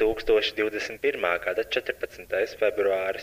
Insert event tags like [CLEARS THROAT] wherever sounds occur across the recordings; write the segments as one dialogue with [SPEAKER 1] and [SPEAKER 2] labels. [SPEAKER 1] 2021. gada 14. februāris.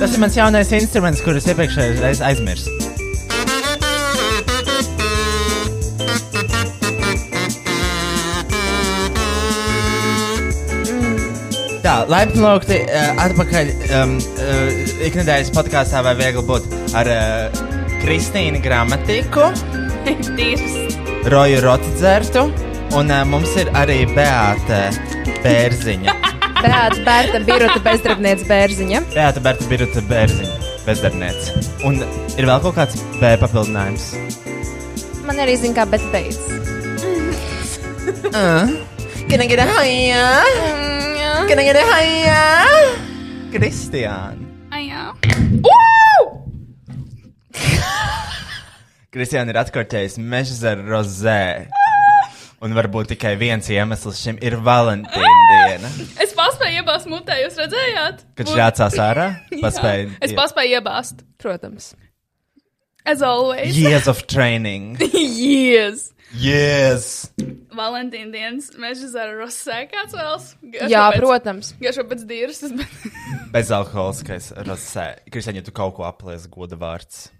[SPEAKER 2] Tas ir mans jaunais instruments, kurus iepriekšējā reizē aizmirsu. Tā, laipni lūgti uh, atpakaļ um, uh, ikdienas podkāstā, vai viegli būt ar uh, Kristīnu Gramatiku, Roju Rotzertu, un uh, mums ir arī Beāta
[SPEAKER 3] [LAUGHS]
[SPEAKER 2] Bērziņa.
[SPEAKER 4] Bērns, bērns, birota bezdarbnieks, bērziņa.
[SPEAKER 2] Beata Berta Birta Bērziņa, bezdarbniece. Un ir vēl kaut kāds B papildinājums.
[SPEAKER 4] Man arī zina, kā bet beidz.
[SPEAKER 2] Gana gana haijā!
[SPEAKER 4] Mm,
[SPEAKER 2] Gana gana haijā! Kristiāna!
[SPEAKER 3] Ajā.
[SPEAKER 2] Kristiāna ir atkorķējis meža zara rozē. Un varbūt tikai viens iemesls šim ir Valentīna diena.
[SPEAKER 3] Es paspēju iebāzt mutē, jūs redzējāt?
[SPEAKER 2] Kad šācās
[SPEAKER 3] [LAUGHS]
[SPEAKER 2] ārā, paspēja.
[SPEAKER 3] Es paspēju iebāzt.
[SPEAKER 4] Protams.
[SPEAKER 3] As always.
[SPEAKER 2] Years of
[SPEAKER 3] [LAUGHS]
[SPEAKER 2] training.
[SPEAKER 3] Yes.
[SPEAKER 2] Yes!
[SPEAKER 3] Valentīna dienas meža zara rosē kāds vēls.
[SPEAKER 4] Jā, protams.
[SPEAKER 3] Garšo pēc dīras, bet [LAUGHS]
[SPEAKER 2] Bezalkoholiskais rozē. Kristiāna, ja tu kaut ko aplies goda vārds.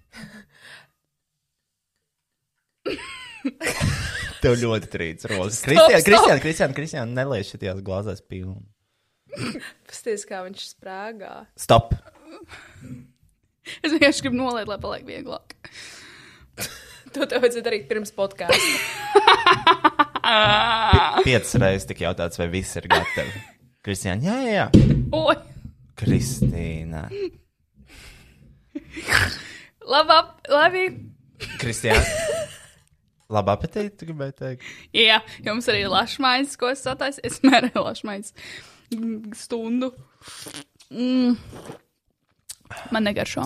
[SPEAKER 2] Tev ļoti trīc rozes. Kristiāna,
[SPEAKER 3] stop.
[SPEAKER 2] Kristiāna, Kristiāna, Kristiāna, neliec šitās glāzēs pilnu.
[SPEAKER 4] Pasties, kā viņš sprāgā.
[SPEAKER 2] Stop!
[SPEAKER 3] es vienkārši gribu nolēt, lai paliek vieglāk.
[SPEAKER 4] To tev vajadzēja darīt pirms podkāstiem.
[SPEAKER 2] Piecas reizes tika jautāts, vai viss ir gatavi. Kristiāna, jā, jā, jā.
[SPEAKER 3] Oi,
[SPEAKER 2] Kristīna.
[SPEAKER 3] labi, labi.
[SPEAKER 2] Kristiāna. Labu apetīti, tu gribēji teikt.
[SPEAKER 3] Jā, jums arī ir lašmaiņas, ko es sataisu. Es mērēju lašmaiņas mm, stundu. Mm. Man negaršo.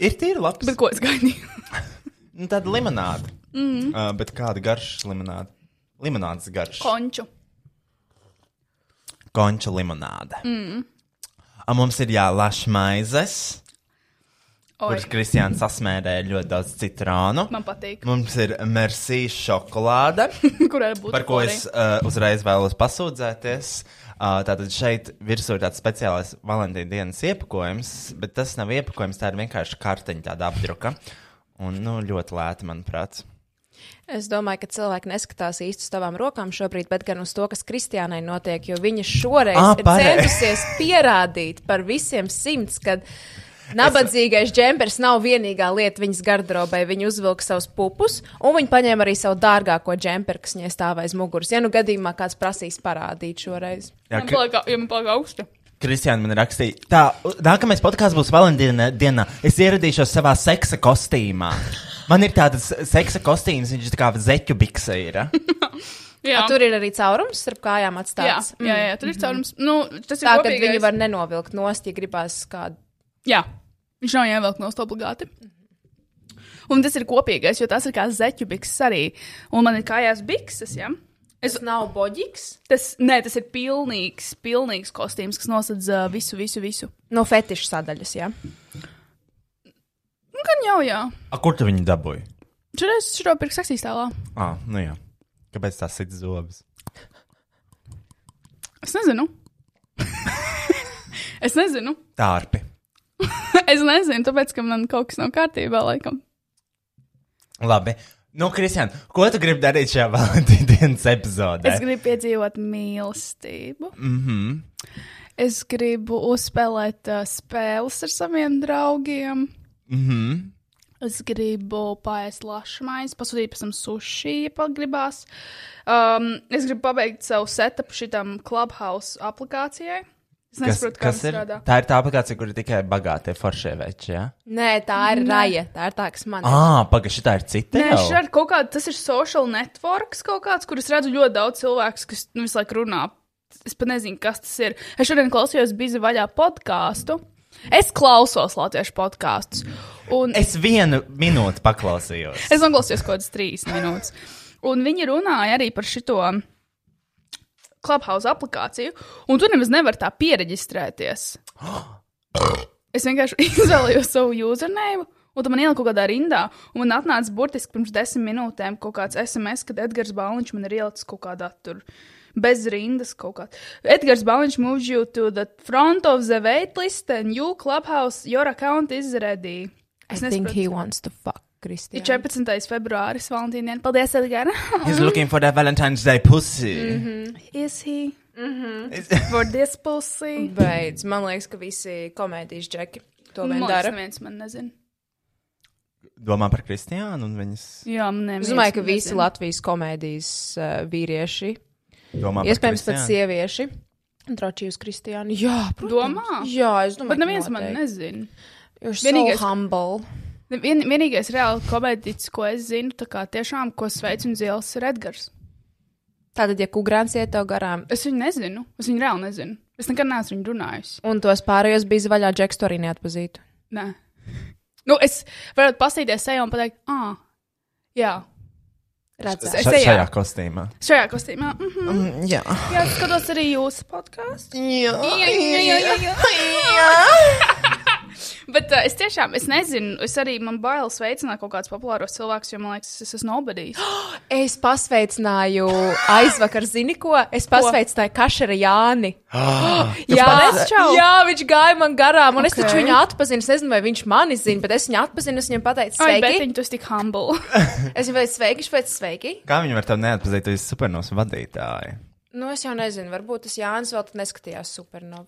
[SPEAKER 2] Ir tīri labs.
[SPEAKER 3] Bet ko es gaidīju? [LAUGHS]
[SPEAKER 2] Nu, tāda limonāde. Mm. Uh, bet kāda garša limonāde? Limonādes garša.
[SPEAKER 3] Konču.
[SPEAKER 2] konča limonāde. Mm. Mums ir jālaša maizes,
[SPEAKER 5] Oi.
[SPEAKER 2] kuras Kristiāns sasmērēja ļoti daudz citronu.
[SPEAKER 5] Man
[SPEAKER 2] [LAUGHS]
[SPEAKER 5] patīk.
[SPEAKER 2] Mums ir Mercy šokolāde,
[SPEAKER 5] Kur ir būtība?
[SPEAKER 2] par ko es uh, uzreiz vēlos pasūdzēties. Uh, tātad šeit virsū ir tāds speciālais Valentīna dienas iepakojums, bet tas nav iepakojums, tā ir vienkārši kartiņa, tāda apdruka. Un nu, ļoti lēta, manuprāt.
[SPEAKER 4] Es domāju, ka cilvēki neskatās īsti uz tavām rokām šobrīd, bet gan uz to, kas Kristiānai notiek. Jo viņa šoreiz
[SPEAKER 2] Ā,
[SPEAKER 4] ah, ir
[SPEAKER 2] parei-
[SPEAKER 4] centusies pierādīt par visiem simts, ka nabadzīgais džempers nav vienīgā lieta viņas garderobē. Viņa uzvilka savus pupus, un viņa paņēma arī savu dārgāko džemperu, kas viņai stāv aiz muguras. Ja nu gadījumā kāds prasīs parādīt šoreiz.
[SPEAKER 2] Jā,
[SPEAKER 5] Man
[SPEAKER 2] Kri-
[SPEAKER 5] palika, ja man palika augsta.
[SPEAKER 2] Kristiāna man rakstīja, tā u- nākamais podkāsts būs Valentīna dienā. Es ieradīšos savā seksa kostīmā. Man ir tāds seksa kostīms, viņš ir tā kā zeķu bikse. Ir. eh?
[SPEAKER 4] A,
[SPEAKER 5] Jā,
[SPEAKER 4] tur ir arī caurums starp kājām
[SPEAKER 5] jā,
[SPEAKER 4] atstāts. Mm.
[SPEAKER 5] jā, jā, tur ir caurums. Nu, tas ir
[SPEAKER 4] Tā, ka
[SPEAKER 5] kopīgais.
[SPEAKER 4] Mhm, viņi var nenovilkt nost, ja gribās kādu.
[SPEAKER 5] Jā, viņš nav jāvelk no stūra obligāti. Un tas ir kopīgais, jo tas ir kā zeķu bikses arī. Un man ir kājās bikses, ja?
[SPEAKER 4] Tas nav boģiks.
[SPEAKER 5] Tas, nē, tas ir pilnīgs, pilnīgs kostīms, kas nosedz uh, visu, visu, visu.
[SPEAKER 4] No fetiša sadaļas, Nu, jā. Ja?
[SPEAKER 5] Nu, gan jau, jā.
[SPEAKER 2] [LAUGHS] A, kur tu viņu dabūji?
[SPEAKER 5] Šodien es šo pirku seksīs tēlā.
[SPEAKER 2] Ah, nu jā. Kāpēc tas ir zobs?
[SPEAKER 5] Es nezinu. [LAUGHS] es nezinu.
[SPEAKER 2] Tārpi.
[SPEAKER 5] es nezinu, tāpēc, ka man kaut kas nav kārtībā, laikam.
[SPEAKER 2] Labi. Nu, Kristiāna, ko tu gribi darīt šajā [LAUGHS] Valentīna dienas epizodē?
[SPEAKER 5] Es gribu piedzīvot mīlestību.
[SPEAKER 2] Mhm.
[SPEAKER 5] Es gribu uzspēlēt uh, spēles ar saviem draugiem.
[SPEAKER 2] Mhm.
[SPEAKER 5] Es gribu pāriest lašu maizi, pasūtīt pēc tam sushi, ja pat gribās. Um, es gribu pabeigt savu setupu šitam Clubhouse aplikācijai. Es nesaprotu, kā tas
[SPEAKER 2] ir?
[SPEAKER 5] strādā.
[SPEAKER 2] Tā ir tā aplikācija, kur ir tikai bagātie foršie veči. Ja?
[SPEAKER 4] Nē, tā ir raja. Tā ir tā, kas man ir.
[SPEAKER 2] Ah, pagaidi, tā ir cita.
[SPEAKER 5] Nē,
[SPEAKER 2] jau?
[SPEAKER 5] šis ir kaut kāds, tas ir social networks kaut kāds, kur es redzu ļoti daudz cilvēku, kas nu, visu laiku runā. Es pat nezinu, kas tas ir. Es šodien klausījos bizi vaļā podkāstu. Es klausos latviešu podkāstus. Un
[SPEAKER 2] Es vienu minūti paklausījos.
[SPEAKER 5] Es noklausījos kaut kādas trīs minūtes. Un viņi runāja arī par šo Clubhouse aplikāciju, un tu nemaz nevari tā pieregistrēties. [GASPS] Es vienkārši [LAUGHS] izvēlējos savu username, un tam man ielika kaut kādā rindā, un man atnāca burtiski pirms desmit minūtēm kaut kāds SMS, kad Edgars Balniņš man ir ielicis kaut kādā tur. Bez rindas kaut kā. Edgars Balniņš moves you to the front of the waitlist and you clubhouse your account is ready.
[SPEAKER 4] I
[SPEAKER 5] Es
[SPEAKER 4] think
[SPEAKER 5] nesaprotu.
[SPEAKER 4] he wants to fuck
[SPEAKER 5] Ir
[SPEAKER 4] Kristiānu.
[SPEAKER 5] 14. februāris, Valentīna diena. Paldies, [LAUGHS] Edgars.
[SPEAKER 2] He's looking for that Valentine's Day pussy.
[SPEAKER 5] Is he
[SPEAKER 2] Es-
[SPEAKER 5] for this pussy?
[SPEAKER 4] Beidz, man liekas, ka visi komēdijas džeki to vien
[SPEAKER 5] Man liekas,
[SPEAKER 4] dara.
[SPEAKER 5] neviens man nezina.
[SPEAKER 2] [LAUGHS] Domā par Kristiānu un viņas.
[SPEAKER 5] Jā, man neviens.
[SPEAKER 4] Es domāju, ka
[SPEAKER 5] man
[SPEAKER 4] visi
[SPEAKER 5] nezina.
[SPEAKER 4] Latvijas komēdijas uh, vīrieši,
[SPEAKER 2] Domā
[SPEAKER 4] iespējams,
[SPEAKER 2] par
[SPEAKER 4] pat sievieši, droši uz Kristiānu. Jā, protams.
[SPEAKER 5] Domā?
[SPEAKER 4] Jā, es domāju,
[SPEAKER 5] Bet neviens man
[SPEAKER 4] noteikti.
[SPEAKER 5] nezina.
[SPEAKER 4] You're
[SPEAKER 5] Vienīgais-
[SPEAKER 4] So humble.
[SPEAKER 5] Ne- Vien, vienīgais reāli komēdītis, ko es zinu, tā kā tiešām, ko sveicu un zils, ir Edgars.
[SPEAKER 4] Tātad, ja kukurāns iet tev garām,
[SPEAKER 5] Es viņu nezinu. Es viņu reāli nezinu. Es nekad neesmu viņu runājusi.
[SPEAKER 4] un tos pārējos bija vaļā, džeks to arī neatpazītu.
[SPEAKER 5] Nē. Nu, es varētu pastīties sejā un pateikt, ah, jā.
[SPEAKER 4] Redzēsim.
[SPEAKER 5] Es
[SPEAKER 2] Ša
[SPEAKER 5] ejā.
[SPEAKER 2] šajā kostīmā.
[SPEAKER 5] Šajā kostīmā. Mm -hmm.
[SPEAKER 2] Mm, jā.
[SPEAKER 5] Jā, es skatos arī jūsu podkāstu.
[SPEAKER 2] Jā.
[SPEAKER 5] [LAUGHS] Bet uh, es tiešām es nezinu, es arī man bailes veicināt kaut kādus populārus cilvēkus, jo man liekas, es esmu
[SPEAKER 4] [GASPS]
[SPEAKER 5] nobadījis.
[SPEAKER 4] Es pasveicināju aizvakar, zini ko? Es pasveicināju Kašara Jāni. [GASPS] Jā,
[SPEAKER 5] pats- čau!
[SPEAKER 4] jā, viņš gāja man garām, un okay. es
[SPEAKER 5] Ok.
[SPEAKER 4] taču viņu atpazinu. Es nezinu, vai viņš mani zina, bet es viņu atpazinu. Es viņam pateicu,
[SPEAKER 5] Ai, bet
[SPEAKER 4] sveiki.
[SPEAKER 5] viņi tas tik humble. [LAUGHS]
[SPEAKER 4] Es viņam teicu, sveiki, viņš teica, sveiki.
[SPEAKER 2] Kā viņi var tevi neatpazīt, tu esi supernovs vadītāji?
[SPEAKER 4] Nu, es jau nezinu, varbūt tas Jānis vēl tad neskatījās supernovu.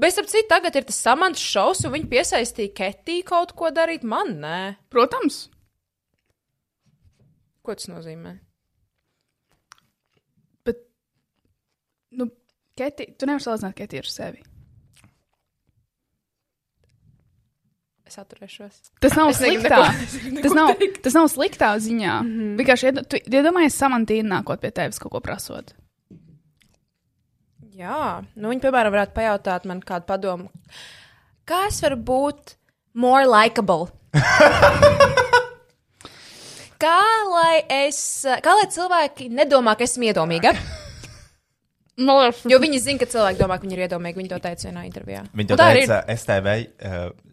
[SPEAKER 4] Bet, ap cik tagad ir tas samants šovs, un viņi piesaistīja Ketī kaut ko darīt man, nē.
[SPEAKER 5] Protams,
[SPEAKER 4] Ko tas nozīmē?
[SPEAKER 5] bet. Nu, Keti, tu nevari salīdzināt Keti ar sevi.
[SPEAKER 4] Es atturēšos.
[SPEAKER 5] Tas nav
[SPEAKER 4] Es negribu
[SPEAKER 5] sliktā.
[SPEAKER 4] neko- [LAUGHS] es negribu neko
[SPEAKER 5] Tas nav,
[SPEAKER 4] teikt. Mhm.
[SPEAKER 5] tas nav sliktā ziņā. Mm -hmm. Vienkārši iedo- tu iedomājies, ja samantīna nākot pie tevis kaut ko prasot.
[SPEAKER 4] Jā, nu viņi, piemēram, varētu pajautāt man kādu padomu. Kā es varu būt more likable? kā, lai es, kā lai cilvēki nedomā, ka esmu iedomīga?
[SPEAKER 5] Man liekas,
[SPEAKER 4] Jo viņi zina, ka cilvēki domā, ka viņi ir iedomīgi. Viņi to teica vienā intervijā.
[SPEAKER 2] Viņa to
[SPEAKER 4] Un tā arī
[SPEAKER 2] teica STV uh,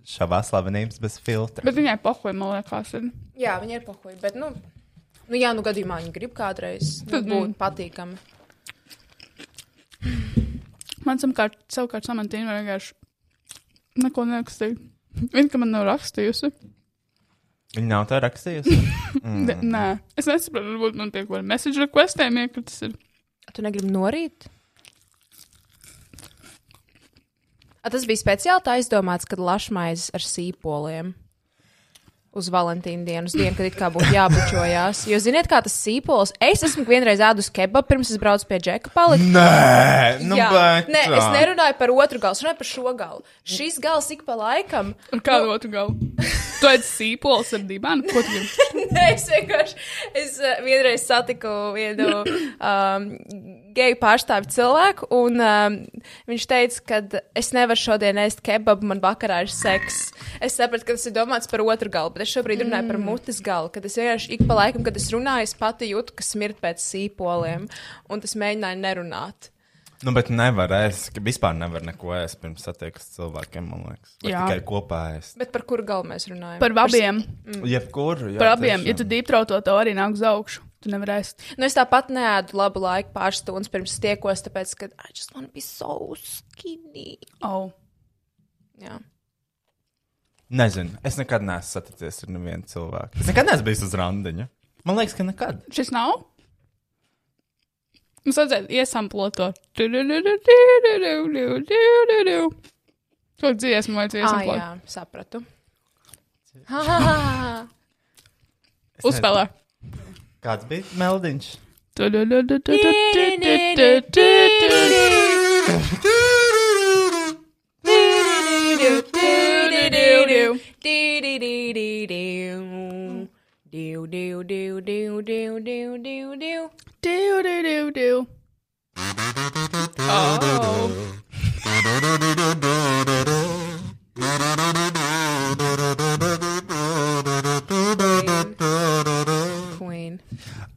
[SPEAKER 2] šāvā slavenības bez filtra.
[SPEAKER 5] bet viņai pohoja, man liekas, ir.
[SPEAKER 4] ir. Jā, viņi ir pohuļi. Bet, nu, nu, jā, nu, gadījumā viņi grib kādreiz nu,
[SPEAKER 5] Tad,
[SPEAKER 4] būt patīkami.
[SPEAKER 5] Man savukārt, savukārt samantīna vienkārši neko nerakstīja. Viņa, ka man nav rakstījusi.
[SPEAKER 2] Viņa nav to rakstījusi.
[SPEAKER 5] Mm. De, nē, es nesaprotu, varbūt man pie kaut kādiem message requestiem iekritis. Ir.
[SPEAKER 4] Tu negribi norīt? A, tas bija speciāli tā aizdomāts, kad lašmaiz ar sīpoliem. Uz Valentīnu dienu, uz dienu, kad it kā būtu jābučojās. Jo, ziniet, kā tas sīpols. Es esmu vienreiz ēdus kebabu, pirms es braucu pie džeka palika.
[SPEAKER 2] Nē, nu,
[SPEAKER 4] Jā,
[SPEAKER 2] bet.
[SPEAKER 4] Nē, es nerunāju par otru galu, es runāju par šo galu. Šis gals ik pa laikam.
[SPEAKER 5] Ar kādu otru galu? Tu esi sīpols ar dibānu. Ko tu gribi?
[SPEAKER 4] Nē, [LAUGHS] es vienkārši es, uh, vienreiz satiku vienu
[SPEAKER 5] [COUGHS]
[SPEAKER 4] um, geju pārstāvu cilvēku, un um, viņš teica, ka es nevaru šodien ēst kebabu, man vakarā ir seks. Es sapratu, ka tas ir domāts par otru galu, bet es šobrīd runāju
[SPEAKER 5] Mm.
[SPEAKER 4] par mutes galu. Kad es vienkārši ik pa laikam, kad es runāju, es pati jūtu, ka smirt pēc sīpoliem, un tas mēģināja nerunāt.
[SPEAKER 2] Nu, bet nevar ēst, ka vispār nevar neko ēst pirms satiekas ar cilvēkiem, man liekas. Vai
[SPEAKER 5] Jā.
[SPEAKER 2] Tikai kopā ēst.
[SPEAKER 4] Bet par kuru galu mēs runājam?
[SPEAKER 5] Par abiem.
[SPEAKER 2] Jebkuru. jā,
[SPEAKER 5] Par abiem.
[SPEAKER 2] tiešām.
[SPEAKER 5] Ja tu dīptrauto, to arī nāk uz augšu. Tu nevarēsi.
[SPEAKER 4] Nu, es tāpat neēdu labu laiku, pāris stundas pirms tiekos, tāpēc, ka I just want to be so skinny.
[SPEAKER 5] Oh.
[SPEAKER 4] Jā.
[SPEAKER 2] Nezinu, es nekad neesmu saticies ar nevienu cilvēku. Es nekad neesmu bijis uz randiņa. Man liekas, ka nekad.
[SPEAKER 5] Šis nav? Mums vajadzētu iesamplot to. Kaut dziesmu
[SPEAKER 4] Ah,
[SPEAKER 5] vajadzētu iesamplot.
[SPEAKER 4] jā,
[SPEAKER 5] [LAUGHS]
[SPEAKER 4] sapratu. Ha, ha, ha, ha.
[SPEAKER 2] Es
[SPEAKER 5] Uzspēlē.
[SPEAKER 2] nezinu, Kāds bija meldiņš?
[SPEAKER 4] Di-di-di-di-di. Diu, diu, diu, diu, diu, diu, diu, diu.
[SPEAKER 5] Oh.
[SPEAKER 4] Queen.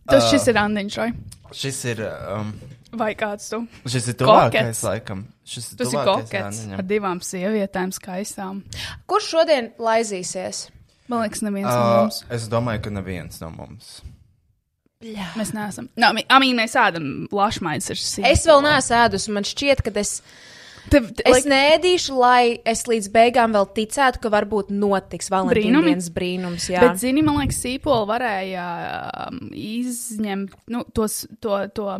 [SPEAKER 5] Tas šis ir Andiņš, vai?
[SPEAKER 2] Šis ir. Um,
[SPEAKER 5] Vai kāds tu?
[SPEAKER 2] šis ir tuvākais,
[SPEAKER 5] Kokets.
[SPEAKER 2] laikam. Šis ir
[SPEAKER 5] Tas ir
[SPEAKER 2] tuvākais
[SPEAKER 5] kokets
[SPEAKER 2] randiņam.
[SPEAKER 5] ar divām sievietēm skaistām.
[SPEAKER 4] Kurš šodien laizīsies?
[SPEAKER 5] Man liekas, neviens no
[SPEAKER 2] Uh,
[SPEAKER 5] mums.
[SPEAKER 2] es domāju, ka neviens no mums.
[SPEAKER 5] Mēs neesam. Nā, mi- amī, mēs ēdam lašmaiņas ar sievietēm.
[SPEAKER 4] Es vēl neesmu ēdus, un man šķiet, ka es
[SPEAKER 5] Tev, te,
[SPEAKER 4] Es nēdīšu, lai es līdz beigām vēl ticētu, ka varbūt notiks
[SPEAKER 5] Brīnumi?
[SPEAKER 4] Valentīnas brīnums. Jā,
[SPEAKER 5] Bet, zini, man liekas, sīpola varēja um, izņemt nu, tos, to, to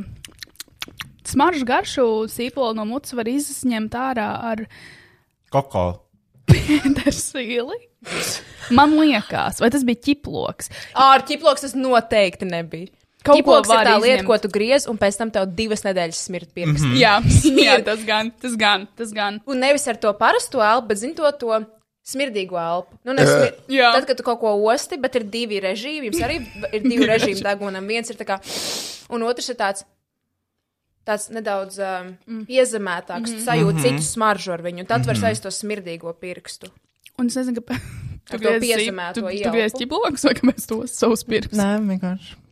[SPEAKER 5] smaržu garšu. Sīpola no mutes var izņemt ārā ar [LAUGHS]
[SPEAKER 2] Koko.
[SPEAKER 5] pētersīli. Man liekas, vai tas bija ķiploks.
[SPEAKER 4] ar ķiploks tas noteikti nebija.
[SPEAKER 5] Kaut ko
[SPEAKER 4] Ķiploks ir
[SPEAKER 5] var
[SPEAKER 4] tā lieta,
[SPEAKER 5] izņemt. Mhm.
[SPEAKER 4] ko tu griez, un pēc tam tev divas nedēļas smirt pirksts. Mm -hmm.
[SPEAKER 5] Jā, [LAUGHS] jā tas gan, tas gan, tas gan.
[SPEAKER 4] Un nevis ar to parasto elpu, bet zini to, to smirdīgo elpu. Nu, ne smir...
[SPEAKER 5] Jā.
[SPEAKER 4] Tad, kad tu kaut ko osti, bet ir divi režīmi, jums arī ir divi režīmi dagonam. Viens ir tā kā, un otrs ir tāds. Tāds nedaudz um, mm. iezemētāks, mm. sajūta mm -hmm. citu smaržu ar viņu. un Tad mm -hmm. var saistīt to smirdīgo pirkstu.
[SPEAKER 5] Un es nezinu, kāpēc.
[SPEAKER 4] Ar to
[SPEAKER 5] Tu griezi sīp-
[SPEAKER 4] piezemēto
[SPEAKER 5] tu, tu
[SPEAKER 4] ielpu.
[SPEAKER 5] griezi ķiploks vai kāpēc tos savus pirkstus?
[SPEAKER 2] Nē, vienkārši.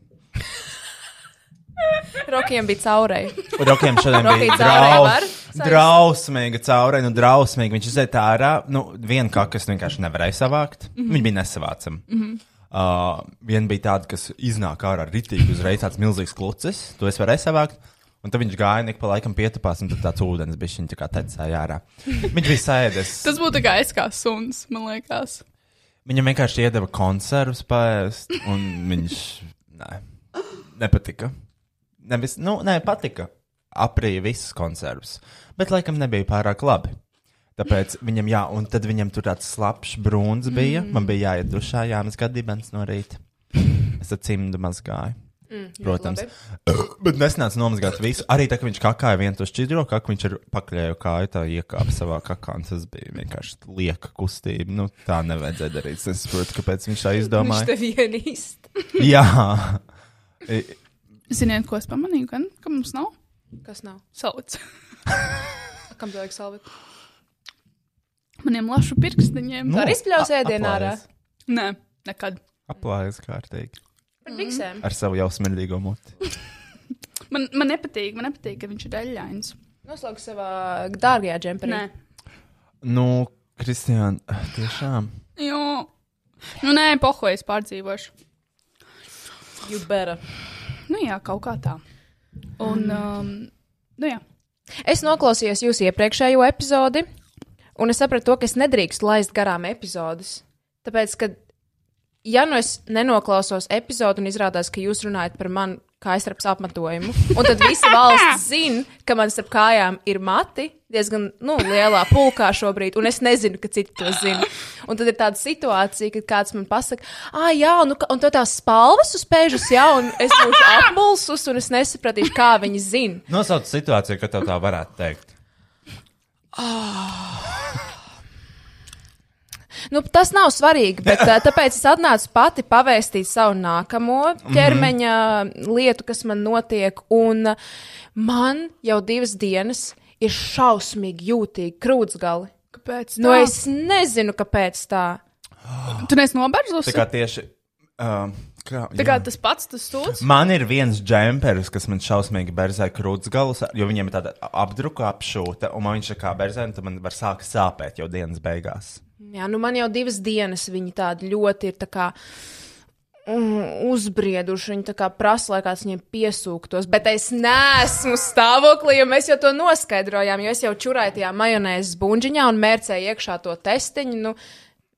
[SPEAKER 4] Rokiem bija caurēji.
[SPEAKER 2] Rokiem šodien
[SPEAKER 4] Rokai
[SPEAKER 2] bija
[SPEAKER 4] caurē
[SPEAKER 2] draus-
[SPEAKER 4] var?
[SPEAKER 2] drausmīga caurē, nu drausmīgi. Viņš iziet ārā, nu vienu kakas vienkārši nevarēja savākt. Mm -hmm. Viņi bija nesavācami. Mm -hmm. uh, viena bija tāda, kas iznāk ārā ritīgi uzreiz tāds milzīgs klucis, to es varēju savākt. Un tad viņš gāja, nek pa laikam pietupās, un tad tāds ūdens bija viņa tā kā tecēja ārā. Viņš bija sēdis.
[SPEAKER 5] Tas būtu kā es kā suns, man liekas.
[SPEAKER 2] Viņam vienkārši iedeva konservus pēst, un viņš nē, nepatika. Nevis, nu, nē, patika. Aprīja visas konservas, bet laikam nebija pārāk labi. Tāpēc viņam, jā, un tad viņam tur tāds slapjš brūns bija. Mm. Man bija jāiet dušā, jāmazgā dibens no rīta. Es ar cimdu mazgāju. Mm, Protams. Bet nesnāca nomazgāt visu. Arī tā, ka viņš kakāja vienu to šķidro, kā viņš ar pakļēju kāju tā iekāpa savā kakā. un Tas bija vienkārši lieka kustība. Nu, tā nevajadzēja darīt. Es saprotu, kāpēc viņš tā
[SPEAKER 4] Viņš
[SPEAKER 2] [LAUGHS] izdomāja.
[SPEAKER 4] tev vienīst.
[SPEAKER 2] Jā.
[SPEAKER 5] Ziniet, ko es pamanīju, gan, ka mums nav
[SPEAKER 4] Kas nav?
[SPEAKER 5] sauc.
[SPEAKER 4] Kam tev vajag salvēt?
[SPEAKER 5] [LAUGHS] Maniem lašu pirkstiņiem.
[SPEAKER 2] Nu,
[SPEAKER 4] Var izpļaus
[SPEAKER 2] a-
[SPEAKER 4] ēdienā ārā.
[SPEAKER 2] aplājas.
[SPEAKER 5] Nē, nekad.
[SPEAKER 2] Aplājas kārtīgi.
[SPEAKER 4] Par biksēm.
[SPEAKER 2] Ar savu jau smirdīgo muti.
[SPEAKER 5] Man, man nepatīk, man nepatīk, ka viņš ir daļains.
[SPEAKER 4] Noslauc savā dārgajā džemperī.
[SPEAKER 5] Nē,
[SPEAKER 2] Nu, Kristija, tiešām.
[SPEAKER 5] jo. Nu, nē, pohoju es pārdzīvošu.
[SPEAKER 4] you better.
[SPEAKER 5] Nu, jā, kaut kā tā. Un,
[SPEAKER 2] Mm.
[SPEAKER 5] um, nu, jā.
[SPEAKER 4] Es noklausījos jūsu iepriekšējo epizodi, un es sapratu, to, ka es nedrīkstu laist garām epizodes. Tāpēc, ka, ja nu es nenoklausos epizodi un izrādās, ka jūs runājat par mani kājas starp apmetojumu, un tad visa valsts zina, ka man starp kājām ir mati diezgan nu, lielā pulkā šobrīd, un es nezinu, ka citi to zina. Un tad ir tāda situācija, kad kāds man pasaka, ah, jā, nu, ka- un tev tās spalvas uz spēļus, jā, un es būšu apmulsus, un es nesapratīšu, kā viņi zina.
[SPEAKER 2] Nosauc situāciju, ka tev tā varētu teikt.
[SPEAKER 4] Nu, tas nav svarīgi, bet ā, tāpēc es atnācu pati pavēstīt savu nākamo ķermeņa lietu, kas man notiek. Un ā, man jau divas dienas ir šausmīgi jūtīgi krūtsgali.
[SPEAKER 5] Kāpēc?
[SPEAKER 4] Nu,
[SPEAKER 5] tā?
[SPEAKER 4] es nezinu, kāpēc tā.
[SPEAKER 5] Tu neesi nobežus.
[SPEAKER 2] Tā kā tieši. Uh, kā,
[SPEAKER 5] Tā kā tas pats tas sūds.
[SPEAKER 2] Man ir viens džempers, kas man šausmīgi berzē krūtsgalus, jo viņiem ir tāda apdruka apšūta, un man viņš ir kā berzē, un tad man var sākt sāpēt jau dienas beigās.
[SPEAKER 4] Jā, nu, man jau divas dienas viņi tādi ļoti ir. Tā kā, mm, Uzbrieduši viņi tā kā prasa, lai kāds viņiem piesūktos, bet es neesmu stāvoklī, jo mēs jau to noskaidrojām. Jo es jau čurēju tajā majonēzes buļģiņā un mērcēju iekšā to testiņu. Nu,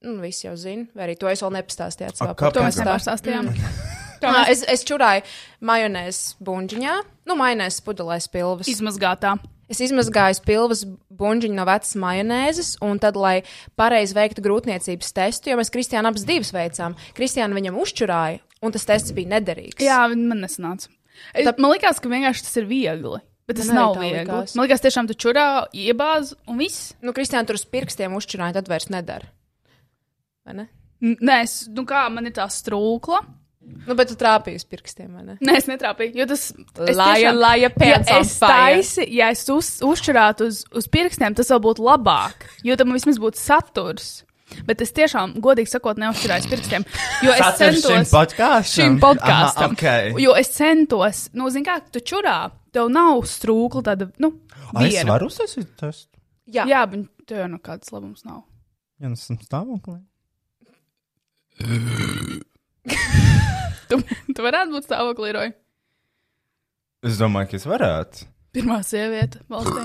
[SPEAKER 4] nu visi jau zina, vai arī to es vēl nepastāstīju.
[SPEAKER 2] A, kāpēc?
[SPEAKER 5] To mēs
[SPEAKER 2] Tā.
[SPEAKER 5] nepārstāstījām.
[SPEAKER 4] Mm. Nā, es, es čurāju majonēzes buļģiņā, nu, majonēzes pudelēs pilvas.
[SPEAKER 5] Izmazgātā.
[SPEAKER 4] Es izmazgāju pilvas buļbuļsāģiņu no vecas majonēzes, un tad, lai pareizi veiktu grūtniecības testu, jo mēs Kristiānu abas divas veicām, Kristiāna viņam uzčurāja, un tas tests bija nederīgs.
[SPEAKER 5] Jā, viņi man nesanāca. Es,
[SPEAKER 4] Tāp-
[SPEAKER 5] man liekas, ka vienkārši tas ir viegli. Bet tas
[SPEAKER 4] Man arī
[SPEAKER 5] nav
[SPEAKER 4] tā
[SPEAKER 5] viegli.
[SPEAKER 4] likās.
[SPEAKER 5] Likās. Man liekas, tiešām tu čurā, iebāz un viss.
[SPEAKER 4] Nu, Kristiāna tur uz pirkstiem uzčurāja, tad vairs nedara. Vai ne?
[SPEAKER 5] N- Nē, es, nu kā man ir tā strūkla.
[SPEAKER 4] Nu, bet tu trāpīji uz pirkstiem, vai ne?
[SPEAKER 5] Nē, es netrāpīju, jo tas es
[SPEAKER 4] Lion,
[SPEAKER 5] tiešām-
[SPEAKER 4] lion, pants
[SPEAKER 5] ja
[SPEAKER 4] on
[SPEAKER 5] es
[SPEAKER 4] fire.
[SPEAKER 5] taisi, ja es uz, uzšķirātu uz, uz pirkstiem, tas vēl būtu labāk, jo tam vismaz būtu saturs. Bet es tiešām, godīgi sakot, neuzšķirāju uz pirkstiem, jo es
[SPEAKER 2] Saturs šim
[SPEAKER 5] centos
[SPEAKER 2] podkāstam?
[SPEAKER 5] Šim
[SPEAKER 2] Aha,
[SPEAKER 5] podkāstam.
[SPEAKER 2] ok.
[SPEAKER 5] Jo es centos, nu, zini, kā tu čurā, tev nav strūkla tāda, nu,
[SPEAKER 2] Ai, Es
[SPEAKER 5] viena.
[SPEAKER 2] varu uzsākt testu.
[SPEAKER 4] Jā,
[SPEAKER 5] Jā, bet tev jau nekāds labums nav.
[SPEAKER 2] Ja nu esmu stāvoklī.
[SPEAKER 5] Tu, tu varētu būt stāvoklī, Roja.
[SPEAKER 2] Es domāju, ka es varētu.
[SPEAKER 5] Pirmā sieviete valstī.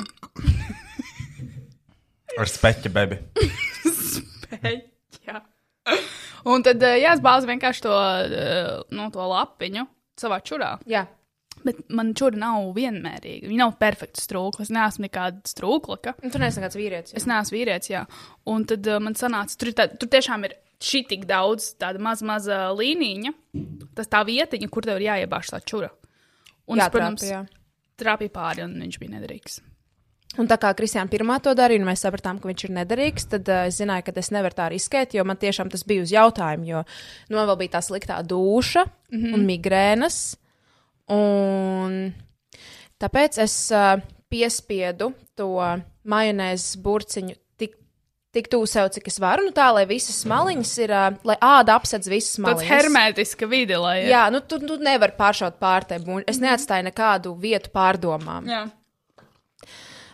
[SPEAKER 2] Ar speķa bebi.
[SPEAKER 5] Jā. Un tad eh, jā, es bāzu vienkārši to, eh, nu, to lapiņu savā čurā.
[SPEAKER 4] jā.
[SPEAKER 5] Bet man čura nav vienmērīga. Viņa nav perfekta strūkla. Es neesmu nekāda strūklaka.
[SPEAKER 4] Nu, tur neesmu kāds vīrietis.
[SPEAKER 5] Es neesmu vīrietis, jā. Un tad uh, man sanāca, tur, ir tā, tur tiešām ir šī tik daudz tāda maza, maza līnija. Tas tā vietiņa, kur tev ir jāiebāž tā čura. Un jā, es, protams, jā. trāpīju pāri, un viņš bija nederīgs.
[SPEAKER 4] Un tā kā Kristiāna pirmā to darīja, un mēs sapratām, ka viņš ir nederīgs, tad uh, es zināju, ka es nevaru tā riskēt, jo man tiešām tas bija uz jautājumu. Jo nu, man vēl bija tā sliktā duša mm -hmm. un migrēnas. Un tāpēc es uh, piespiedu to majonēzes burciņu tik, tik tuvu sev, cik es varu. Nu, tā, lai visas maliņas ir, uh, lai āda apsedz visas
[SPEAKER 5] Tāds
[SPEAKER 4] maliņas.
[SPEAKER 5] hermētiska vide, lai ir.
[SPEAKER 4] Jā, nu tur tu nevar pāršaut pār te būnu. Es neatstāju nekādu vietu pārdomām.
[SPEAKER 5] jā.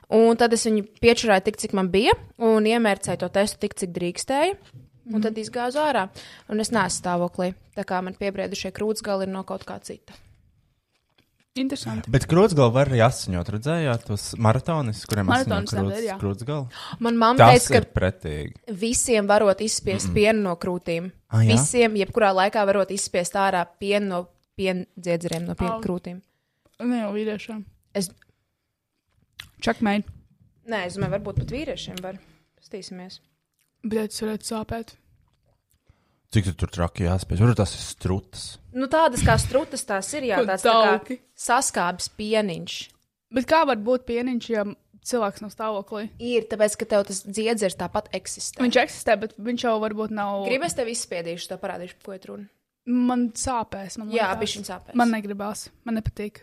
[SPEAKER 4] Un tad es viņu piečurāju tik, cik man bija, un iemērcēju to testu tik, cik drīkstēju.
[SPEAKER 5] Mhm.
[SPEAKER 4] Un tad izgāzu ārā. Un es neesmu stāvoklī. Tā kā man piebriedušie krūtsgali ir no kaut kā cita.
[SPEAKER 5] Interesanti.
[SPEAKER 2] Bet krūtsgalu var arī asiņot. Redzējāt tos maratonis, kuriem
[SPEAKER 5] Maratonis
[SPEAKER 2] asiņo
[SPEAKER 5] tādēļ, jā.
[SPEAKER 2] krūtsgalu?
[SPEAKER 4] Man mamma
[SPEAKER 2] Tas
[SPEAKER 4] teica,
[SPEAKER 2] ir pretīgi.
[SPEAKER 4] ka visiem varot izspiest pienu no krūtīm.
[SPEAKER 2] Ah, jā?
[SPEAKER 4] visiem, jebkurā laikā varot izspiest ārā pienu no piena dziedzeriem, no piena
[SPEAKER 5] Au.
[SPEAKER 4] krūtīm.
[SPEAKER 5] Ne jau vīriešiem.
[SPEAKER 4] Es,
[SPEAKER 5] Čakmēji.
[SPEAKER 4] nē, es domāju, varbūt pat vīriešiem var. Stīsimies.
[SPEAKER 5] Bet es varētu sāpēt.
[SPEAKER 2] Cik tu tur traki jāspēj? Tur tas ir struts.
[SPEAKER 4] Nu, tādas kā strutas tās ir, jā,
[SPEAKER 5] Ko
[SPEAKER 4] tāds tā kā
[SPEAKER 5] tauki?
[SPEAKER 4] saskābis pieniņš.
[SPEAKER 5] Bet kā var būt pieniņš, ja cilvēks nav stāvoklī?
[SPEAKER 4] Ir, tāpēc, ka tev tas dziedzers tāpat eksistē.
[SPEAKER 5] Viņš eksistē, bet viņš jau varbūt nav.
[SPEAKER 4] Gribu es tev izspiedīšu, to parādīšu, par ko ir runa.
[SPEAKER 5] Man sāpēs. Man
[SPEAKER 4] Jā,
[SPEAKER 5] liekas.
[SPEAKER 4] bišķiņ sāpēs.
[SPEAKER 5] Man negribās. Man nepatīk.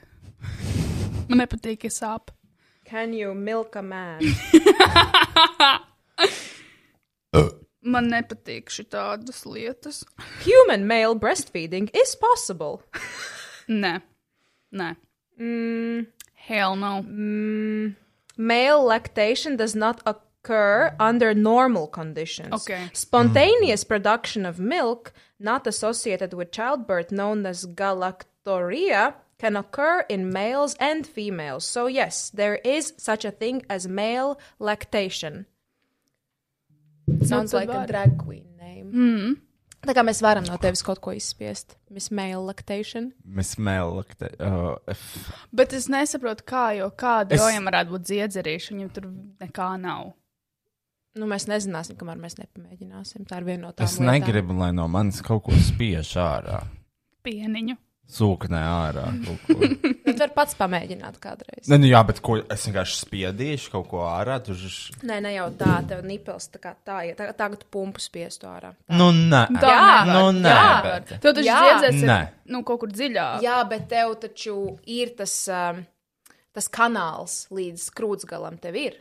[SPEAKER 5] man nepatīk, ka sāp.
[SPEAKER 4] Can you milk a [LAUGHS] man?
[SPEAKER 5] Man nepatīk šādas lietas.
[SPEAKER 4] Human male breastfeeding is possible.
[SPEAKER 5] Nē, nē.
[SPEAKER 4] Mm.
[SPEAKER 5] Hell no.
[SPEAKER 4] Male lactation does not occur under normal conditions.
[SPEAKER 5] Okay.
[SPEAKER 4] Spontaneous production of milk not associated with childbirth, known as galactoria, can occur in males and females. So, yes, there is such a thing as male lactation. Sounds
[SPEAKER 3] Not
[SPEAKER 4] like
[SPEAKER 3] bad
[SPEAKER 4] a
[SPEAKER 3] vārds.
[SPEAKER 4] drag queen name. Mm. Tā kā mēs varam no tevis kaut ko izspiest. Miss Male lactation.
[SPEAKER 2] Mēs mēlakte. Uh, f-
[SPEAKER 5] Bet es nesaprotu, kā, jo kāda
[SPEAKER 2] Es-
[SPEAKER 5] jojam varētu būt dziedzerīša, viņam tur nekā nav.
[SPEAKER 4] Nu, mēs nezināsim, kamēr mēs nepamēģināsim. Tā ir viena no tām.
[SPEAKER 2] es
[SPEAKER 4] lietām.
[SPEAKER 2] negribu, lai no manis kaut ko spiež ārā.
[SPEAKER 5] Pieniņu.
[SPEAKER 2] Sūknē ārā. kaut ko.
[SPEAKER 4] Bet var pats pamēģināt kādreiz.
[SPEAKER 2] Nē, nu jā, bet ko es vienkārši spiedīšu kaut ko ārā. Tur ž-
[SPEAKER 4] Nē, ne jau tā, tev nipels tā kā tā, ja tā, tagad pumpu spiestu ārā.
[SPEAKER 2] Nu, nē,
[SPEAKER 5] Tā
[SPEAKER 2] nu, nē,
[SPEAKER 5] jā,
[SPEAKER 2] bet.
[SPEAKER 5] tev taču
[SPEAKER 4] Jā.
[SPEAKER 5] dziedzēs
[SPEAKER 2] Nē.
[SPEAKER 5] nu, kaut kur dziļāk.
[SPEAKER 4] Jā, bet tev taču ir tas, um, tas kanāls līdz krūtsgalam tev ir.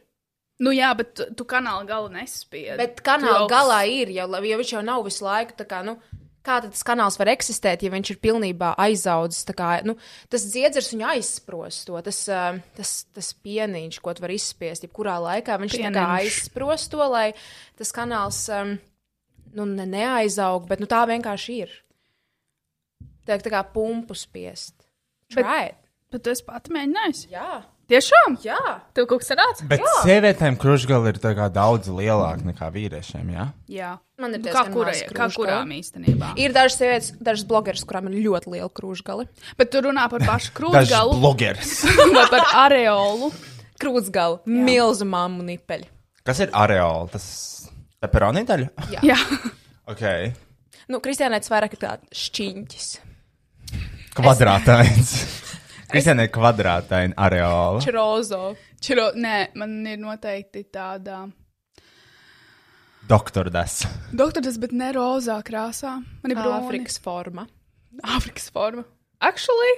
[SPEAKER 5] Nu jā, bet tu, tu kanāla galu nespiedi.
[SPEAKER 4] Bet
[SPEAKER 5] Tu
[SPEAKER 4] kanāla
[SPEAKER 5] augsts-
[SPEAKER 4] galā ir jau, la- jo viņš jau nav visu laiku tā kā, nu, kā tad tas kanāls var eksistēt, ja viņš ir pilnībā aizaudzis, tā kā, nu, tas dziedzers viņu aizsprost to, tas, ā, tas, tas pieniņš, ko tu var izspiest, jebkurā laikā viņš tā kā
[SPEAKER 5] Pieniņš.
[SPEAKER 4] aizsprost to, lai tas kanāls, um, nu, ne, neaizaug, bet, nu, tā vienkārši ir. Tā, tā kā pumpu spiest.
[SPEAKER 5] Bet-
[SPEAKER 4] Try it.
[SPEAKER 5] Bet tu esi pati mēģinājusi.
[SPEAKER 4] Jā,
[SPEAKER 5] Tiešām?
[SPEAKER 4] jā.
[SPEAKER 5] Tev kaut kas sanāca?
[SPEAKER 2] Bet sievietēm krušgala ir tā kā daudz lielāka nekā vīriešiem. Ja?
[SPEAKER 5] Jā.
[SPEAKER 4] Man ir
[SPEAKER 5] Nu, kā
[SPEAKER 4] diezgan
[SPEAKER 5] kurai,
[SPEAKER 4] maz
[SPEAKER 5] kā
[SPEAKER 4] krūšu
[SPEAKER 5] kurām īstenībā.
[SPEAKER 4] Ir dažas sievietes, dažas blogeres, kurām ir ļoti liela krūšgala.
[SPEAKER 5] Bet tu runā par
[SPEAKER 2] Dažs
[SPEAKER 5] pašu krūtgalu
[SPEAKER 2] blogeris.
[SPEAKER 5] vai par areolu.
[SPEAKER 4] Krūtsgala, milzu mammu nipeļi.
[SPEAKER 2] Kas ir areola? Tas peperoni daļa?
[SPEAKER 5] Jā.
[SPEAKER 2] Ok.
[SPEAKER 4] Nu, Kristiānēts vairāk ir tāds šķiņķis.
[SPEAKER 2] Kvadrātains. Kristiāna ir kvadrātaina areola.
[SPEAKER 4] Črozo.
[SPEAKER 5] Čiro, nē, man ir noteikti tāda.
[SPEAKER 2] Doktor des.
[SPEAKER 5] Doktors, bet ne rozā krāsā. Man ir brūna.
[SPEAKER 4] Āfrikas forma.
[SPEAKER 5] Āfrikas forma. Actually,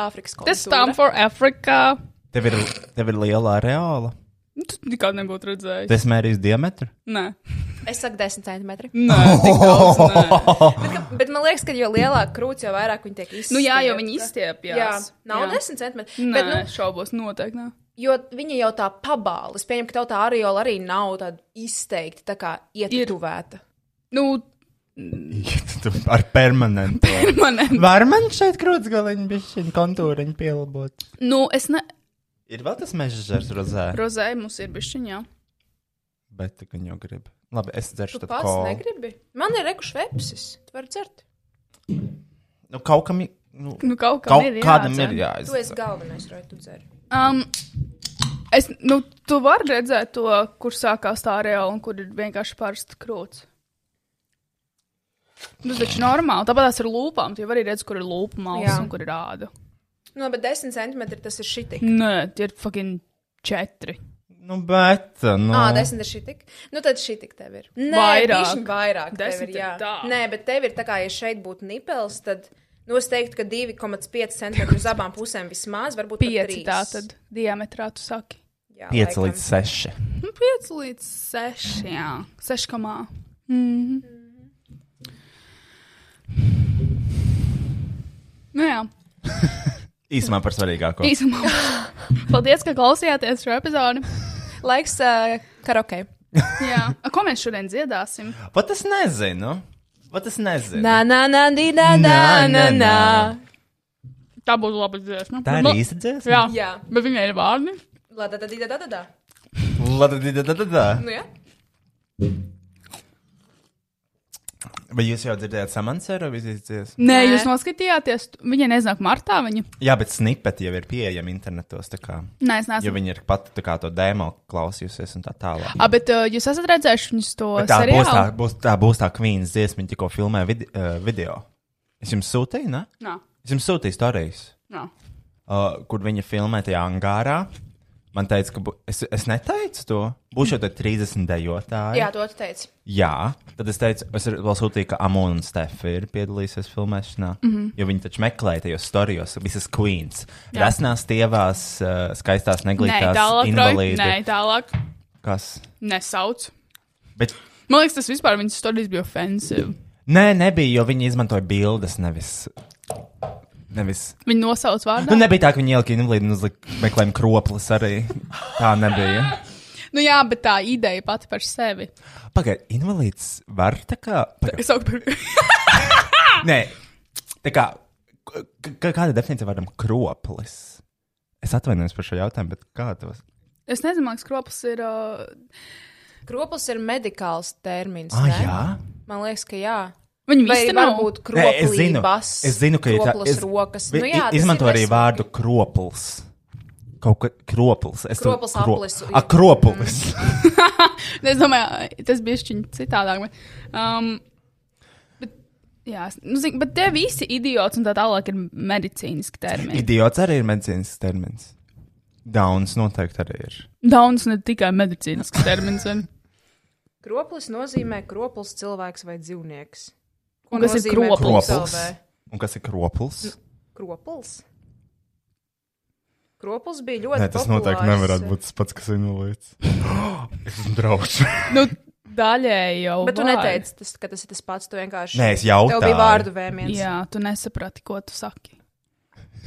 [SPEAKER 4] Āfrikas
[SPEAKER 5] tas
[SPEAKER 4] kultūra.
[SPEAKER 5] stāv for Africa.
[SPEAKER 2] Tev ir, tev ir liela areola.
[SPEAKER 5] Nu, Tu nekad nebūtu redzējis.
[SPEAKER 2] Tu esi mērījis diametru?
[SPEAKER 5] [LAUGHS] Nē,
[SPEAKER 4] Es saku 10 centimetri.
[SPEAKER 5] nē, tik daudz, nē.
[SPEAKER 4] Bet, ka- bet man liekas, ka jo lielāka krūts, jo vairāk viņi tiek izspiesta.
[SPEAKER 5] Nu jā, jo viņi
[SPEAKER 4] Jā,
[SPEAKER 5] izstiepjas.
[SPEAKER 4] jā, nav 10 centimetri.
[SPEAKER 5] Nē,
[SPEAKER 4] Bet,
[SPEAKER 5] nu,
[SPEAKER 4] nu,
[SPEAKER 5] šaubos noteikti. Nā.
[SPEAKER 4] jo viņi jau tā pabāla. Es pieņemu, ka tev tā areola arī nav tāda izteikti tā kā ietuvēta.
[SPEAKER 5] Nu, [LAUGHS]
[SPEAKER 2] Tu Ar permanentu.
[SPEAKER 5] man,
[SPEAKER 2] Var man šeit krūts galiņu, bišķiņu kontūriņu pielabot?
[SPEAKER 5] nu, es ne.
[SPEAKER 2] Ir vēl tas mežģers rozē,
[SPEAKER 5] Rozē mums ir bišķiņā.
[SPEAKER 2] bet tu gan jau grib. Labi, es dzeršu
[SPEAKER 4] Tu
[SPEAKER 2] tad
[SPEAKER 4] pats
[SPEAKER 2] kolu.
[SPEAKER 4] negribi. Man ir reku švepsis. Tu vari dzert.
[SPEAKER 2] Nu, kaut kam, i- nu,
[SPEAKER 5] Nu, kaut kam
[SPEAKER 2] kaut
[SPEAKER 5] ir
[SPEAKER 2] kādam
[SPEAKER 5] jādzer.
[SPEAKER 2] ir
[SPEAKER 4] Tu esi
[SPEAKER 2] jāizdzer.
[SPEAKER 4] galvenais, vai tu dzeri?
[SPEAKER 5] Um, es, nu, tu vari redzēt to, kur sākās tā reāla un kur ir vienkārši pārsteigts krūts. Nu, tas taču normāli. Tāpat tās ir lūpām. Tu jau arī redz, kur ir lūpa
[SPEAKER 4] Jā.
[SPEAKER 5] malas un kur ir rāda.
[SPEAKER 4] Nu, bet 10 centimetri tas ir šitik.
[SPEAKER 5] Nē, tie ir fucking četri.
[SPEAKER 2] Nu, bet, nu.
[SPEAKER 4] Ā, desmit ir šī tik. Nu, tad šī tik tev ir. Nē,
[SPEAKER 5] Vairāk.
[SPEAKER 4] bišķiņ vairāk. Tev
[SPEAKER 5] Desmit
[SPEAKER 4] ir,
[SPEAKER 5] ir
[SPEAKER 4] jā.
[SPEAKER 5] tā.
[SPEAKER 4] Nē, bet tev ir tā kā, ja šeit būtu nipels, tad, nu, es teiktu, ka 2,5 centimetri uz abām pusēm vismaz, varbūt pat
[SPEAKER 5] Pieci
[SPEAKER 4] trīs.
[SPEAKER 5] tā tad diametrā tu saki.
[SPEAKER 4] Jā,
[SPEAKER 2] 5
[SPEAKER 4] laikam.
[SPEAKER 2] līdz 6.
[SPEAKER 5] Nu, pieci līdz seši, jā. Seškamā. Mhm. Nu jā.
[SPEAKER 2] Īsumā par svarīgāko.
[SPEAKER 5] Īsumā. Paldies, ka klausījāties šo epizodi.
[SPEAKER 4] Laiks uh, karaoke.
[SPEAKER 5] Jā. A, Ko mēs šodien dziedāsim?
[SPEAKER 2] Pat es nezinu. Pat es nezinu.
[SPEAKER 4] Nā, nā, nā, dī, nā, nā, nā, nā.
[SPEAKER 5] Tā būs laba dziesma. Nu,
[SPEAKER 2] Tā ir īsta dziesma.
[SPEAKER 5] Jā.
[SPEAKER 4] nu, Jā.
[SPEAKER 5] Bet viņai ir vārdi.
[SPEAKER 4] La, da, da, di, da, da, da, da.
[SPEAKER 2] Ladadidadadada.
[SPEAKER 4] Nu, jā.
[SPEAKER 2] Vai jūs jau dzirdējāt samants Eirovizijas dziesmu?
[SPEAKER 5] Nē,
[SPEAKER 4] Nē.
[SPEAKER 5] jūs noskatījāties. Viņa neznāk martā. Viņa.
[SPEAKER 2] Jā, bet snipeti jau ir pieejami internetos, tā kā.
[SPEAKER 5] Nē, es
[SPEAKER 2] Jo
[SPEAKER 5] neesmu.
[SPEAKER 2] viņi ir pat tā kā to demo klausījusies un tā tālāk.
[SPEAKER 5] A, bet uh, jūs esat redzējuši viņas to
[SPEAKER 2] Bet tā būs tā,
[SPEAKER 5] seriālu?
[SPEAKER 2] būs, tā būs tā kvīnas dziesma, viņa tikko filmē vid uh, video. Es jums sūtīju, ne?
[SPEAKER 5] Nā,
[SPEAKER 2] Es jums sūtīju stāstus,
[SPEAKER 5] nā.
[SPEAKER 2] uh, kur viņa filmē tajā angārā. Man teica, ka bū... es, es neteicu to. Būšu jau te 30 dejotāji.
[SPEAKER 4] jā, to tu teici.
[SPEAKER 2] Jā, tad es teicu, es ar- vēl sūtīju, ka Amona un Stefa ir piedalījusies filmēšanā. Mm
[SPEAKER 5] Mhm.
[SPEAKER 2] -hmm. Jo viņi taču meklēja tajos storijos visas queens. Rasnās, tievās, uh, skaistās,
[SPEAKER 5] Nē,
[SPEAKER 2] neglītās,
[SPEAKER 5] tālāk. Roy. Nē,
[SPEAKER 2] invalīdi.
[SPEAKER 5] tālāk.
[SPEAKER 2] Kas?
[SPEAKER 5] Nesauc.
[SPEAKER 2] Bet
[SPEAKER 5] Man liekas, tas vispār viņas stāstījis bija ofensīvs.
[SPEAKER 2] nē, nebija, jo viņi izmantoja bildes, nevis Nevis.
[SPEAKER 5] Viņa nosauc vārdu.
[SPEAKER 2] Nu, nebija tā, ka viņi ielika invalīdu un uzlika meklējumu kroplis arī. Tā nebija.
[SPEAKER 5] Nu, jā, bet tā ideja pati par sevi.
[SPEAKER 2] Pagaidiet, invalīds var tā kā. Pagaid,
[SPEAKER 5] Es saku par
[SPEAKER 2] nē, tā kā. k- k- Kāda definīcija vārdam kroplis? Es atvainojos par šo jautājumu, bet kāda tas?
[SPEAKER 5] Es nezinu, man liekas, kroplis ir. Uh,
[SPEAKER 4] Kroplis ir medikāls termins.
[SPEAKER 2] Ah,
[SPEAKER 4] ne?
[SPEAKER 2] jā.
[SPEAKER 4] Man liekas, ka jā.
[SPEAKER 5] viņa
[SPEAKER 4] Vai
[SPEAKER 5] visi
[SPEAKER 4] var
[SPEAKER 5] nav.
[SPEAKER 4] būt
[SPEAKER 2] Nē, es zinu,
[SPEAKER 4] kroplības?
[SPEAKER 2] es zinu, ka ir tā.
[SPEAKER 4] kroplas
[SPEAKER 2] Es,
[SPEAKER 4] rokas.
[SPEAKER 2] vi-
[SPEAKER 4] Nu, jā,
[SPEAKER 2] i-
[SPEAKER 4] tas
[SPEAKER 2] izmanto
[SPEAKER 4] ir
[SPEAKER 2] arī
[SPEAKER 4] vesel-
[SPEAKER 2] vārdu kroplis. Kaut kā kroplis. Es to-
[SPEAKER 4] Kroplis
[SPEAKER 2] kro-
[SPEAKER 4] aplis.
[SPEAKER 2] A, kroplis.
[SPEAKER 5] Es domāju, tas bija šķiņķi citādāk. Bet, um, bet, jā, es- nu, zin, bet te visi idiots un tā tālāk ir medicīniski termini.
[SPEAKER 2] Idiots arī ir medicīnas termins. Dauns noteikti arī ir.
[SPEAKER 5] Dauns ne tikai medicīnisks termins. vai ne?
[SPEAKER 4] Kroplis nozīmē kroplis cilvēks vai dzīvnieks. Ko
[SPEAKER 5] Un kas ir
[SPEAKER 4] nozīmē
[SPEAKER 5] kroplis?
[SPEAKER 4] kroplis?
[SPEAKER 2] Kroplis. Un kas ir
[SPEAKER 4] Nu,
[SPEAKER 2] kroplis?
[SPEAKER 4] Kroplis. Kroplis bija ļoti.
[SPEAKER 2] Nē, tas noteikti
[SPEAKER 4] populārs,
[SPEAKER 2] nevarētu būt tas pats, kas ir invalīds. [GASPS] es esmu
[SPEAKER 4] [LAUGHS]
[SPEAKER 2] draugs.
[SPEAKER 5] Nu, daļēji jau.
[SPEAKER 4] Bet tu
[SPEAKER 5] var.
[SPEAKER 4] neteici, tas, ka tas ir tas pats. Tu vienkārši.
[SPEAKER 2] Nē, es
[SPEAKER 4] Tev bija
[SPEAKER 2] jautāju.
[SPEAKER 4] vārdu vēmiens.
[SPEAKER 5] Jā, tu nesaprati, ko tu saki.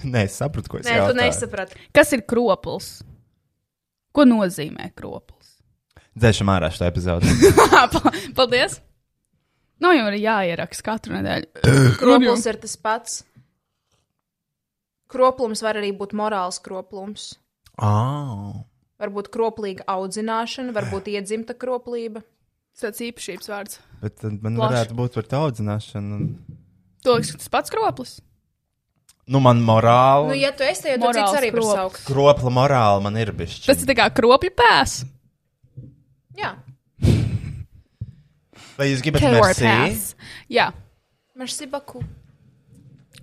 [SPEAKER 2] Nē, es sapratu, ko es
[SPEAKER 4] Nē,
[SPEAKER 2] jautāju.
[SPEAKER 4] tu nesaprati.
[SPEAKER 5] Kas ir kroplis? Ko nozīmē kroplis?
[SPEAKER 2] Dzēšam ārā šo epizodu.
[SPEAKER 4] [LAUGHS]
[SPEAKER 5] Paldies! Nu, jau ir jāieraksta katru nedēļu.
[SPEAKER 4] Kroplis ir tas pats. Kroplums var arī būt morāls kroplums.
[SPEAKER 2] oh.
[SPEAKER 4] Varbūt kroplīga audzināšana, varbūt iedzimta kroplība.
[SPEAKER 5] Tas ir īpašības vārds.
[SPEAKER 2] Bet tad man
[SPEAKER 5] Plaši.
[SPEAKER 2] Plaši. varētu būt par tā audzināšanu. un-
[SPEAKER 5] Tu liekas, ka tas pats kroplis?
[SPEAKER 2] Nu, man morāli.
[SPEAKER 4] Nu, ja tu esi tajā, tad cits
[SPEAKER 5] Morāls
[SPEAKER 4] arī var
[SPEAKER 5] krops.
[SPEAKER 4] saukt.
[SPEAKER 2] Kropla morāli man ir bijusi.
[SPEAKER 5] Tas ir tā kā kropļu pēs.
[SPEAKER 4] Jā,
[SPEAKER 2] Vai jūs gribat merci?
[SPEAKER 5] Jā.
[SPEAKER 4] merci beaucoup.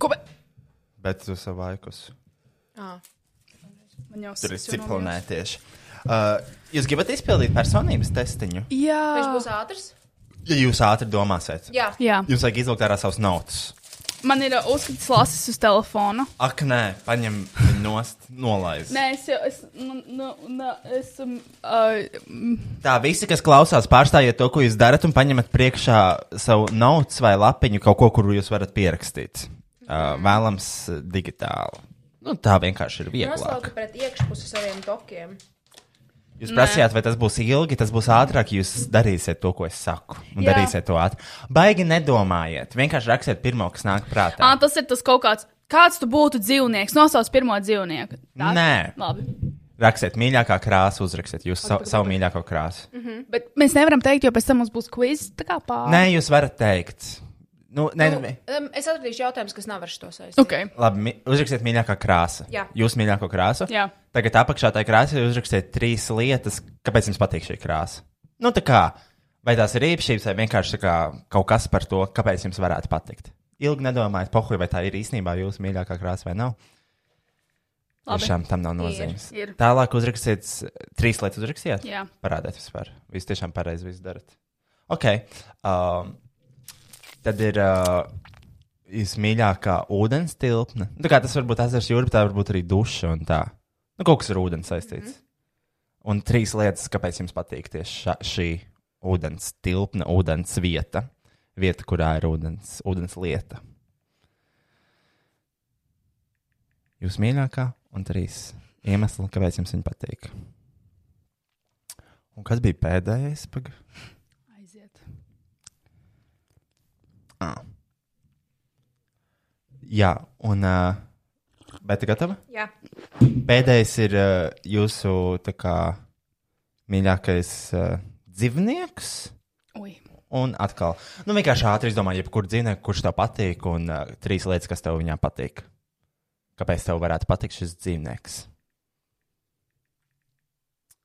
[SPEAKER 5] Ko, bet...
[SPEAKER 2] Bet tu savu vaikus.
[SPEAKER 4] Ah.
[SPEAKER 5] Man jau
[SPEAKER 2] Tur ir disciplinēties. Uh, jūs gribat izpildīt personības testiņu?
[SPEAKER 5] Jā.
[SPEAKER 4] Viņš būs ātrs?
[SPEAKER 2] Ja jūs ātri domāsiet.
[SPEAKER 4] Jā.
[SPEAKER 5] Jā.
[SPEAKER 2] Jums vajag izvilkt ārā savas naudas.
[SPEAKER 5] Man ir uh, uzskatīts lasis uz telefona.
[SPEAKER 2] Ak, nē, paņem viņu nost, nolaist.
[SPEAKER 5] Nē, es jau, es, nu, nu, nu, es, um, uh,
[SPEAKER 2] Tā visi, kas klausās, pārstājiet to, ko jūs darat, un paņemat priekšā savu naudu vai lapiņu, kaut ko, kuru jūs varat pierakstīt.
[SPEAKER 5] Mhm.
[SPEAKER 2] Uh, vēlams, uh, digitāli. Nu, tā vienkārši ir vieglāk.
[SPEAKER 4] Noslauki pret iekšpusi saviem tokiem.
[SPEAKER 2] Jūs prasījāt, vai tas būs ilgi, tas būs ātrāk. Jūs darīsiet to, ko es saku. Un
[SPEAKER 5] Jā.
[SPEAKER 2] darīsiet to ātri. Baigi nedomājiet. Vienkārši rakstiet pirmo, kas nāk prātā.
[SPEAKER 5] ā, tas ir tas kaut kāds, kāds tu būtu dzīvnieks. Nosauc pirmo dzīvnieku.
[SPEAKER 2] Mm.
[SPEAKER 5] Tā?
[SPEAKER 2] Nē.
[SPEAKER 5] Labi.
[SPEAKER 2] Rakstiet mīļākā krāsa, uzrakstiet jūs sa savu mīļāko krāsu.
[SPEAKER 5] Bet mēs nevaram teikt, jo pēc tam mums būs quiz. Tā kā pāri.
[SPEAKER 2] Nē, jūs varat teikt. Nu, nē,
[SPEAKER 4] Nu,
[SPEAKER 2] nē.
[SPEAKER 4] em, es atradīšu jautājumus, kas nav ar šo saistību.
[SPEAKER 5] Okay.
[SPEAKER 2] Labi, mi- uzrakstiet mīļākā krāsa.
[SPEAKER 4] Jā.
[SPEAKER 2] Jūs mīļāko krāsu.
[SPEAKER 5] Jā.
[SPEAKER 2] Tagad apakšā tajā krāsā jūs uzrakstiet trīs lietas, kāpēc jums patīk šī krāsa. Nu, tā kā, vai tās ir īpašības, vai vienkārši tā kā, kaut kas par to, kāpēc jums varētu patikt. Ilgi nedomājiet, pohuj, vai tā ir īstenībā jūsu mīļākā krāsa vai nav.
[SPEAKER 5] Labi.
[SPEAKER 2] Tiešām tam nav nozīmes.
[SPEAKER 5] Ir, ir.
[SPEAKER 2] Tālāk uzrakstiet, trīs lietas uzrakstiet.
[SPEAKER 5] Jā.
[SPEAKER 2] Parādiet vispār. Jūs tiešām pareizi viss darat. Ok. Um, tad ir uh, vismīļākā ūdens tilpne. Nu, tā kā tas var būt ezers jūra, bet tā var būt arī duša un tā. Nu, kaut kas ar ūdeni saistīts. Mm -hmm. Un trīs lietas, kāpēc jums patīk tieši ša, šī ūdens tilpne, ūdens vieta. Vieta, kurā ir ūdens, ūdens lieta. Jūs mīļākā un trīs iemesli, kāpēc jums viņa patīk. Un kas bija pēdējais? Pag...
[SPEAKER 5] Aiziet.
[SPEAKER 2] Jā, un. Uh, bet gatava?
[SPEAKER 4] Jā.
[SPEAKER 2] Pēdējais ir uh, jūsu tā kā, mīļākais uh, dzīvnieks.
[SPEAKER 5] Ui.
[SPEAKER 2] Un atkal, nu vienkārši ātri izdomā, jebkuru dzīvnieku, kurš tev patīk, un uh, trīs lietas, kas tev viņā patīk. Kāpēc tev varētu patikt šis dzīvnieks?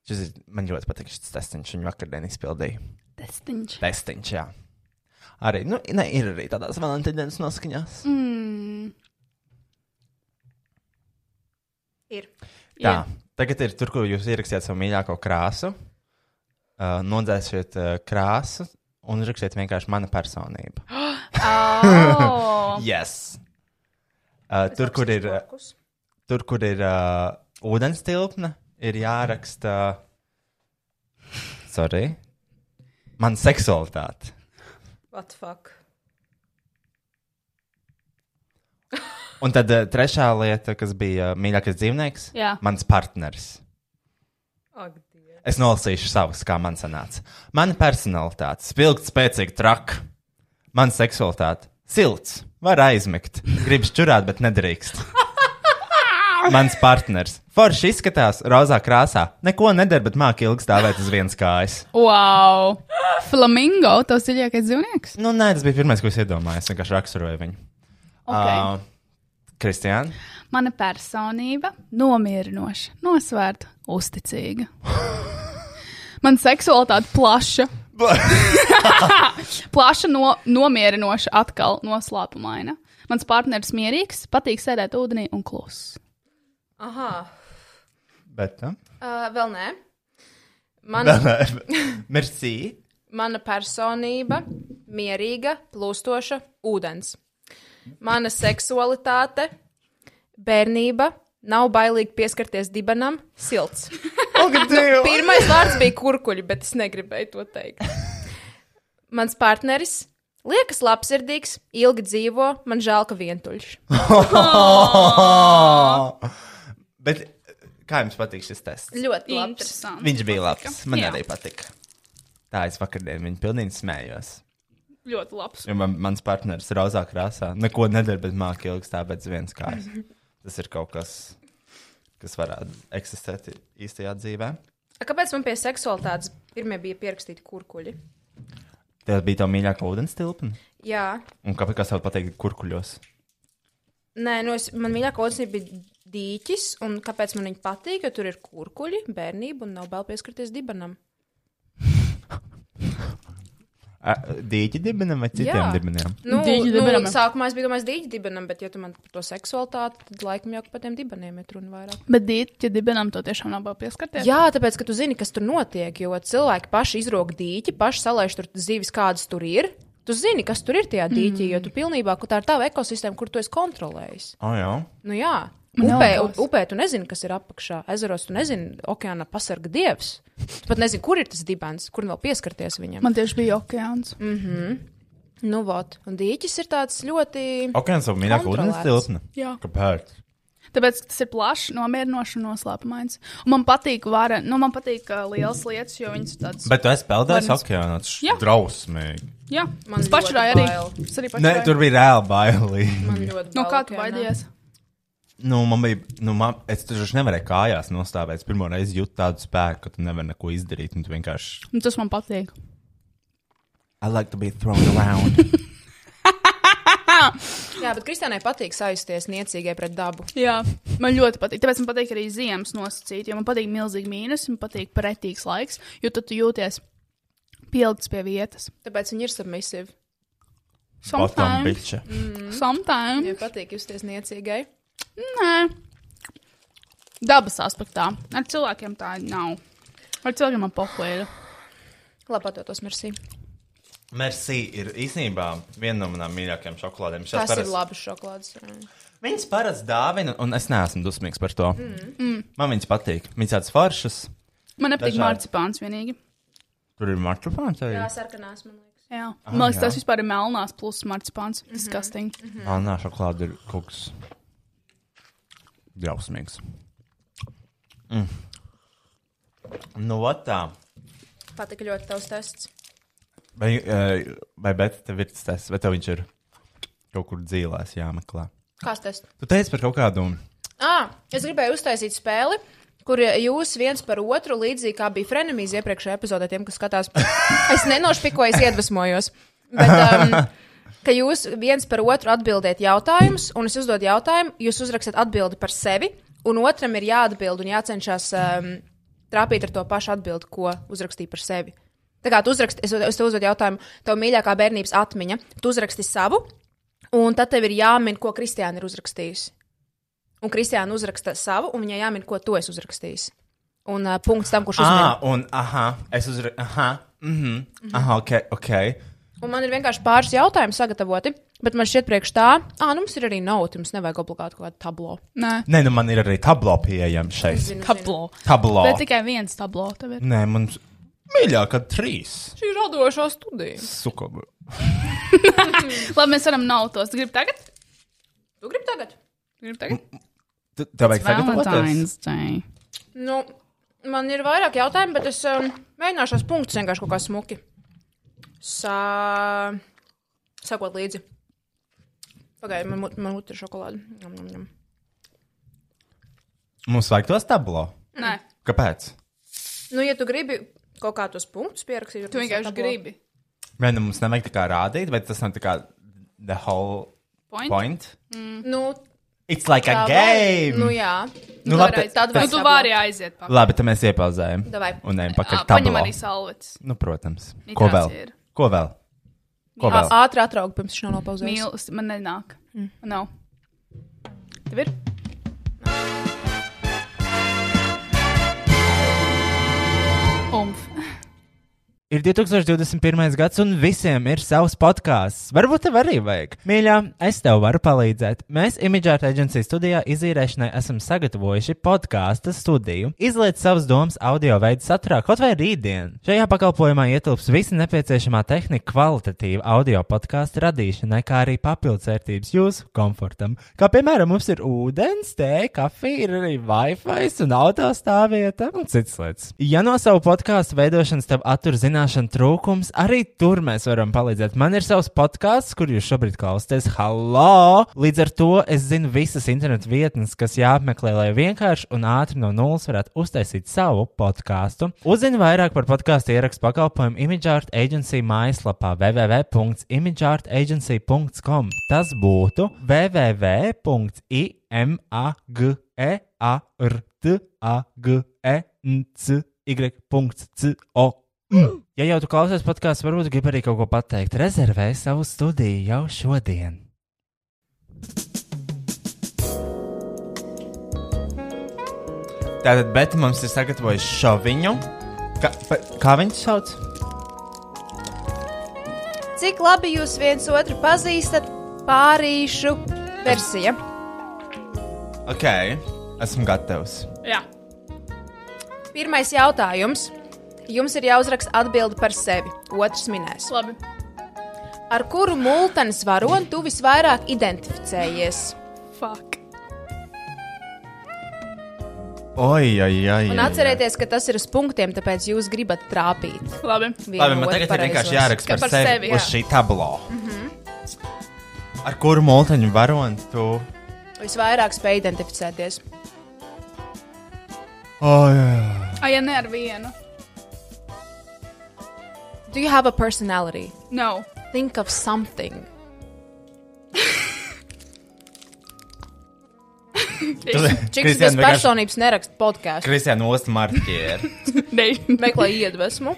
[SPEAKER 2] Šis ir, man ļoti patīk šis testiņš, viņu vakardien izpildīja.
[SPEAKER 5] Testiņš.
[SPEAKER 2] Testiņš, jā. Arī, nu, ne, ir arī tādās valentīnas noskaņās.
[SPEAKER 5] Mm.
[SPEAKER 4] Ir.
[SPEAKER 2] Tā, tagad ir tur, kur jūs ierakstījāt savu mīļāko krāsu. Uh, nodzēsiet uh, krāsu un rakstiet vienkārši mana personība.
[SPEAKER 5] [GASPS] Oh.
[SPEAKER 2] [LAUGHS] Yes. Uh, tur, kur ir, uh,
[SPEAKER 4] Fokus.
[SPEAKER 2] tur, kur ir uh, ūdens tilpne, ir jāraksta. Sorry. Man seksualitāte.
[SPEAKER 4] What the fuck?
[SPEAKER 2] Un tad uh, trešā lieta, kas bija uh, mīļākais dzīvnieks,
[SPEAKER 5] Jā.
[SPEAKER 2] mans partneris. Es nolasīšu savus, kā man sanāca. Mana personalitāte, spilgta, spēcīga, traka. Mana seksualitāte, silts, var aizmigt. Gribas čurāt, bet nedrīkst. Mans partneris. Forši izskatās, rozā krāsā. Neko nedara, bet māca ilgi stāvēt uz vienas kājas.
[SPEAKER 5] Wow! Flamingo, tas ir lielākais dzīvnieks.
[SPEAKER 2] Nu, nē, tas bija pirmais, ko es iedomājos. Es vienkārši raksturoju viņu. Ah,
[SPEAKER 5] Okay.
[SPEAKER 2] Kristiāna.
[SPEAKER 5] Uh, Mana personība nomierinoša, nosvērta, [LAUGHS] uzticīga. Mana seksualitāte [LAUGHS] plaša. plaša, no, nomierinoša, atkal noslēpumaina. Mans partneris mierīgs, patīk sēdēt ūdenī un kluss.
[SPEAKER 4] Aha,
[SPEAKER 2] Bet, nu,
[SPEAKER 4] uh, vēl nē. Mana,
[SPEAKER 2] merci.
[SPEAKER 4] mana personība - mierīga, plūstoša, ūdens. Mana seksualitāte - bērnība, nav bailīgi pieskarties dibenam, silts. Pirmais vārds bija kurkuļi, bet es negribēju to teikt. Mans partneris liekas labsirdīgs, ilgi dzīvo, man žēl, ka vientuļš.
[SPEAKER 2] Ah. Bet kā jums patīk šis tests?
[SPEAKER 4] Ļoti labs.
[SPEAKER 5] Interesanti.
[SPEAKER 2] Viņš bija labs. Man
[SPEAKER 5] Jā.
[SPEAKER 2] Jā. arī patika. Tā es vakardien viņu pilnīgi smējos.
[SPEAKER 5] Ļoti labs.
[SPEAKER 2] Jo man, mans partneris ir rozā krāsā. Neko nedara, bet māca ilgi stāvēt uz vienas kājas.
[SPEAKER 5] Mhm.
[SPEAKER 2] Tas ir kaut kas, kas varētu eksistēt īstajā dzīvē.
[SPEAKER 4] A, Kāpēc man pie seksualitātes pirmie bija pierakstīti kurkuļi?
[SPEAKER 2] Tā bija tā mīļākā ūdens tilpa.
[SPEAKER 4] Jā,
[SPEAKER 2] Un kāpēc kas tev patīk kurkuļos?
[SPEAKER 4] nē, nu es, man mīļākā otrā bija dīķis, un kāpēc man viņa patīk, jo tur ir kurkuļi, bērnība un nav bail pieskarties dibenam.
[SPEAKER 2] Ā, Dīķi dibenam vai citiem
[SPEAKER 4] Jā.
[SPEAKER 2] dibeniem?
[SPEAKER 4] Nu,
[SPEAKER 5] Dīķi
[SPEAKER 4] nu,
[SPEAKER 5] dibenam.
[SPEAKER 4] sākumā es biju domājis dīķi dibenam, bet, ja tu man par to seksualitāti, tad laikam jau par tiem dibeniem ir runa vairāk.
[SPEAKER 5] Bet dīķi dibenam to tiešām nav vēl pieskarties.
[SPEAKER 4] Jā, tāpēc, ka tu zini, kas tur notiek, jo cilvēki paši izrok dīķi, paši salaiž tur zivis, kādas tur ir. Tu zini, kas tur ir tajā dīķī, mm. jo tu pilnībā, ka tā ir tava ekosistēma, kur tu esi kontrolējis.
[SPEAKER 2] O, jā.
[SPEAKER 4] Nu, jā,
[SPEAKER 5] Man
[SPEAKER 4] upē,
[SPEAKER 5] nav
[SPEAKER 4] u- upē tu nezini, kas ir apakšā. Ezeros tu nezini, okeāna pasarga dievs. Tu pat nezini, kur ir tas dibens, kur vēl pieskarties viņam. Man...
[SPEAKER 5] Man tieši bija okeāns. Mm.
[SPEAKER 4] Nu, vot, un dīķis ir tāds ļoti.
[SPEAKER 2] Ok, un savu mīļāko ūdens
[SPEAKER 4] Kontrolēts.
[SPEAKER 2] tilpni.
[SPEAKER 5] Jā.
[SPEAKER 2] Kāpēc?
[SPEAKER 5] Tāpēc ka tas ir plašs, nomierinošs un noslēpumains. Un man patīk, vara, nu, man patīk uh, liels lietas, jo viņas ir tādas.
[SPEAKER 2] Bet tu esi peldējis
[SPEAKER 5] Varbūt-
[SPEAKER 2] okeānā.
[SPEAKER 5] Jā.
[SPEAKER 2] Tas drausmīgi.
[SPEAKER 5] jā,
[SPEAKER 4] Man
[SPEAKER 5] man pašai
[SPEAKER 4] ļoti
[SPEAKER 5] arī.
[SPEAKER 4] bail.
[SPEAKER 5] Es arī
[SPEAKER 2] Nē,
[SPEAKER 5] pašai.
[SPEAKER 2] tur bija reāli bailīgi.
[SPEAKER 4] ļoti
[SPEAKER 5] No
[SPEAKER 4] bail
[SPEAKER 5] kā tu
[SPEAKER 4] okeānā.
[SPEAKER 5] baidies?
[SPEAKER 2] Nu, man bija, nu, man, es taču nevarēju kājās nostāvēt. Es pirmo reizi jūtu tādu spēku, ka tu nevari neko izdarīt. un Tu vienkārši.
[SPEAKER 5] Nu, tas man patīk.
[SPEAKER 2] I like to be thrown around.
[SPEAKER 4] [LAUGHS] Jā, bet Kristānai patīk sajusties niecīgai pret dabu.
[SPEAKER 5] Jā, man ļoti patīk. Tāpēc man patīk arī ziemas nosacīt, jo man patīk milzīgi mīnus, man patīk pretīgs laiks, jo tad tu jūties pielikts pie vietas.
[SPEAKER 4] Tāpēc viņi ir submisīvi.
[SPEAKER 2] Bottom
[SPEAKER 5] Sometimes.
[SPEAKER 2] bitch.
[SPEAKER 5] Sometimes.
[SPEAKER 4] Viņai patīk justies niecīgai.
[SPEAKER 5] Nē, dabas aspektā. Ar cilvēkiem tā nav. Ar cilvēkiem man pohuēra.
[SPEAKER 4] Labi, atdotos, Mersi.
[SPEAKER 2] Merci ir īstenībā viena no manām mīļākajām šokolādēm. Šās
[SPEAKER 4] Tas paras... ir
[SPEAKER 2] parasti-
[SPEAKER 4] labs šokolādes. jā.
[SPEAKER 2] Viņas parasti dāvina, un es neesmu dusmīgs par to. Mm. Man viņas patīk. Viņas tādas foršas.
[SPEAKER 5] Man nepatīk
[SPEAKER 2] Dažādi.
[SPEAKER 5] marcipāns vienīgi.
[SPEAKER 2] Tur ir marķupāns arī.
[SPEAKER 4] Jā, sarkanās, man liekas.
[SPEAKER 5] Jā. Man liekas,
[SPEAKER 2] jā.
[SPEAKER 5] tas vispār ir melnās plus marcipāns. Disgusting.
[SPEAKER 2] Mhm. Melnā šokolāde ir kaut kas drausmīgs. Mm. Nu, vat tā.
[SPEAKER 4] Patika ļoti tavs tests.
[SPEAKER 2] Vai, eh, vai bet tev ir tas, vai tev viņš ir kaut kur dzīvēs jāmeklē?
[SPEAKER 4] Kāds tests?
[SPEAKER 2] Tu teici par kaut kādu.
[SPEAKER 4] Ah, es gribēju uztaisīt spēli, kur jūs viens par otru, līdzīgi kā bija Frenemijas iepriekšējā epizodē, tiem, kas skatās. [LAUGHS] Es nenošpikoju, es iedvesmojos. Bet, um, Ka jūs viens par otru atbildēt jautājumus, un es uzdodu jautājumu, jūs uzrakstat atbildi par sevi, un otram ir jāatbild un jācenšas um, trāpīt ar to pašu atbildi, ko uzrakstīja par sevi. Tā kā tu uzraksti, es, es tev uzdodu jautājumu, tev mīļākā bērnības atmiņa, tu uzraksti savu, un tad tev ir jāmin, ko Kristiāna ir uzrakstījusi. Un Kristiāna uzraksta savu, un viņai jāmin, ko to es uzrakstīju. Un uh, punkts tam, kurš uzraksta.
[SPEAKER 2] Ah, un aha, es uzrakstīju. Aha, mhm, mm aha, ok, ok.
[SPEAKER 4] Un man ir vienkārši pāris jautājumi sagatavoti, bet man šķiet, priekš tā, ah, nu mums ir arī nauda, mums nevajag obligāti kaut kādu tablo.
[SPEAKER 5] Nē,
[SPEAKER 2] Nē, nu man ir arī tablo pieejama šeit.
[SPEAKER 5] tablo.
[SPEAKER 2] Tablo.
[SPEAKER 5] Bet tikai viens tablo. tev ir.
[SPEAKER 2] Nē, mums mīļākā trīs.
[SPEAKER 4] Šī ir radošā studija.
[SPEAKER 2] Sukabu.
[SPEAKER 5] Labi, mēs varam nautos. Gribu tagad?
[SPEAKER 4] Tu gribi tagad?
[SPEAKER 5] Gribu tagad?
[SPEAKER 2] Tu- Tev vajag sagatavoties.
[SPEAKER 6] Valentine's Day.
[SPEAKER 4] Nu, man ir vairāk jautājumu, bet es um, mēģināšu tos punktus vienkārši kaut kā smuki. Sā... Sakot līdzi. Pagaidiet, man, mut- man mutē ir šokolāde. Ņem, ņem, ņem.
[SPEAKER 2] Mums vajag tos tablo.
[SPEAKER 5] Nē,
[SPEAKER 2] Kāpēc?
[SPEAKER 4] Nu, ja tu gribi kaut kā tos punktus pierakstīt,
[SPEAKER 5] tu vienkārši gribi.
[SPEAKER 2] Vai nu mums nevajag tā kā rādīt, bet tas nav tā kā the whole
[SPEAKER 5] Point?
[SPEAKER 2] point?
[SPEAKER 4] Nu,
[SPEAKER 2] It's like
[SPEAKER 4] tā
[SPEAKER 2] a
[SPEAKER 4] var.
[SPEAKER 2] game!
[SPEAKER 4] Nu, jā.
[SPEAKER 2] Nu, labi,
[SPEAKER 4] Varēja- tad
[SPEAKER 2] tad-
[SPEAKER 5] Nu,
[SPEAKER 4] vairs
[SPEAKER 5] tu
[SPEAKER 4] tablo.
[SPEAKER 5] vari aiziet pa.
[SPEAKER 2] Labi, tad mēs iepauzējam.
[SPEAKER 4] Davai.
[SPEAKER 2] Un ejam
[SPEAKER 5] Ā,
[SPEAKER 2] pakaļ
[SPEAKER 5] Paņem
[SPEAKER 2] tablo.
[SPEAKER 5] arī salvetes.
[SPEAKER 2] Nu, protams.
[SPEAKER 5] Ja
[SPEAKER 2] Ko
[SPEAKER 5] tāds
[SPEAKER 2] vēl?
[SPEAKER 5] ir.
[SPEAKER 2] Ko vēl? Ko
[SPEAKER 4] Ā-
[SPEAKER 2] vēl?
[SPEAKER 4] Ātri atraugu pirms viņš nav nopauzējis.
[SPEAKER 5] Mīlestība man nenāk. Mm. Nav. Tev ir? Umf.
[SPEAKER 2] Ir 2021. gads, un visiem ir savs podkāsts. Varbūt tev arī vajag. Mīļā, es tev varu palīdzēt. Mēs Imagēta aģentūras studijā izīrēšanai esam sagatavojuši podkāstu studiju. Izliet savas domas audio veidu saturā, kaut vai rītdien. Šajā pakalpojumā ietilps visa nepieciešamā tehnika kvalitatīva audio podkāstu radīšanai, kā arī papildvērtības jūsu komfortam. Kā piemēram, mums ir ūdens, tēja, kafija, ir arī Wi-Fi un auto stāvvieta un citas lietas. Ja no savu podkāstu veidošanas tev attur zināšanu trūkums, arī tur mēs varam palīdzēt. Man ir savs podkāsts, kur jūs šobrīd klausāties. Halo! Līdz ar to es zinu visas internetu vietnes, kas jāapmeklē, lai vienkārši un ātri no nulles varētu uztaisīt savu podkāstu. Uzzini vairāk par podkāstu ierakstu pakalpojumu ImageArt Agency mājaslapā www.imageartagency.com. Tas būtu www.imageartagency.com. Ja jau tu klausies podkāstu, varbūt gribi arī kaut ko pateikt. Rezervē savu studiju jau šodien. Tātad, bet mums ir sagatavojis šoviņu. Kā, pa- kā viņš sauc?
[SPEAKER 4] Cik labi jūs viens otru pazīstat? Pārīšu versija.
[SPEAKER 2] Ok, esmu gatavs.
[SPEAKER 5] Jā.
[SPEAKER 4] Pirmais jautājums. Jums ir jāuzraksta atbildi par sevi. Otrs minēs.
[SPEAKER 5] Labi.
[SPEAKER 4] Ar kuru multenes varoni tu visvairāk identificējies?
[SPEAKER 5] Fuck.
[SPEAKER 2] Oi, oi, oi.
[SPEAKER 4] Un atcerieties, ka tas ir uz punktiem, tāpēc jūs gribat trāpīt.
[SPEAKER 5] Labi.
[SPEAKER 4] vienu
[SPEAKER 2] Labi, man
[SPEAKER 4] otru
[SPEAKER 2] tagad ir vienkārši
[SPEAKER 4] pareizos.
[SPEAKER 2] jāraksta
[SPEAKER 5] Ka
[SPEAKER 2] par,
[SPEAKER 5] par
[SPEAKER 2] par sevi,
[SPEAKER 5] sevi,
[SPEAKER 2] sevi uz
[SPEAKER 5] jā.
[SPEAKER 2] šī tablo. Mm -hmm. Ar kuru monētu varoni tu?
[SPEAKER 4] Visvairāk spēj identificēties.
[SPEAKER 2] Oh, jā.
[SPEAKER 5] Ai, ja ne ar vienu.
[SPEAKER 4] Do you have a personality?
[SPEAKER 5] Nav.
[SPEAKER 4] Think of something. Čiks bez personības neraksta podkāstu.
[SPEAKER 2] Kristiāna Osta marķieri.
[SPEAKER 5] [LAUGHS] They,
[SPEAKER 4] Meklē iedvesmu.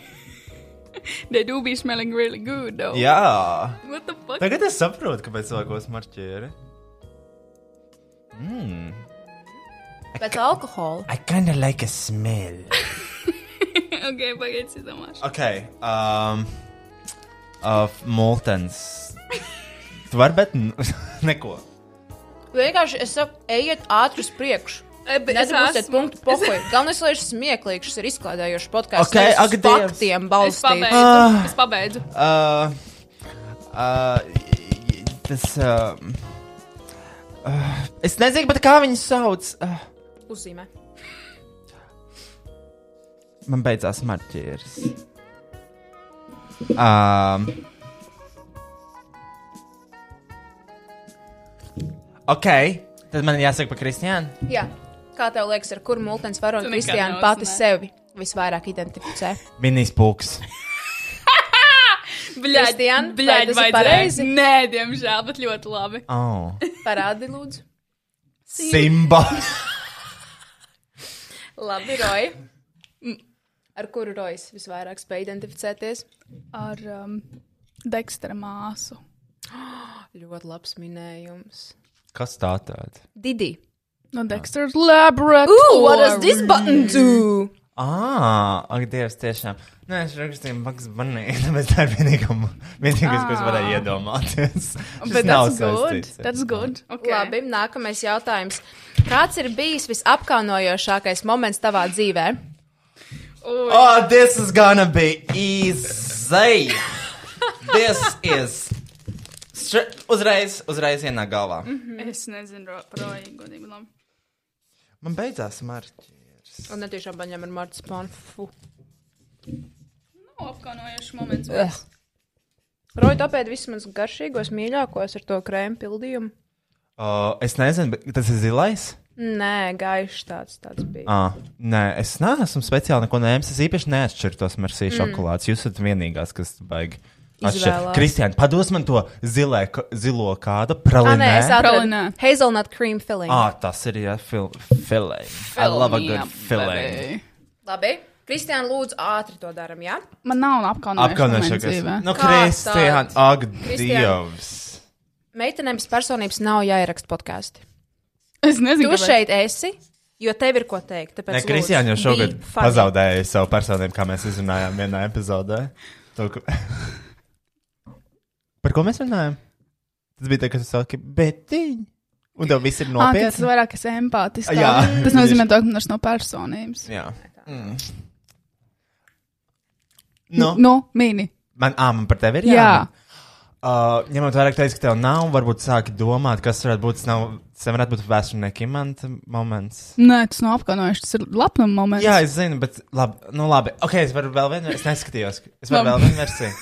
[SPEAKER 5] they do be smelling really good, though.
[SPEAKER 2] jā.
[SPEAKER 5] What the fuck?
[SPEAKER 2] Tagad es saprotu, kāpēc cilvēkos marķieri.
[SPEAKER 4] Pēc alkohola.
[SPEAKER 2] I kinda like a smell.
[SPEAKER 5] okay, pagaid, es izdomāšu.
[SPEAKER 2] ok. Um, uh, Multens. Tu vari, bet n- [LAUGHS] neko.
[SPEAKER 4] Vienkārši es saku, ejiet ātri uz priekšu.
[SPEAKER 5] E, bet es
[SPEAKER 4] Nedabūsiet
[SPEAKER 5] esmu.
[SPEAKER 4] punktu pohoju. Galvenais, lai šis smieklīgs, šis ir izklādējošs podkāsts.
[SPEAKER 2] Ok, ak,
[SPEAKER 4] Okay,
[SPEAKER 2] Dievs.
[SPEAKER 4] faktiem
[SPEAKER 5] Es
[SPEAKER 4] balstīts.
[SPEAKER 5] pabeidzu. Es pabeidzu.
[SPEAKER 2] Uh, uh, tas. Uh, uh, es nezinu, pat kā viņu sauc. Uh,
[SPEAKER 4] Uzzīmē.
[SPEAKER 2] man beidzās marķieris. Um, ok, tad man jāsaka par Kristiānu.
[SPEAKER 4] Jā. Kā tev liekas, ar kuru multens varonu
[SPEAKER 5] Tu nekad
[SPEAKER 4] Kristiāna
[SPEAKER 5] neuzzinā.
[SPEAKER 4] pati sevi visvairāk identificē?
[SPEAKER 2] Minijas pūks.
[SPEAKER 4] Kristian, vai
[SPEAKER 5] bļaigi,
[SPEAKER 4] tas ir pareizi?
[SPEAKER 5] Nē, diemžēl, bet ļoti labi.
[SPEAKER 2] Oh.
[SPEAKER 4] Parādi, lūdzu.
[SPEAKER 2] Simba.
[SPEAKER 4] Labi, Roja. Mm. Ar kuru Rojas visvairāk spēj identificēties?
[SPEAKER 5] Ar um, Dextera māsu.
[SPEAKER 4] Ah, Ļoti labs minējums.
[SPEAKER 2] Kas tā tāds?
[SPEAKER 4] Didi.
[SPEAKER 5] No Dexter's laboratory.
[SPEAKER 4] button do?
[SPEAKER 2] Ah, ak, Dievs, tiešām. Nē, es rakstīju, Maks, [LAUGHS] manī. Bet tā ir vienīgā, vienīgais, kas varēja iedomāties.
[SPEAKER 5] Bet
[SPEAKER 2] Šis nav
[SPEAKER 5] that's good.
[SPEAKER 2] saistīts.
[SPEAKER 5] That's good. Okay.
[SPEAKER 4] Labi, nākamais jautājums. Kāds ir bijis visapkaunojošākais moments tavā dzīvē?
[SPEAKER 5] Ui,
[SPEAKER 2] Oh, this is gonna be easy. this is Šre- Uzreiz, uzreiz ienāk galvā. Mm -hmm.
[SPEAKER 5] Es nezinu, ro- par roju godīgi. labi.
[SPEAKER 2] Man beidzās marķieris.
[SPEAKER 4] Un netīšām paņem ar marcipānu.
[SPEAKER 5] Nav Nu, apkaunojošs moments.
[SPEAKER 4] Roju tāpēc visus manus garšīgos, mīļākos ar to krēmu pildījumu.
[SPEAKER 2] Uh, es nezinu, bet tas ir zilais.
[SPEAKER 4] Nē, gaišs tāds, tāds bija.
[SPEAKER 2] Ah, nē, es neesmu speciāli neko nēmis. Es īpaši neatšķiru tos marsīju mm. šokolādes. Jūs esat vienīgās, kas baigi.
[SPEAKER 4] Izvēlās.
[SPEAKER 2] Kristiāna, pados man to zilē, ka- zilo kādu
[SPEAKER 4] Ah, nē,
[SPEAKER 2] pralinē.
[SPEAKER 4] es atradu
[SPEAKER 5] Pralinē.
[SPEAKER 4] hazelnut cream filling.
[SPEAKER 2] Ah, tas ir jā, fil filē. I love a good filē.
[SPEAKER 4] Labi. Kristiāna, lūdzu, ātri to darām, jā?
[SPEAKER 5] Man nav apkaunojošs.
[SPEAKER 2] Apkaunošu,
[SPEAKER 5] Apkaunojošs.
[SPEAKER 2] kas.
[SPEAKER 5] Dzīvē.
[SPEAKER 2] Nu,
[SPEAKER 4] Kā
[SPEAKER 2] Kristiāna,
[SPEAKER 4] tāds?
[SPEAKER 2] ak,
[SPEAKER 4] Kristiāna.
[SPEAKER 2] Dievs.
[SPEAKER 4] Meitenēm bez personības nav jāieraksta podkāstu.
[SPEAKER 5] Es nezinu,
[SPEAKER 4] Tu
[SPEAKER 5] kāpēc.
[SPEAKER 4] šeit esi, jo tev ir ko teikt.
[SPEAKER 2] Ne,
[SPEAKER 4] Tāpēc,
[SPEAKER 2] Kristiāna jau
[SPEAKER 4] lūdzu,
[SPEAKER 2] šogad
[SPEAKER 4] be funny.
[SPEAKER 2] pazaudēja savu personību, kā mēs izrunājām vienā epizodē. To, ka... [LAUGHS] Par ko mēs runājam? Tas bija tā, kas saka, betiņ. Un tev viss ir
[SPEAKER 5] Ah, ka tas
[SPEAKER 2] nopietni.
[SPEAKER 5] vairāk es empātiski.
[SPEAKER 2] Jā.
[SPEAKER 5] Tas nozīmē, to, ka tas nav personības.
[SPEAKER 2] Jā. Mm. Nu,
[SPEAKER 5] Nu, mini.
[SPEAKER 2] man, ā, man par tevi ir
[SPEAKER 5] Jā.
[SPEAKER 2] jā. Uh, ņemot vērā, ka teicu, ka tev nav, varbūt sāki domāt, kas varētu būt. Tas, nav, tas varētu būt vēsturnieki imanta moments.
[SPEAKER 5] Nē, tas nav apkaunojošs. Tas ir labnums moments.
[SPEAKER 2] Jā, es zinu, bet labi. Nu, labi. Ok, es varu vēl vienu. Es neskatījos. Es varu vēl
[SPEAKER 5] Labi.
[SPEAKER 2] vienu versiju.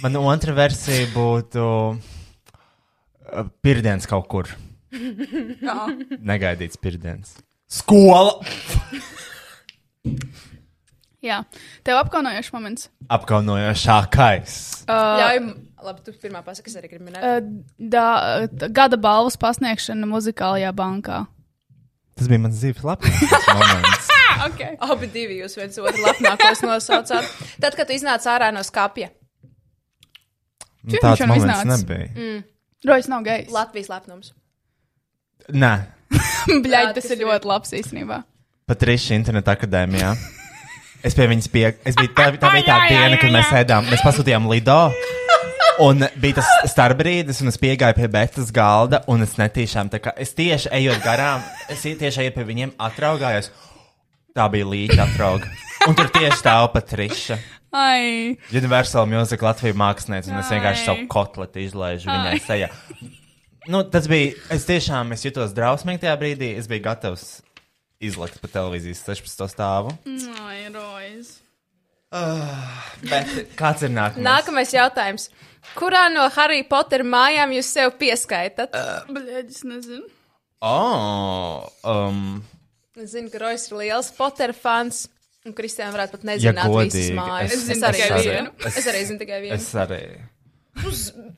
[SPEAKER 2] Mana otra versija būtu uh, pirmdienas kaut kur. Negaidīts pirmdienas. Skola!
[SPEAKER 5] Jā. Tev apkaunojošs moments.
[SPEAKER 2] Apkaunojošākais.
[SPEAKER 4] Ļauj, labi, tu pirmā pasaki, es arī gribu minēt.
[SPEAKER 5] Uh, Da, t- gada balvas pasniegšana muzikālajā bankā.
[SPEAKER 2] Tas bija mans dzīves labākais [LAUGHS] moments.
[SPEAKER 5] Okay.
[SPEAKER 4] Abi divi jūs viens otru lepnākos nosaucāt. Tad, kad tu iznāci ārā no skapja,
[SPEAKER 2] Nu,
[SPEAKER 5] Čim viņš
[SPEAKER 2] Tāds
[SPEAKER 5] jau
[SPEAKER 2] moments
[SPEAKER 5] iznāca?
[SPEAKER 2] nebija. Mm.
[SPEAKER 5] Rojas nav gejs.
[SPEAKER 4] Latvijas lepnums.
[SPEAKER 2] Nē,
[SPEAKER 5] [LAUGHS] Bļaļ,
[SPEAKER 4] Jā,
[SPEAKER 5] tas
[SPEAKER 4] tas
[SPEAKER 5] ir
[SPEAKER 4] ir-
[SPEAKER 5] ļoti labs īstenībā.
[SPEAKER 2] Patriša Interneta akadēmijā. Es pie viņas biju. Es biju tā, tā bija tā diena, kad mēs ēdām. Mēs pasūtījām Lido. Un bija tas starpbrīdis, un es piegāju pie Betas galda, un es netīšām, tā kā es tieši ejot garām, es tieši eju pie viņiem, atraugājos. Tā bija līķa atrauga. Un tur tieši tā Patriša.
[SPEAKER 5] Ai,
[SPEAKER 2] Universal Music Latvijas mākslinieci, un es vienkārši
[SPEAKER 5] Ai.
[SPEAKER 2] savu kotleti izlaižu
[SPEAKER 5] Ai.
[SPEAKER 2] viņai sejā. Nu, tas bija, es tiešām es jutos drausmīgi tajā brīdī. Es biju gatavs izlikt pa televīzijas 16. stāvu.
[SPEAKER 5] ai, rojas.
[SPEAKER 2] [SIGHS] Bet kāds ir nākamais?
[SPEAKER 4] Nākamais jautājums. Kurā no Harry Potter mājām jūs sev pieskaitāt?
[SPEAKER 5] Bļaļ, es nezinu.
[SPEAKER 2] Oh, um,
[SPEAKER 4] Es zinu, ka Rojas ir liels Potter fans. Un Kristēna varētu pat
[SPEAKER 2] ja
[SPEAKER 4] nezināt, kāda ir
[SPEAKER 2] godīgi.
[SPEAKER 4] viņas māja.
[SPEAKER 5] es-
[SPEAKER 4] Es
[SPEAKER 5] es
[SPEAKER 4] arī
[SPEAKER 5] arī-
[SPEAKER 4] zinu. Es arī zinu tikai vienu.
[SPEAKER 2] Es arī.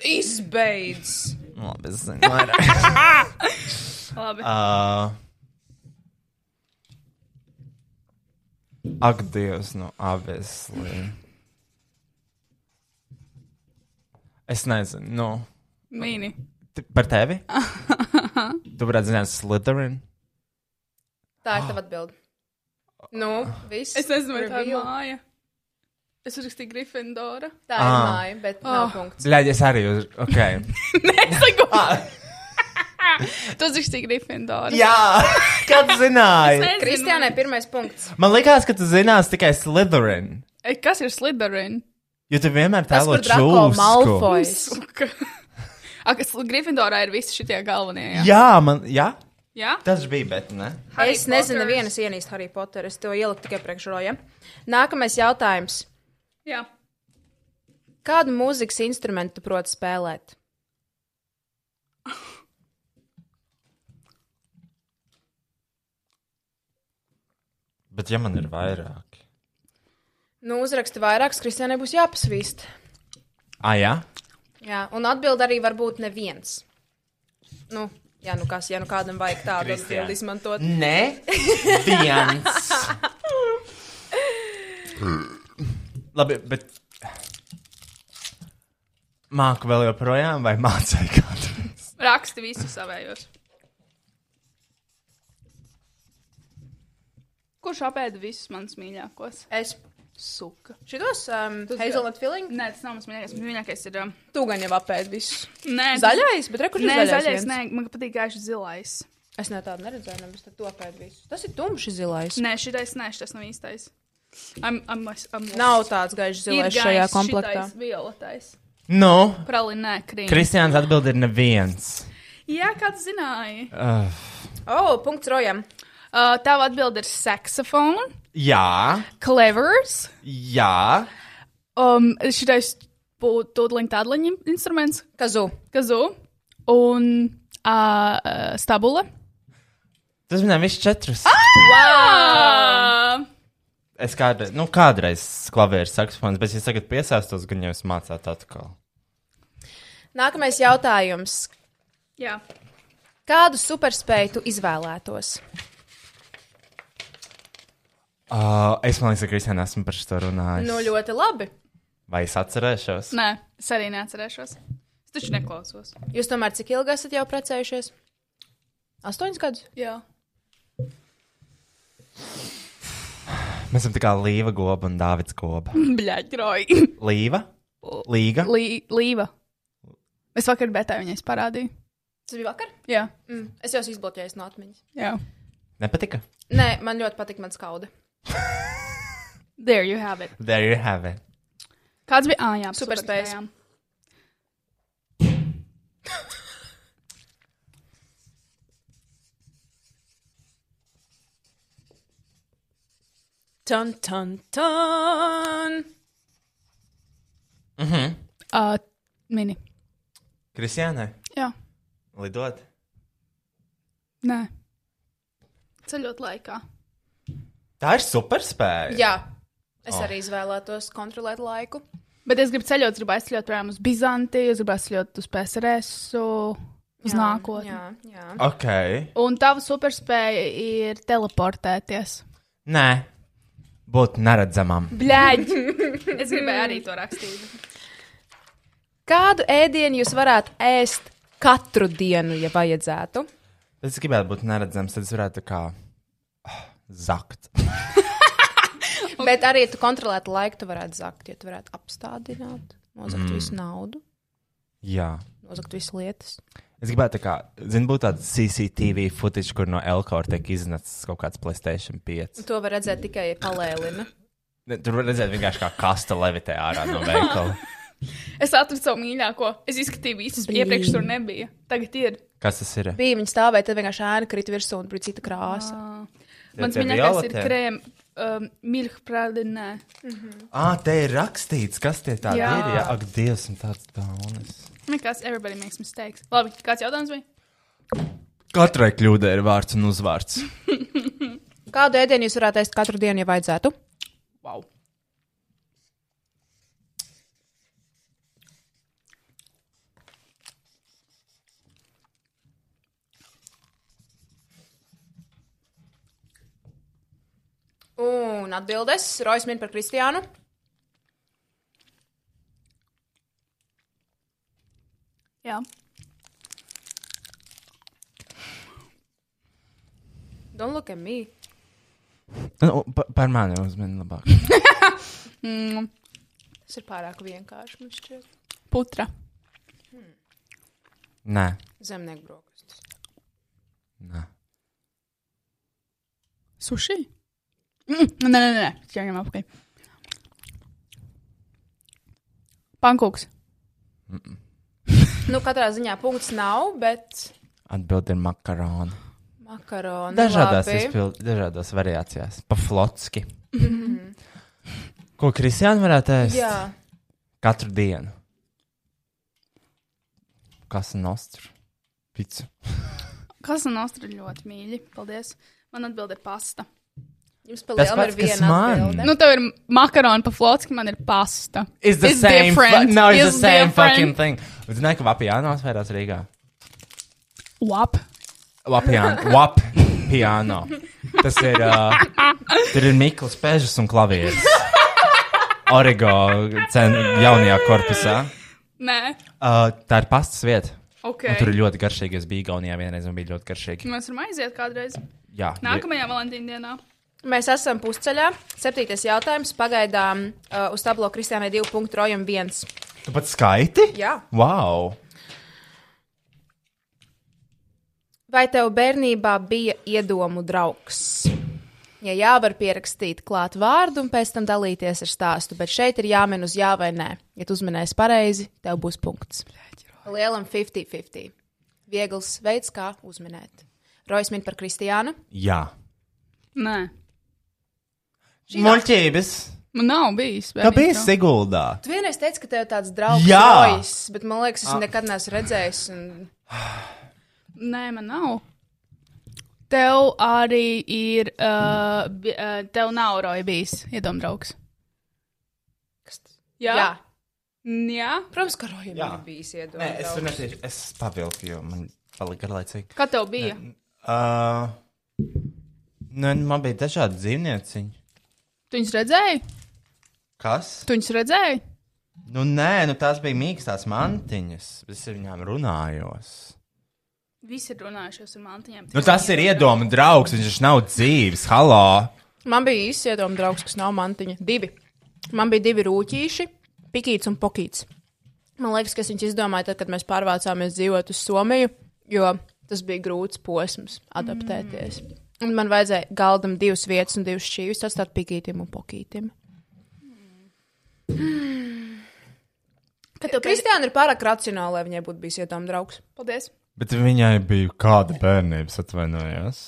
[SPEAKER 4] Izbeidz!
[SPEAKER 2] Nu, Labi, es zinu. vairāk.
[SPEAKER 5] Labi.
[SPEAKER 2] Ā. Ak, Dievs, nu, abeslī. Es nezinu, nu,
[SPEAKER 5] Mini.
[SPEAKER 2] t- par
[SPEAKER 4] [LAUGHS]
[SPEAKER 2] tevi? tu varētu zināt, Slytherin.
[SPEAKER 4] Tā ir tava atbilde. Nu, viss.
[SPEAKER 5] Es nezinu, vai tā ir
[SPEAKER 4] Reveal.
[SPEAKER 5] māja. Es uzrakstīju [LAUGHS] Gryffindora.
[SPEAKER 4] Tā ir
[SPEAKER 2] Ah.
[SPEAKER 4] māja, bet nav punkts.
[SPEAKER 2] Ļaļ, es arī uz... Ok.
[SPEAKER 4] [LAUGHS]
[SPEAKER 5] [LAUGHS] Tu uzrakstīji Gryffindora.
[SPEAKER 2] Jā, kad zināji?
[SPEAKER 4] Kristiānai pirmais punkts.
[SPEAKER 2] Man likās, ka tu zinās tikai Slytherin.
[SPEAKER 5] Kas ir Slytherin? [LAUGHS]
[SPEAKER 2] Jo tu vienmēr
[SPEAKER 4] Tas,
[SPEAKER 2] tēlo
[SPEAKER 4] kur Drako
[SPEAKER 2] čūsku.
[SPEAKER 4] Malfojs.
[SPEAKER 5] Suka. Ak, Gryffindorā ir visi šitie galvenie. Jā.
[SPEAKER 2] Jā, man, jā,
[SPEAKER 5] jā?
[SPEAKER 2] tas bija, bet ne.
[SPEAKER 5] Harry
[SPEAKER 4] Es nezinu,
[SPEAKER 5] Potters.
[SPEAKER 4] vienas ienīst Harry Potteru. Es to ieliku tikai priekšroja. Nākamais jautājums.
[SPEAKER 5] jā.
[SPEAKER 4] Kādu mūzikas instrumentu tu proti spēlēt?
[SPEAKER 2] Bet ja man ir vairāk.
[SPEAKER 4] Nu, uzraksti vairākus, Kristiānai būs jāpasvīst.
[SPEAKER 2] Ah, jā?
[SPEAKER 4] Jā, un atbild arī var būt neviens. Nu, jā, nu kas, ja nu kādam vajag tādu
[SPEAKER 2] Kristiāna.
[SPEAKER 4] atbildi izmantot.
[SPEAKER 2] Nē, viens. Labi, bet. Māku vēl joprojām, vai mācīja kādu?
[SPEAKER 5] Raksti visus savējos. Kurš apēda visus manus mīļākos?
[SPEAKER 4] Es
[SPEAKER 5] Suka.
[SPEAKER 4] šitos um, hazelnut filling,
[SPEAKER 5] Nē, tas nav mans mīļākais. Mans mīļākais ir. um,
[SPEAKER 4] tu gan jau apēdi visus.
[SPEAKER 5] Nē, tas-
[SPEAKER 4] Zaļais, bet rekurš
[SPEAKER 5] Nē,
[SPEAKER 4] zaļais.
[SPEAKER 5] zaļais.
[SPEAKER 4] viens?
[SPEAKER 5] Nē, man patīk gaiši zilais.
[SPEAKER 4] Es ne tādu neredzēju, nevis tad to apēdi visus. Tas ir tumši zilais.
[SPEAKER 5] Nē, šitais, nē, šitais nav īstais. I'm, I'm, I'm
[SPEAKER 4] Nav tāds gaišs zilais šajā komplektā.
[SPEAKER 5] Violetais.
[SPEAKER 2] Nu,
[SPEAKER 5] Probably nekrīt.
[SPEAKER 2] Kristiāns atbild ir neviens. Uh,
[SPEAKER 5] Jā, kāds zināja.
[SPEAKER 4] O, oh, punkts rojam.
[SPEAKER 5] Uh, tava atbilde ir saksofons,
[SPEAKER 2] Jā,
[SPEAKER 5] clevers,
[SPEAKER 2] jā,
[SPEAKER 5] um, šitais būtu tūdeņa tādliņa instruments,
[SPEAKER 4] Kazu.
[SPEAKER 5] kazu un uh, stabula.
[SPEAKER 2] tas bija viss četrus.
[SPEAKER 5] Uh,
[SPEAKER 2] Es kādreiz, nu, kādreiz klavieru saksofons, bet es tagad piesāstos, gan jau es mācātu atkal.
[SPEAKER 4] Nākamais jautājums.
[SPEAKER 5] jā.
[SPEAKER 4] Kādu superspēju tu izvēlētos?
[SPEAKER 2] Uh, es domāju, ka Kristiāna esmu par šo runājis.
[SPEAKER 4] Nu, ļoti labi.
[SPEAKER 2] Vai es atcerēšos?
[SPEAKER 5] Nē, es arī neatcerēšos. Es taču neklausos.
[SPEAKER 4] Jūs tomēr cik ilgi esat jau precējušies? Astoņus gadus.
[SPEAKER 5] [LAUGHS] Jā.
[SPEAKER 2] Mēs esam tā kā Līva Goba un Dārvids Goba.
[SPEAKER 5] [LAUGHS] Bļaģroji.
[SPEAKER 2] Līva? Līga?
[SPEAKER 5] Lī, līva. Es vakar betā viņai parādīju.
[SPEAKER 4] Tas bija vakar.
[SPEAKER 5] Jā,
[SPEAKER 4] Mm. Es jau esmu izbloķējis no atmiņas.
[SPEAKER 5] jā.
[SPEAKER 2] Nepatika?
[SPEAKER 4] Nē, man ļoti patīk mans kauda.
[SPEAKER 5] There you have it.
[SPEAKER 2] There you have it.
[SPEAKER 5] Kāds bija? Ah, jā,
[SPEAKER 4] Superspējas.
[SPEAKER 5] superspējām.
[SPEAKER 4] Tan, tan, tan.
[SPEAKER 5] Uh, mini.
[SPEAKER 2] Kristiānai,
[SPEAKER 5] Jā,
[SPEAKER 2] lidot?
[SPEAKER 5] nē. Ceļot laikā.
[SPEAKER 2] Tā ir superspēja.
[SPEAKER 4] Jā, es oh. arī izvēlētos kontrolēt laiku.
[SPEAKER 5] Bet es gribu ceļot, es gribu aizceļot, piemēram, uz Bizantiju, es gribu aizceļot uz PSRS, uz jā, nākotni. Jā.
[SPEAKER 4] Jā, jā.
[SPEAKER 2] Ok.
[SPEAKER 5] Un tava superspēja ir teleportēties.
[SPEAKER 2] Nē, būt neredzamam.
[SPEAKER 5] Bļaģ! es gribēju arī to rakstīt.
[SPEAKER 4] Kādu ēdienu jūs varētu ēst katru dienu, ja vajadzētu?
[SPEAKER 2] Es gribētu būt neredzams, tad es varētu kā ah, zakt.
[SPEAKER 4] Okay. Bet arī tu kontrolētu laiku, tu varētu zakt, ja tu varētu apstādināt, nozagt mm. visu naudu,
[SPEAKER 2] Jā.
[SPEAKER 4] nozagt visu lietas.
[SPEAKER 2] Es gribētu, tā kā, zinu, būt tāda CCTV footage, kur no Elkora tiek iznācis kaut kāds Playstation 5.
[SPEAKER 4] Un to var redzēt tikai ja palēlina.
[SPEAKER 2] Ne, Tur var redzēt vienkārši kā kasta levitē ārā no veikala.
[SPEAKER 5] [LAUGHS] Es atradu savu mīļāko. Es izskatīju visus, kas iepriekš tur nebija. Tagad ir.
[SPEAKER 2] Kas tas ir?
[SPEAKER 4] Bija viņa stāvēja, tad vienkārši ēna krita virsū un bija cita krāsa.
[SPEAKER 5] Mans
[SPEAKER 2] tie
[SPEAKER 5] mīļākais ir
[SPEAKER 2] violetē?
[SPEAKER 5] krēms, um, milkprādinē.
[SPEAKER 2] Ah, te ir rakstīts, kas tie tādi
[SPEAKER 5] Jā.
[SPEAKER 2] jā. ir. Jā, ak, Dievs, un tāds daunis.
[SPEAKER 5] Nekas, everybody makes mistakes. Labi, kāds jautājums bija?
[SPEAKER 2] Katrai kļūdai ir vārds un uzvārds.
[SPEAKER 4] Kādu ēdienu jūs varētu ēst katru dienu, ja vajadzētu?
[SPEAKER 5] Wow.
[SPEAKER 4] Un atbildes Rojas min par Kristiānu.
[SPEAKER 5] Jā.
[SPEAKER 4] Don't look at me.
[SPEAKER 2] Nu, pa- par mani uzmanīgi labāk.
[SPEAKER 4] Tas ir pārāk vienkārši. man šķiet.
[SPEAKER 5] Putra.
[SPEAKER 2] Nē,
[SPEAKER 4] Zemnieku brokastis.
[SPEAKER 2] nē.
[SPEAKER 5] Suši? Mm, nē, nē, nē. Ķeram apakaļ. Pankūks.
[SPEAKER 4] Nu, katrā ziņā punkts nav, bet
[SPEAKER 2] Atbildi ir makaroni.
[SPEAKER 5] Nu,
[SPEAKER 4] makaronu.
[SPEAKER 2] Dažādās,
[SPEAKER 4] labi.
[SPEAKER 2] izpild, dažādās variācijās, pa flotski.
[SPEAKER 5] Mhm.
[SPEAKER 2] Ko Kristiāna varētu ēst?
[SPEAKER 4] Jā,
[SPEAKER 2] Katru dienu. Kas ir nostra? Picu.
[SPEAKER 5] Kas no nostra ļoti mīļi? Paldies. Man atbild ir pasta.
[SPEAKER 4] jums palielam ir
[SPEAKER 2] pats, kas
[SPEAKER 4] viena
[SPEAKER 2] man.
[SPEAKER 4] atbilde.
[SPEAKER 5] Nu, tev ir makaroni pa flotski, man ir pasta.
[SPEAKER 2] It's the
[SPEAKER 5] It's
[SPEAKER 2] same. Fu-
[SPEAKER 5] different.
[SPEAKER 2] no, it's,
[SPEAKER 5] It's
[SPEAKER 2] the same fucking
[SPEAKER 5] different.
[SPEAKER 2] thing. Zināju, ka Vapjāna atvērās Rīgā.
[SPEAKER 5] Lap.
[SPEAKER 2] Vapjāna. Vap. Piano. Tas ir. Uh, tur ir Mikls Pēžas un klavieris. Origo cen, jaunajā korpusā.
[SPEAKER 5] Nē.
[SPEAKER 2] Uh, tā ir pastas vieta.
[SPEAKER 5] Ok.
[SPEAKER 2] Un Tur ir ļoti garšīgi. Es biju Igaunijā vienreiz un bija ļoti garšīgi.
[SPEAKER 5] Mēs varam aiziet kādreiz.
[SPEAKER 2] Jā,
[SPEAKER 5] Nākamajā Valentīna dienā.
[SPEAKER 4] Mēs esam pusceļā. Septītais jautājums. Pagaidām uh, uz tablo Kristiānai 2.1. Rojam 1.
[SPEAKER 2] Tu pat skaiti?
[SPEAKER 4] Jā.
[SPEAKER 2] Wow!
[SPEAKER 4] Vai tev bērnībā bija iedomu draugs? Ja jā, var pierakstīt klāt vārdu un pēc tam dalīties ar stāstu, bet šeit ir jāmin uz jā vai nē. Ja tu uzminēsi pareizi, tev būs punkts. Lielam 50-50. Viegls veids, kā uzminēt. Rojas min par Kristiānu.
[SPEAKER 2] Jā.
[SPEAKER 5] Nē,
[SPEAKER 2] Muļķības.
[SPEAKER 5] man nav bijis. vēl
[SPEAKER 2] Kā bija
[SPEAKER 5] intro.
[SPEAKER 2] Siguldā?
[SPEAKER 4] Tu vienreiz teici, ka tev ir tāds draugs,
[SPEAKER 2] Jā. Ah.
[SPEAKER 4] Rojas, bet man liekas, es nekad neesmu redzējis. Un...
[SPEAKER 5] Nē, man nav. Tev arī ir. Uh, bi- uh, tev nav roja bijis, iedomājies, draugs.
[SPEAKER 4] Kas tas?
[SPEAKER 5] Jā.
[SPEAKER 4] Jā.
[SPEAKER 5] N- Jā.
[SPEAKER 4] Protams, ka Rojas
[SPEAKER 2] Jā.
[SPEAKER 4] man bijis
[SPEAKER 2] Nē, es tur
[SPEAKER 4] iedomājies.
[SPEAKER 2] netieši. Es pavilku, jo man palika garlaicīgi.
[SPEAKER 5] Kā tev bija?
[SPEAKER 2] Uh, nu, man bija dažādi dzīvnieciņi.
[SPEAKER 5] Tu viņus redzēji?
[SPEAKER 2] Kas?
[SPEAKER 5] Tu viņus redzēji?
[SPEAKER 2] Nu, nē, nu tās bija mīkstās mantiņas. bet Es ar viņām runājos.
[SPEAKER 5] Visi ir runājušies ar mantiņiem.
[SPEAKER 2] Nu, tas ir iedoma draugs. Viņš taču nav dzīves. Halo!
[SPEAKER 4] Man bija īsts iedomājums, draugs, kas nav mantiņa. Divi. Man bija divi rūtīši, pikīts un pokīts. Man liekas, ka es viņus izdomāju, tad, kad mēs pārvācāmies dzīvot uz Somiju, jo tas bija grūts posms adaptēties. Mm. Un man vajadzēja galdam divas vietas un divas šķīvis atstāt pikītim un pokītim.
[SPEAKER 5] Kad tev bija?
[SPEAKER 4] Kristiāna ir pārāk racionāla, lai viņai būtu bijis iedomājums draugs.
[SPEAKER 5] Paldies.
[SPEAKER 2] Bet viņai bija kāda bērnības atvainojās.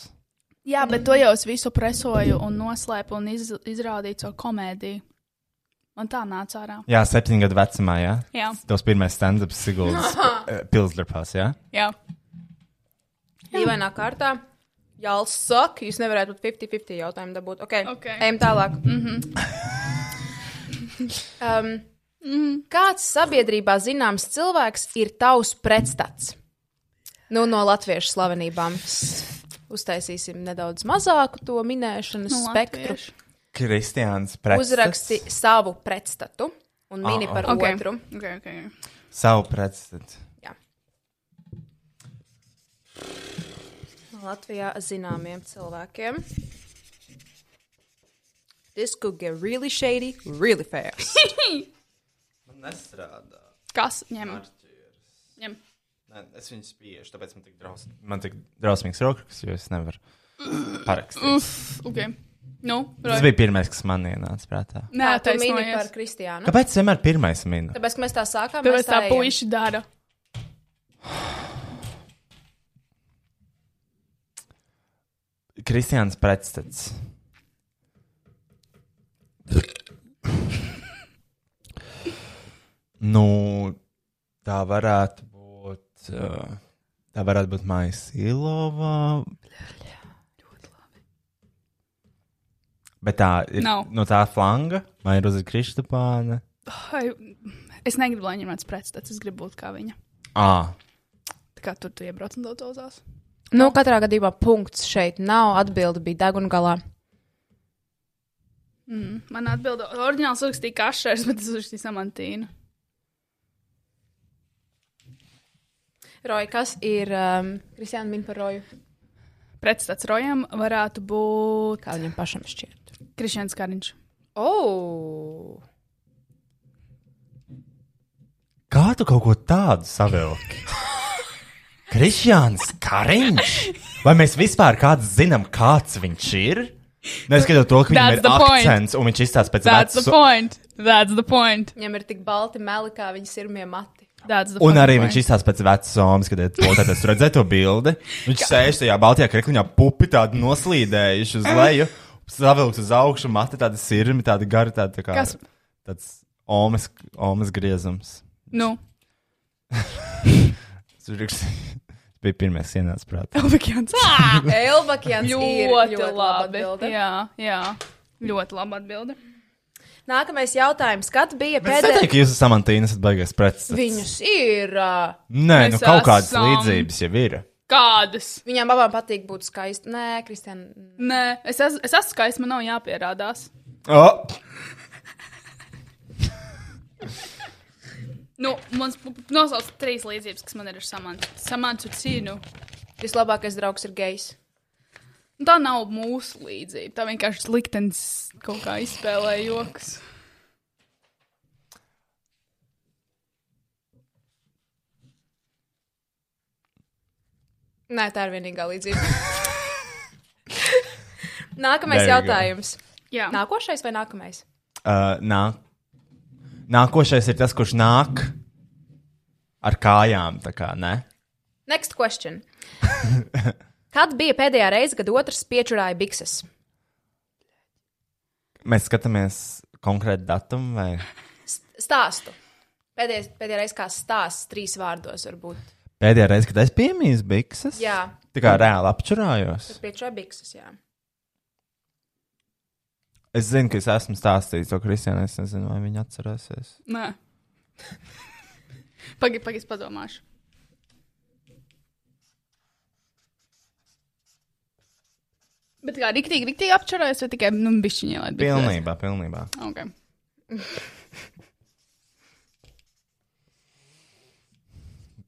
[SPEAKER 5] Jā, bet to jau es visu presoju un noslēpu un iz, izrādīju savu komēdiju. Man tā nāca ārā.
[SPEAKER 2] Jā, septiņu gadu vecumā, jā.
[SPEAKER 5] Jā.
[SPEAKER 2] Tos pirmais stand-ups Siguldas pilsdarbās, jā.
[SPEAKER 5] Jā.
[SPEAKER 4] Dīvainā kārtā. Jālis saka, jūs nevarat būt 50-50 jautājumu dabūt. Ok,
[SPEAKER 5] Ok. Mhm.
[SPEAKER 4] ejam tālāk. Mm -hmm. [LAUGHS] um, kāds sabiedrībā zināms cilvēks ir tavs pretstats? Nu, no latviešu slavenībām. S- Uztaisīsim nedaudz mazāku to minēšanas no spektru.
[SPEAKER 5] Latviešu.
[SPEAKER 2] Kristiāns pretstats.
[SPEAKER 4] Uzraksti savu pretstatu un mini par
[SPEAKER 5] Ok.
[SPEAKER 4] okay. otru.
[SPEAKER 5] Ok, ok.
[SPEAKER 2] Savu pretstatu.
[SPEAKER 4] Jā. Latvijā zināmiem cilvēkiem. This could get really shady, really [LAUGHS] fast.
[SPEAKER 2] Nestrādā.
[SPEAKER 5] Kas ņem? ņem.
[SPEAKER 2] Nē, es viņu spiežu, tāpēc man tik, draus... man tik drausmīgs rokas, jo es nevaru parakstīt.
[SPEAKER 5] Uf, ok. Nu,
[SPEAKER 2] Tas
[SPEAKER 5] roj.
[SPEAKER 2] bija pirmais, kas man ienāca prātā.
[SPEAKER 5] Nē,
[SPEAKER 4] tu
[SPEAKER 5] tas
[SPEAKER 4] mini
[SPEAKER 5] bija
[SPEAKER 4] par
[SPEAKER 5] par.
[SPEAKER 4] Kristiānu.
[SPEAKER 2] Kāpēc vienmēr pirmais minēta?
[SPEAKER 4] Tāpēc, ka mēs tā sākām,
[SPEAKER 5] Tāpēc
[SPEAKER 4] mēs
[SPEAKER 5] tā
[SPEAKER 4] tā ejam.
[SPEAKER 5] puiši dara.
[SPEAKER 2] Kristiāns pretstats. nu, tā varētu būt. Uh, tā varētu būt Maija Silova. Bet tā ir
[SPEAKER 5] Nav.
[SPEAKER 2] no tā flanga, vai ir uz Kristapāna?
[SPEAKER 5] Ai, es negribu, lai viņam tāds pretstats, es gribu būt kā viņa.
[SPEAKER 2] Ah,
[SPEAKER 5] Tā kā tur tu iebrauc un daudzās.
[SPEAKER 4] Nu, katrā gadījumā punkts šeit nav. Atbilde bija deguna galā.
[SPEAKER 5] Man atbilda, oriģināls rakstīja kašers, bet es uzrakstīju samantīnu.
[SPEAKER 4] Roja, kas ir um, Kristiāna min par Roju?
[SPEAKER 5] Pretstats rojam varētu būt
[SPEAKER 4] Kā viņam pašam šķiet?
[SPEAKER 5] Krišņēns Kariņš.
[SPEAKER 4] Oh!
[SPEAKER 2] kā tu kaut ko tādu savilki? Kristiāns Kariņš! Vai mēs vispār kāds zinām, kāds viņš ir? Neskatot to, ka viņam
[SPEAKER 5] That's
[SPEAKER 2] ir
[SPEAKER 5] the point.
[SPEAKER 2] akcents un viņš izstāsta pēc
[SPEAKER 5] That's the
[SPEAKER 2] vecu.
[SPEAKER 5] point! That's the point!
[SPEAKER 4] Viņam ir tik balti meli, kā viņa sirmie [LAUGHS] mati.
[SPEAKER 5] That's the
[SPEAKER 2] Un
[SPEAKER 5] fucking
[SPEAKER 2] arī
[SPEAKER 5] point.
[SPEAKER 2] viņš izstāsta pēc vecas somas, kad es redzēju to bildi. Viņš sēž tajā baltajā krekliņā, pupi tādi noslīdējuši uz leju, savilks uz augšu, mati tādi sirmi, tādi gari, tādi tā kā
[SPEAKER 5] Kas?
[SPEAKER 2] tāds omes, omes griezums.
[SPEAKER 5] Nu,
[SPEAKER 2] Tas ir- [LAUGHS] tas bija pirmais, kas ienāca prātā.
[SPEAKER 5] Elbekjans.
[SPEAKER 4] Elbakjans ir
[SPEAKER 5] Ļoti
[SPEAKER 4] laba
[SPEAKER 5] labi.
[SPEAKER 4] atbilde.
[SPEAKER 5] Jā, jā. Ļoti labi atbildi.
[SPEAKER 4] Nākamais jautājums. Kad bija
[SPEAKER 2] Es teiktu,
[SPEAKER 4] pēdējais?
[SPEAKER 2] ka jūs esat samantīnas, bet beigās pretstats.
[SPEAKER 4] Viņus ir. Uh,
[SPEAKER 2] Nē, nu
[SPEAKER 5] Mēs
[SPEAKER 2] kaut kādas
[SPEAKER 5] esam-
[SPEAKER 2] līdzības jau ir.
[SPEAKER 5] Kādas?
[SPEAKER 4] viņām abām patīk būt skaistām. Nē, Kristiāna.
[SPEAKER 5] Nē, es, es, es esmu skaists, man nav jāpierādās.
[SPEAKER 2] Oh!
[SPEAKER 5] Nu, mans pu- pu- nosauc trīs līdzības, kas man ir ar samantu. Samantu cīnu.
[SPEAKER 4] Vislabākais draugs ir gejs.
[SPEAKER 5] Nu, Tā nav mūsu līdzība. Tā vienkārši liktenis kaut kā izspēlē joks.
[SPEAKER 2] [LAUGHS]
[SPEAKER 4] Nē, tā ir vienīgā līdzība. Nākamais
[SPEAKER 2] There you go.
[SPEAKER 4] jautājums.
[SPEAKER 5] Jā,
[SPEAKER 4] Nākošais vai nākamais?
[SPEAKER 2] Uh, nā. Nākošais ir tas, kurš nāk ar kājām. Tā kā, ne?
[SPEAKER 4] Next
[SPEAKER 2] [LAUGHS]
[SPEAKER 4] question. Kad bija pēdējā reize, kad otrs piečurāja bikses?
[SPEAKER 2] Mēs skatāmies konkrēti datumu vai
[SPEAKER 4] Stāstu. Pēdējais, pēdējā reize, kā stāsts, trīs vārdos varbūt.
[SPEAKER 2] pēdējā reize, kad es piemīju bikses.
[SPEAKER 4] Jā,
[SPEAKER 2] Tā kā reāli apčurājos.
[SPEAKER 4] piečurāja bikses. Jā.
[SPEAKER 2] Es zinu, ka es esmu stāstījis to Kristianai. Es nezinu, vai viņa atcerēsies.
[SPEAKER 5] nē. Pagaid, pagaid, es padomāšu. Bet kā rīktīgi, rīktīgi apčurājas, vai tikai nu, bišķiņā ielaidu? bikselēs?
[SPEAKER 2] Pilnībā, pilnībā.
[SPEAKER 5] Okay.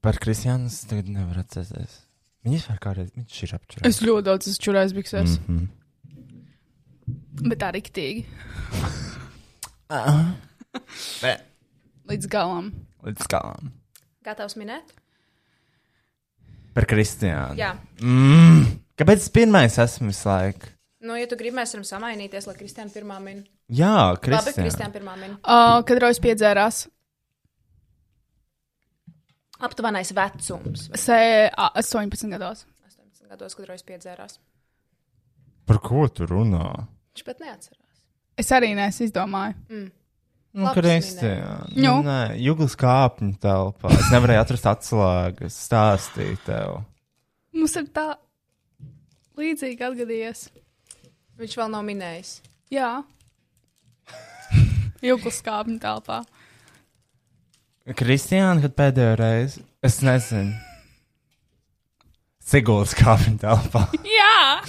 [SPEAKER 2] Par Kristiānu es tagad nevaru atcerēties. Viņa vispār kādreiz viņš ir apčurājis.
[SPEAKER 5] Es ļoti daudz esmu čurājis biksēs,
[SPEAKER 2] Mm -hmm.
[SPEAKER 5] mm. bet tā rīktīgi.
[SPEAKER 2] Bet
[SPEAKER 5] Līdz galam.
[SPEAKER 2] līdz galam.
[SPEAKER 4] Gatavs minēt?
[SPEAKER 2] Par Kristiānu.
[SPEAKER 4] Jā.
[SPEAKER 2] Mm. Kāpēc es pirmais esmu visu laiku?
[SPEAKER 4] Nu, ja tu gribi, mēs varam samainīties, lai Kristiāna pirmā min.
[SPEAKER 2] Jā,
[SPEAKER 4] Labi,
[SPEAKER 2] Kristiāna.
[SPEAKER 4] Kristiāna pirmā min.
[SPEAKER 5] Uh, kad Rojas piedzērās,
[SPEAKER 4] Aptuvenais vecums.
[SPEAKER 5] se, a, 18 gados.
[SPEAKER 4] 18 gados, kad Rojas piedzērās.
[SPEAKER 2] Par ko tu runā?
[SPEAKER 4] Viņš pat neatcerās.
[SPEAKER 5] Es arī nes izdomāju.
[SPEAKER 2] Nu,
[SPEAKER 4] Labs
[SPEAKER 2] Kristiāna.
[SPEAKER 5] Nu.
[SPEAKER 2] Nu, nē, Jūglas kāpņu telpā. Es nevarēju atrast atslēgas, stāstīt tev.
[SPEAKER 5] Mums ir tā līdzīgi atgadījies.
[SPEAKER 4] Viņš vēl nav minējis.
[SPEAKER 5] [LAUGHS] Jā. Jūklas kāpņu telpā.
[SPEAKER 2] Kristiāna, kad pēdējo reizi? Es nezinu. Siguldas kāpņu telpā.
[SPEAKER 5] Jā!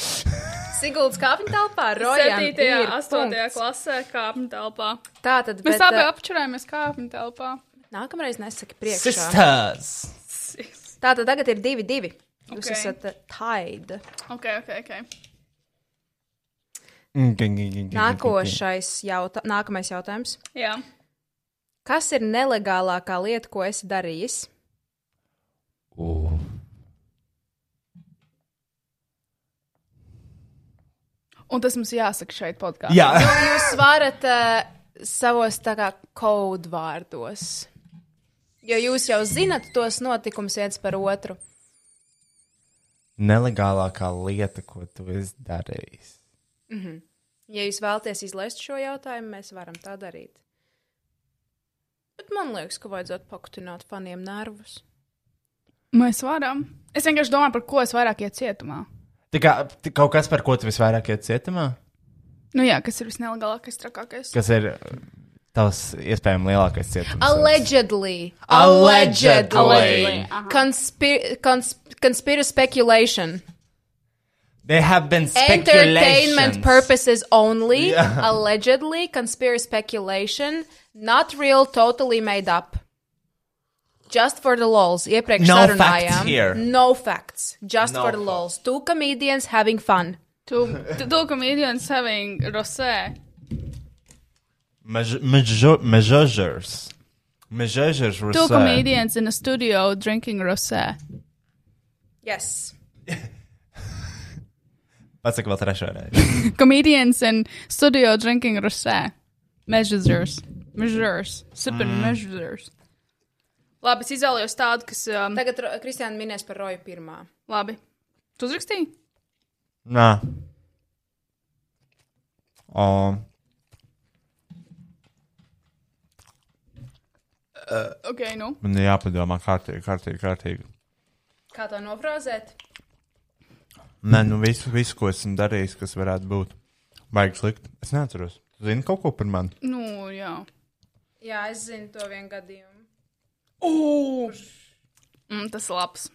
[SPEAKER 4] Siguldas kāpņu telpā, Rojas
[SPEAKER 5] 7. un 8. klasē kāpņu telpā.
[SPEAKER 4] Tā tad
[SPEAKER 5] Mēs
[SPEAKER 4] bet,
[SPEAKER 5] abi
[SPEAKER 4] eh,
[SPEAKER 5] apčurājamies kāpņu telpā.
[SPEAKER 4] Nākamreiz nesaki priekšā.
[SPEAKER 2] Sisters!
[SPEAKER 4] Tā tad tagad ir divi, divi. Jūs
[SPEAKER 5] Ok.
[SPEAKER 4] okay. esat eh, taida.
[SPEAKER 5] Ok, ok, ok.
[SPEAKER 4] Nākošais jauta nākamais jautājums.
[SPEAKER 5] Jā.
[SPEAKER 4] Kas ir nelegālākā lieta, ko esi darījis?
[SPEAKER 5] Un tas mums jāsaka šeit podkāstā.
[SPEAKER 2] Jā,
[SPEAKER 4] Jūs varat uh, savos tā kā kodvārdos. Jo jūs jau zinat tos notikumus viens par otru.
[SPEAKER 2] nelegālākā lieta, ko tu esi darījis.
[SPEAKER 4] Ja jūs vēlaties izlaist šo jautājumu, mēs varam tā darīt. Bet man liekas, ka vajadzētu pakutināt faniem nervus.
[SPEAKER 5] Mēs varam. Es vienkārši domāju, par ko es vairāk iet cietumā.
[SPEAKER 2] Tā kā t- kaut kas, par ko tu visvairāk iet cietumā,
[SPEAKER 5] Nu jā, kas ir visnelegālākais, trakākais.
[SPEAKER 2] kas ir uh, tavs iespējami lielākais cietums.
[SPEAKER 4] Allegedly.
[SPEAKER 2] Allegedly.
[SPEAKER 5] Allegedly, aha.
[SPEAKER 4] Conspir cons conspiracy speculation.
[SPEAKER 2] They have been speculations.
[SPEAKER 4] Entertainment purposes only.
[SPEAKER 2] Yeah. [LAUGHS]
[SPEAKER 4] Allegedly, conspiracy speculation. Not real, totally made up. Just for the lols. Iepriekš
[SPEAKER 2] No
[SPEAKER 4] sarunājām.
[SPEAKER 2] facts here.
[SPEAKER 4] No facts. Just
[SPEAKER 2] No
[SPEAKER 4] for the lols. Two comedians having fun.
[SPEAKER 5] Tu, tu, tu komēdijas having rosē.
[SPEAKER 2] Mež- mežo- Mežožers. Mežožers
[SPEAKER 5] Tu
[SPEAKER 2] Rusē.
[SPEAKER 5] komēdijas in a studio drinking rosē.
[SPEAKER 4] Yes.
[SPEAKER 2] Pasaka vēl trešo reizi.
[SPEAKER 5] Comedians in studio drinking rosé. Measures. Measures. Sipping mm. measures. Labi, es izvēlējos tādu, kas.
[SPEAKER 2] Mhm.
[SPEAKER 5] Um,
[SPEAKER 4] Tagad Ro- Kristiāna minēs par Roju pirmā.
[SPEAKER 5] labi. Tu uzrakstīji?
[SPEAKER 2] Nā. O.
[SPEAKER 5] Ok, nu.
[SPEAKER 2] Man ir jāpadomā kārtīgi, kārtīgi, kārtīgi.
[SPEAKER 4] Kā to nofrāzēt?
[SPEAKER 2] Nē, nu visu, visu, ko esmu darījis, kas varētu būt. Vajag slikt. Es neatceros. Zini kaut ko par mani?
[SPEAKER 5] Nu, jā.
[SPEAKER 4] Jā, es zinu to vienu gadījumu,
[SPEAKER 5] Ooh. Mm, tas ir labs.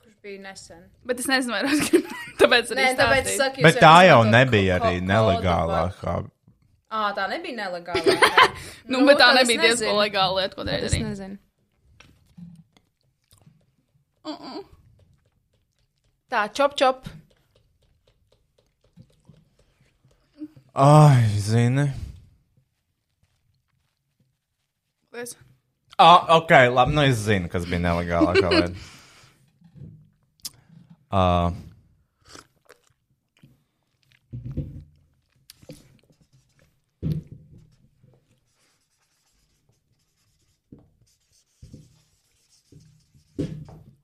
[SPEAKER 4] kurš bija nesen.
[SPEAKER 5] Bet es nezinu, vai rakstīt. [LAUGHS] tāpēc arī.
[SPEAKER 4] Nē, tāpēc es
[SPEAKER 5] stāstīju.
[SPEAKER 4] saku,
[SPEAKER 2] Bet tā jau nebija arī nelegālākā.
[SPEAKER 4] Ā, tā nebija [LAUGHS] nelegālākā.
[SPEAKER 5] Nu, bet tā
[SPEAKER 4] tad es
[SPEAKER 5] nebija diezgan
[SPEAKER 4] nezinu.
[SPEAKER 5] legāla lieta, ko darīja.
[SPEAKER 4] Es nezinu. Tā, čop, čop.
[SPEAKER 2] Ai, zini.
[SPEAKER 5] Es...
[SPEAKER 2] Ah, ok, labi. Nu, es zinu, kas bija nelegālākā lieta. [LAUGHS] Uh,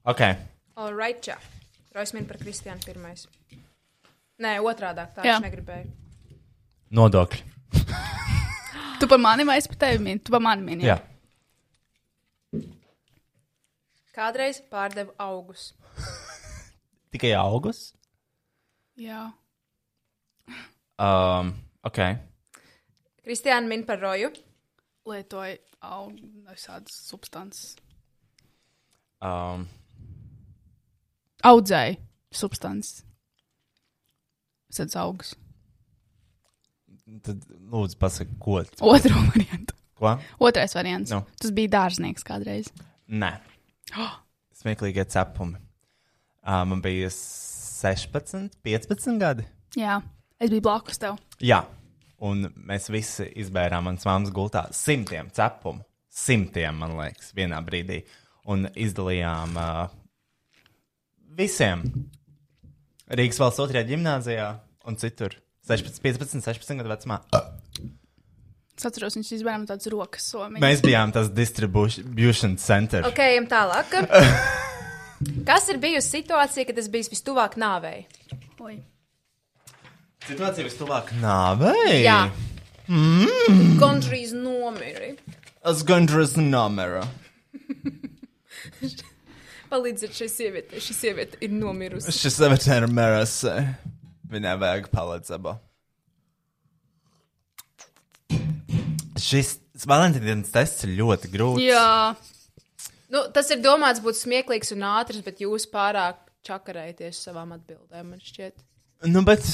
[SPEAKER 2] Ok.
[SPEAKER 4] Alright, čau. Rojas min par Kristiānu pirmais. Nē, otrādi. Tā
[SPEAKER 5] Jā.
[SPEAKER 4] es negribēju.
[SPEAKER 2] Nodokļi.
[SPEAKER 5] Tu par mani vai es par tevi mīlu? Tu par mani mīli.
[SPEAKER 2] Jā.
[SPEAKER 4] Kādreiz pārdevu augus.
[SPEAKER 2] Tikai augus.
[SPEAKER 5] Jā.
[SPEAKER 2] Um, ok.
[SPEAKER 4] Kristiāna min par roju.
[SPEAKER 5] Lietoju augstākas substances.
[SPEAKER 2] Um,
[SPEAKER 5] Audzēju substances. Sēdz augs.
[SPEAKER 2] tad lūdzu pasaka, ko.
[SPEAKER 5] [LAUGHS] Otru variantu.
[SPEAKER 2] Ko?
[SPEAKER 5] Otrais variants.
[SPEAKER 2] Nu.
[SPEAKER 5] Tas bija dārznieks kādreiz.
[SPEAKER 4] [GASPS]
[SPEAKER 2] Nē. Smieklīgie cepumi. Uh, man bija 16, 15 gadi.
[SPEAKER 5] Jā, es biju blakus tev.
[SPEAKER 2] Jā, un mēs visi izbērām manas mammas gultā simtiem cepumu. Simtiem, man liekas, vienā brīdī. Un izdalījām uh, visiem. Rīgas valsts otrajā gimnājā un citur. 16, 15, 16 gadu vecumā.
[SPEAKER 5] Es atceros, viņš izvēlējās tādas rokas somiņas.
[SPEAKER 2] Mēs bijām tas distribution center.
[SPEAKER 4] Ok, ejam tālāk.
[SPEAKER 2] [LAUGHS]
[SPEAKER 4] Kas ir bijusi situācija, kad es biju vistuvāk nāvei?
[SPEAKER 5] Oi.
[SPEAKER 2] Situācija vislabāk nāvei.
[SPEAKER 4] Jā.
[SPEAKER 2] Mm.
[SPEAKER 4] Gandrīz nomiri.
[SPEAKER 2] Es gandrīz nomēru.
[SPEAKER 4] Palīdziet šai sievietei. Šī sieviete ir nomirusi.
[SPEAKER 2] Šis sieviete ir mērs. Viņai vajag palīdzību. Šis Valentīnas tests ir ļoti grūts.
[SPEAKER 5] Jā,
[SPEAKER 4] Nu, tas ir domāts būt smieklīgs un ātrs, bet jūs pārāk čakarēties savām atbildēm, man šķiet.
[SPEAKER 2] Nu, bet.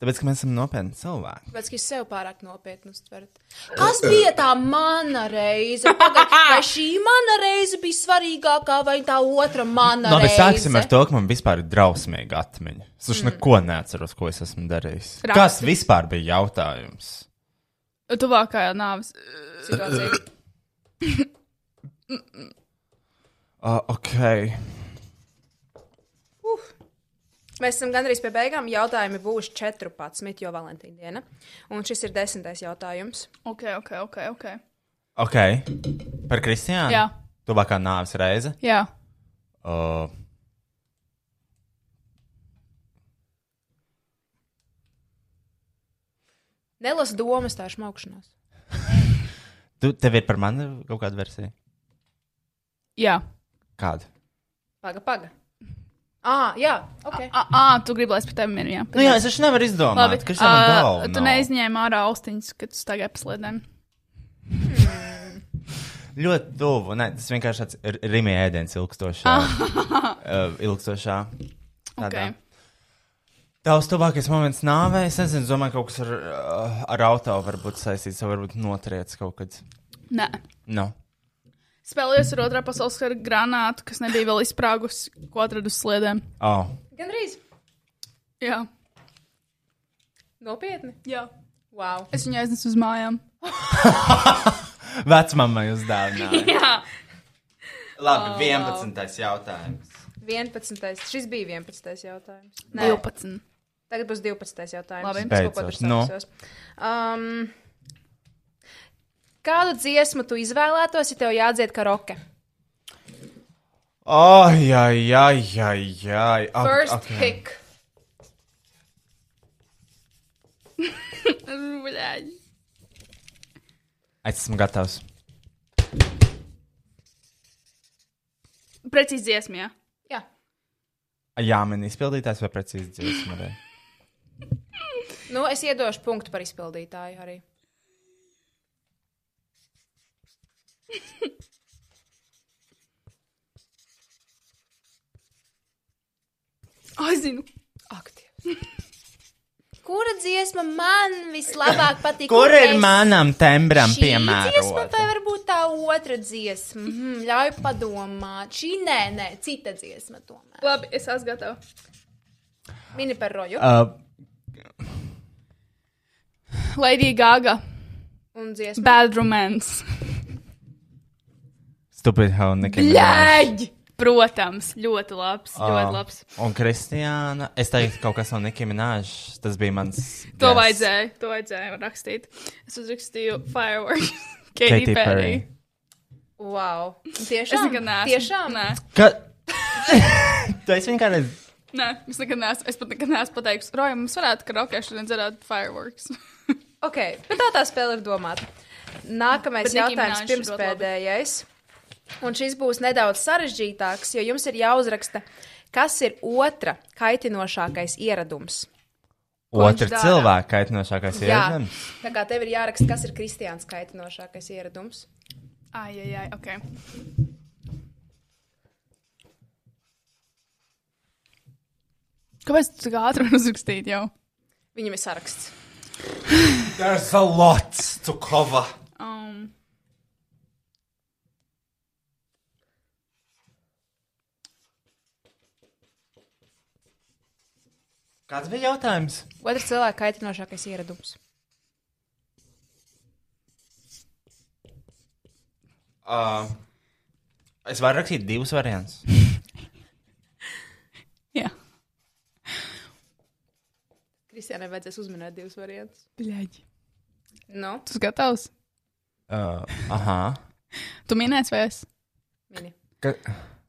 [SPEAKER 2] Tāpēc, ka mēs esam nopietni cilvēki.
[SPEAKER 4] Tāpēc, ka jūs sev pārāk nopietni uztverat. Kas bija tā mana reize? Pagaid, vai šī mana reize bija svarīgākā vai tā otra mana
[SPEAKER 2] Labi,
[SPEAKER 4] reize?
[SPEAKER 2] sāksim ar to, ka man vispār ir drausmīga atmiņa. Es taču mm. neko neatceros, ko es esmu darījis.
[SPEAKER 5] Raksti.
[SPEAKER 2] Kas vispār bija jautājums?
[SPEAKER 5] tuvākajā nāves.
[SPEAKER 4] situāciju.
[SPEAKER 2] Uh, ok.
[SPEAKER 4] Mēs esam gandrīz pie beigām. Jautājumi būs 14, jo Valentīna diena. Un šis ir desmitais jautājums.
[SPEAKER 5] Ok, ok, ok. okay.
[SPEAKER 2] Ok. Par Kristiānu?
[SPEAKER 5] Jā.
[SPEAKER 2] Tuvākā nāves reize.
[SPEAKER 5] Jā,
[SPEAKER 2] Uh,
[SPEAKER 4] Nelas domas tā šmaukšanās.
[SPEAKER 2] tu, tev ir par mani kaut kāda versija?
[SPEAKER 5] jā.
[SPEAKER 2] Kāda?
[SPEAKER 4] Paga, paga. Ah, jā, ok.
[SPEAKER 5] Ā, ā, tu gribi, lai es par tevi minēju. Jā,
[SPEAKER 2] Nu, jā, es taču nevaru
[SPEAKER 5] Labi,
[SPEAKER 2] izdomāt, kas ir
[SPEAKER 5] ā,
[SPEAKER 2] manā
[SPEAKER 5] tu neizņēmi ārā austiņas, kad tu staigāji pa sliedēm.
[SPEAKER 2] Ļoti tuvu. Nē, tas vienkārši tāds ir rimija ēdiens ilgstošā. [LAUGHS] uh, ilgstošā. tādā.
[SPEAKER 5] Ah. Ok.
[SPEAKER 2] Tavs tuvākais moments nāvē, es nezinu, es domāju, kaut kas ar, uh, ar auto varbūt saistīts, vai varbūt notriec kaut kad.
[SPEAKER 5] Nē.
[SPEAKER 2] Nu,
[SPEAKER 5] Spēlējos ar otrā pasaules kara grāmatu, kas nebija vēl izsprāgusi, ko atradu uz sliedēm.
[SPEAKER 2] oh.
[SPEAKER 4] Gan drīz.
[SPEAKER 5] Jā,
[SPEAKER 4] Nopietni.
[SPEAKER 5] jā.
[SPEAKER 4] Wow.
[SPEAKER 5] Es viņu aiznesu uz mājām.
[SPEAKER 2] vecmāmai uzdāvināja.
[SPEAKER 5] [LAUGHS] Jā, Oh,
[SPEAKER 2] Labi, 11. jautājums.
[SPEAKER 4] 11. Šis bija 11. jautājums. Nē,
[SPEAKER 5] 12.
[SPEAKER 4] Tagad būs 12. jautājums.
[SPEAKER 5] Labi.
[SPEAKER 4] Es kaut ko
[SPEAKER 2] Beidzot,
[SPEAKER 4] tur sauksos. Um, Kādu dziesmu tu izvēlētos, ja tev jādzied karaoke?
[SPEAKER 2] Ai, ai, ai, ai, ai. Ak,
[SPEAKER 4] First
[SPEAKER 2] ak,
[SPEAKER 4] okay. pick.
[SPEAKER 5] Bļaļ.
[SPEAKER 2] Esmu gatavs.
[SPEAKER 5] Precīzi dziesmā. jā.
[SPEAKER 4] Jā,
[SPEAKER 2] Jā, man izpildītājs vai precīzi dziesma. vai?
[SPEAKER 4] nu es iedošu punktu par izpildītāju arī.
[SPEAKER 5] Ai, zinu.
[SPEAKER 4] Aktīvi. Kura dziesma man vislabāk patīk?
[SPEAKER 2] Kur ir
[SPEAKER 4] es-
[SPEAKER 2] manam tembram
[SPEAKER 4] Šī dziesma vai
[SPEAKER 2] piemērota?
[SPEAKER 4] varbūt tā otra dziesma? Mhm, ļauj padomāt. Šī nē, nē, cita dziesma tomēr.
[SPEAKER 5] Labi, es esmu gatava.
[SPEAKER 4] Mini par roju
[SPEAKER 2] Uh,
[SPEAKER 5] Lady Gaga,
[SPEAKER 4] un dziesmu.
[SPEAKER 5] Bad Romance.
[SPEAKER 2] Stupid how Nicki Minaj.
[SPEAKER 5] Bļaļ! Protams, ļoti labs.
[SPEAKER 2] Ā,
[SPEAKER 5] Ļoti labs.
[SPEAKER 2] Un Kristiāna, es teiktu, kaut kas no Nikiem Nāžas, tas bija mans.
[SPEAKER 5] To
[SPEAKER 2] guess.
[SPEAKER 5] vajadzēja, to vajadzēja man rakstīt. Es uzrakstīju Fireworks. [LAUGHS] Katy
[SPEAKER 2] Katy
[SPEAKER 5] Perry.
[SPEAKER 2] Perry.
[SPEAKER 4] Wow.
[SPEAKER 5] Es
[SPEAKER 4] Tiešām,
[SPEAKER 5] nekad neesmu.
[SPEAKER 4] tiešām.
[SPEAKER 5] Nē,
[SPEAKER 2] Ka... [LAUGHS] tu esi vienkārši.
[SPEAKER 5] nē, es nekad neesmu. Es pat nekad neesmu pateikusi, Roja, mums varētu karaokē šodien dzirdēt Fireworks. [LAUGHS]
[SPEAKER 4] Ok, bet tā tā spēle ir domāta. Nākamais
[SPEAKER 5] Bet Nicki
[SPEAKER 4] jautājums,
[SPEAKER 5] Minaj šķirot
[SPEAKER 4] pirmspēdējais. Un šis būs nedaudz sarežģītāks, jo jums ir jāuzraksta, kas ir otra kaitinošākais ieradums.
[SPEAKER 5] Ko viņš
[SPEAKER 2] Otra
[SPEAKER 5] dara?
[SPEAKER 2] cilvēka kaitinošākais
[SPEAKER 4] Jā,
[SPEAKER 2] ieradums.
[SPEAKER 4] tā kā tev ir jāraksta, kas ir Kristiāns kaitinošākais ieradums.
[SPEAKER 5] Ai, ai, ai, ok. Kāpēc tu tā kā ātri [LAUGHS] vari uzrakstīt jau?
[SPEAKER 4] Viņam ir saraksts.
[SPEAKER 2] There's a lot to cover.
[SPEAKER 5] Um.
[SPEAKER 2] Kāds bija jautājums?
[SPEAKER 4] Otrs cilvēks kaitinošākais ieradums.
[SPEAKER 2] Uh, es varu rakstīt divus variantus.
[SPEAKER 5] Jā.
[SPEAKER 4] Kristiānai vajadzēs uzminēt divus variantus.
[SPEAKER 5] Bļaģi.
[SPEAKER 4] Nu,
[SPEAKER 5] Tu esi gatavs?
[SPEAKER 2] Uh, aha.
[SPEAKER 5] Tu minēsi vai es?
[SPEAKER 4] mini.
[SPEAKER 2] Ka...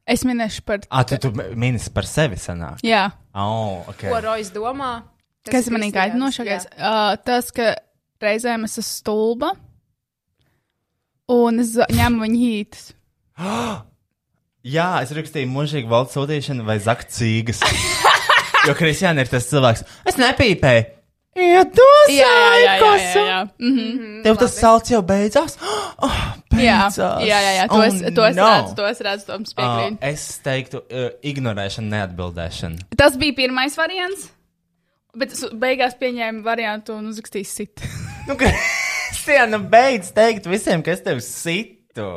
[SPEAKER 5] Es minēšu par.
[SPEAKER 2] Ah, tu, tu minēsi par sevi senāk.
[SPEAKER 5] Jā.
[SPEAKER 2] Oh, okay.
[SPEAKER 4] Ko Rojas domā?
[SPEAKER 5] Kas
[SPEAKER 4] ir
[SPEAKER 5] manī
[SPEAKER 4] Kristiāns?
[SPEAKER 5] kaitinošākais?
[SPEAKER 4] Jā.
[SPEAKER 5] Uh, tas, ka reizēm es esmu stulba un es za- ņemu viņu hītus.
[SPEAKER 2] Jā, es rakstīju mūžīgi valsts sūtīšanu vai
[SPEAKER 5] [LAUGHS]
[SPEAKER 2] zakcīgas. jo Kristiāna ir tas cilvēks. Es nepīpēju. Iedos!
[SPEAKER 5] Jā, jā, jā. jā, jā, jā. Mm -hmm.
[SPEAKER 2] Tev tas salts jau beidzās? [GASPS] Oh,
[SPEAKER 5] jā,
[SPEAKER 2] beidzās.
[SPEAKER 5] jā, jā, jā. To es, to es redzu, to es redzu,
[SPEAKER 2] Uh,
[SPEAKER 5] Toms piekrīt.
[SPEAKER 2] es teiktu, uh, ignorēšana, neatbildēšana.
[SPEAKER 5] Tas bija pirmais variants. Bet es beigās pieņēmu variantu un uzrakstīju sit.
[SPEAKER 2] Nu, [LAUGHS] Kristiāna, beidz teikt visiem, kas tev situ.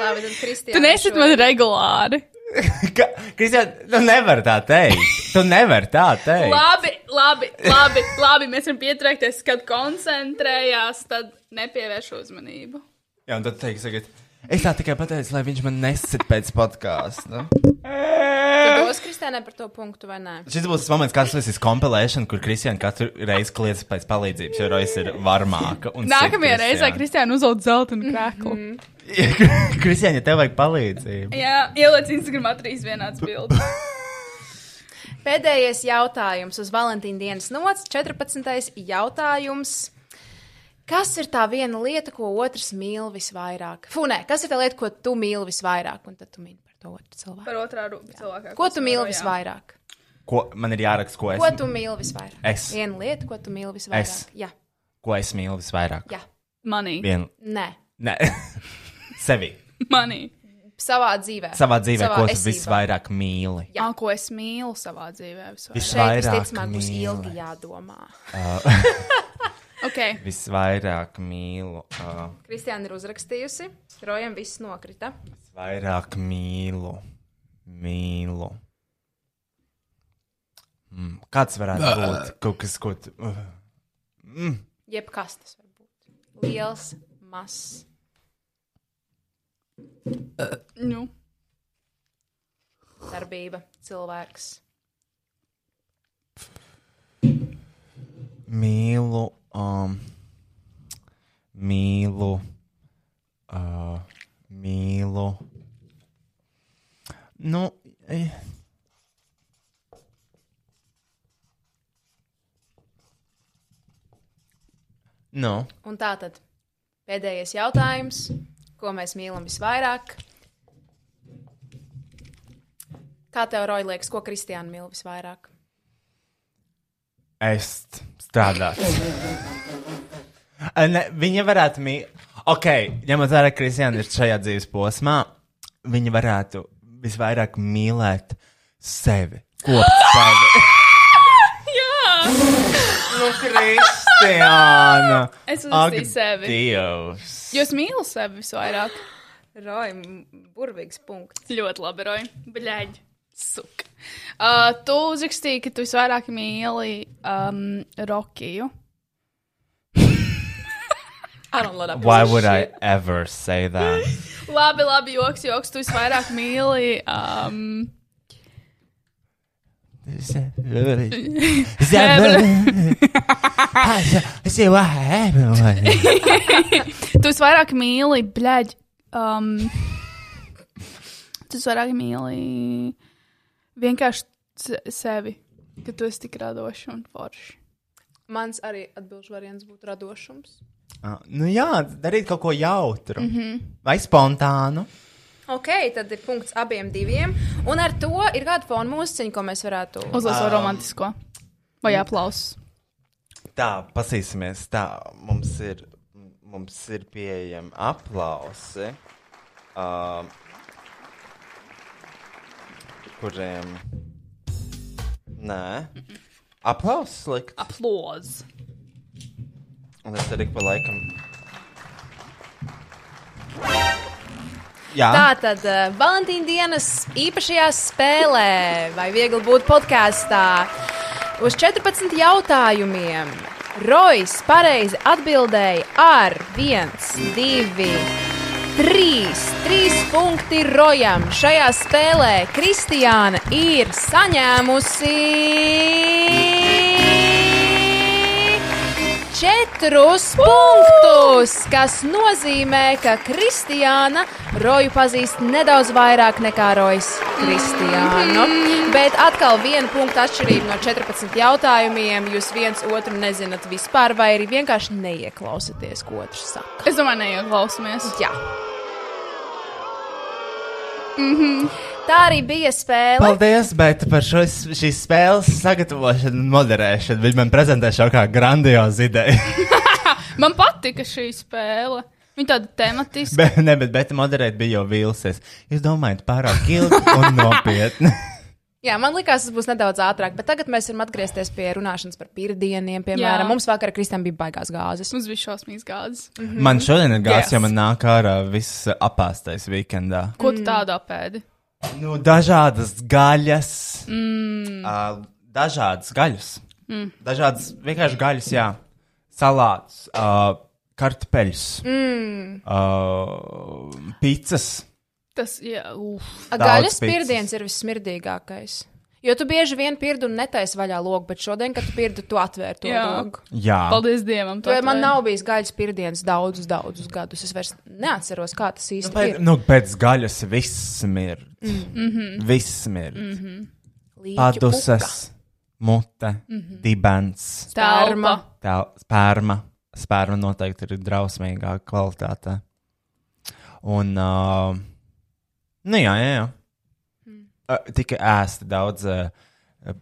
[SPEAKER 4] Labi, tad Kristiāna.
[SPEAKER 5] Tu nesit man regulāri.
[SPEAKER 2] Ka- Kristiāna, tu nevari tā teikt. Tu nevari tā teikt.
[SPEAKER 5] Labi, labi, labi, labi. Mēs varam pietraukties, kad koncentrējās, tad nepievērš uzmanību.
[SPEAKER 2] Jā, un tad teiks, tagad. Es tā tikai pateicu, lai viņš man nesit pēc podkāsta. Nu.
[SPEAKER 4] Tu dos Kristiānai par to punktu vai nē?
[SPEAKER 2] Šis būs tas moments, kad tas ir kompilēšana, kur Kristiāna katru reizi kliedz pēc palīdzības, jo Rojas ir varmāka. un
[SPEAKER 5] Nākamajā
[SPEAKER 2] sit
[SPEAKER 5] reizē
[SPEAKER 2] Kristiānu.
[SPEAKER 5] Kristiāna uzvelk zelta
[SPEAKER 4] Mhm.
[SPEAKER 5] un krāklu. Mm -hmm.
[SPEAKER 2] Kristiāna, ja tev vajag palīdzību.
[SPEAKER 5] Jā, ieliec Instagramā trīs vienādas bildes.
[SPEAKER 4] Pēdējais jautājums uz Valentīna dienas nots, 14. jautājums. Kas ir tā viena lieta, ko otrs mīl visvairāk? Funē, kas ir tā lieta, ko tu mīli visvairāk? Un tad tu mini par to otru cilvēku.
[SPEAKER 5] Par otrā rūpju cilvēku.
[SPEAKER 4] Ko tu mīli visvairāk?
[SPEAKER 2] Ko man ir jāraksta, ko es,
[SPEAKER 4] Ko tu mīli visvairāk?
[SPEAKER 2] Es.
[SPEAKER 4] Viena lieta, ko tu mīli visvairāk.
[SPEAKER 2] Es.
[SPEAKER 4] Jā,
[SPEAKER 2] ko es mīlu visvairāk?
[SPEAKER 4] jā,
[SPEAKER 5] Manī.
[SPEAKER 2] Vien...
[SPEAKER 4] nē.
[SPEAKER 2] Nē, [LAUGHS] sevi.
[SPEAKER 5] Manī.
[SPEAKER 4] Savā dzīvē.
[SPEAKER 2] Savā dzīvē,
[SPEAKER 4] Savā
[SPEAKER 2] ko tu
[SPEAKER 4] esībā.
[SPEAKER 2] visvairāk mīli.
[SPEAKER 4] Jā.
[SPEAKER 5] Jā, ko es mīlu savā dzīvē. Visvairāk.
[SPEAKER 2] Viss-
[SPEAKER 4] Šeit
[SPEAKER 2] Vairāk
[SPEAKER 4] visticamāk būs ilgi
[SPEAKER 2] mīlēt.
[SPEAKER 4] jādomā.
[SPEAKER 5] Ok,
[SPEAKER 2] Visvairāk mīlu. Uh,
[SPEAKER 4] Kristiāna ir uzrakstījusi, Rojam viss nokrita.
[SPEAKER 2] visvairāk mīlu. Mīlu. Mm, Kāds varētu būt kaut kas, ko tu. Uh.
[SPEAKER 4] Jebkas tas var būt. Liels, mazs.
[SPEAKER 5] nu.
[SPEAKER 4] darbība, cilvēks.
[SPEAKER 2] Mīlu. Um, mīlu. Uh, mīlu. Nu. eh. Nu.
[SPEAKER 4] Un tā tad pēdējais jautājums, ko mēs mīlam visvairāk. Kā tev, Roja, liekas, ko Kristiāna mīl visvairāk?
[SPEAKER 2] Es strādāju. ne, viņa varētu mīlēt, ok, ņemot vērā, ka Kristiāna ir šajā dzīves posmā, viņa varētu visvairāk mīlēt sevi. Kopt sevi. Jā! Nu, Kristiāna!
[SPEAKER 5] Es
[SPEAKER 2] Ak,
[SPEAKER 5] uzrakstīju sevi.
[SPEAKER 2] Dievs!
[SPEAKER 5] Jo es mīlu sevi visvairāk.
[SPEAKER 4] Roja, burvīgs punkts.
[SPEAKER 5] Ļoti labi, Roja. Bļaigi. Suk. Uh, tu uzrakstīji, ka tu visvairāk mīli um, Rokiju.
[SPEAKER 4] Ar un Lorā.
[SPEAKER 2] Why would I ever say that?
[SPEAKER 5] Labi, labi, joks, joks. Tu visvairāk mīli. Um, tu visvairāk mīli, blēģ. Um, tu visvairāk mīli vienkārši se- sevi, ka tu esi tik radošs un foršs.
[SPEAKER 4] Mans arī atbildīgs variants būtu radošums.
[SPEAKER 2] Ah, Nu jā, darīt kaut ko jautru vai spontānu.
[SPEAKER 4] Ok, tad ir punkts abiem diviem. Un ar to ir kāda fona mūziķa, ko mēs varētu.
[SPEAKER 5] Uzlasu um, romantisko. Vai aplausus.
[SPEAKER 2] Tā, pasīsimies. Tā, mums ir, mums ir pieejami aplausi, uh, kuriem. Nē, aplausi slikti.
[SPEAKER 5] Aplausus.
[SPEAKER 2] Un es arī pa laikam. Jā,
[SPEAKER 4] Tā tad uh, Valentīna dienas īpašajā spēlē, vai viegli būt podkāstā, uz 14 jautājumiem. Rojas pareizi atbildēja ar 1, 2, 3. 3 punkti Rojam. Šajā spēlē Kristiāna ir saņēmusi četrus punktus, kas nozīmē, ka Kristiāna roju pazīst nedaudz vairāk nekā rojas Kristiānu. Bet atkal viena punkta atšķirība no 14 jautājumiem. Jūs viens otru nezināt vispār, vai arī vienkārši neieklausāties, ko otrs saka.
[SPEAKER 5] Es domāju, neieklausāmies.
[SPEAKER 4] Jā. Tā arī bija spēle.
[SPEAKER 2] paldies, bet par šo, šīs spēles sagatavošanu un moderēšanu viņi man prezentē šo kā grandiozu ideju. [LAUGHS]
[SPEAKER 5] Man patika šī spēle. Viņa tāda tematiska.
[SPEAKER 2] Bet, ne, bet, bet moderēt bija jau vilsies. Jūs domājat, pārāk ilgi [LAUGHS] un nopietni.
[SPEAKER 4] Jā, man liekas, tas būs nedaudz ātrāk, bet tagad mēs varam atgriezties pie runāšanas par pirmdieniem. Piemēram,
[SPEAKER 5] Jā.
[SPEAKER 4] mums vakarā Kristēnam bija baigās gāzes.
[SPEAKER 5] Mums bija šausmīgs gāzes.
[SPEAKER 2] man šodien ir gājis,
[SPEAKER 5] Yes.
[SPEAKER 2] yes. jo man nāk ārā viss apāstais weekendā.
[SPEAKER 5] Ko tu tādā pēdi?
[SPEAKER 2] Nu, dažādas gaļas. Mm. Uh, dažādas gaļas. Mm. Dažādas vienkārši gaļas, jā. Salāts, uh, kartupeļus, mm. uh, pizzas.
[SPEAKER 5] Tas, jā, uf.
[SPEAKER 2] Daudz
[SPEAKER 4] Gaļas
[SPEAKER 2] pizzas.
[SPEAKER 4] pirdiens ir vissmirdīgākais. Jo tu bieži vien pirdi un netaisi vaļā loku, bet šodien, kad tu pirdi, tu atvēri to
[SPEAKER 5] Jā.
[SPEAKER 4] loku.
[SPEAKER 2] Jā,
[SPEAKER 5] Paldies Dievam.
[SPEAKER 4] Jo man nav bijis gaļas pirdiens daudzus, daudzus gadus. Es vairs neatceros, kā tas
[SPEAKER 2] Nu,
[SPEAKER 4] īsti
[SPEAKER 2] pēc,
[SPEAKER 4] ir.
[SPEAKER 2] nu, pēc gaļas viss mird. Mm -hmm. Viss mird. Mm -hmm.
[SPEAKER 4] Līķu
[SPEAKER 2] Padusas, mute, mm -hmm. dibens,
[SPEAKER 5] telpa.
[SPEAKER 4] Sperma.
[SPEAKER 2] tel- sperma. Sperma noteikti ir drausmīgāka kvalitāte. Un, uh, nu jā, jā, jā. Uh, tika ēsta daudz uh,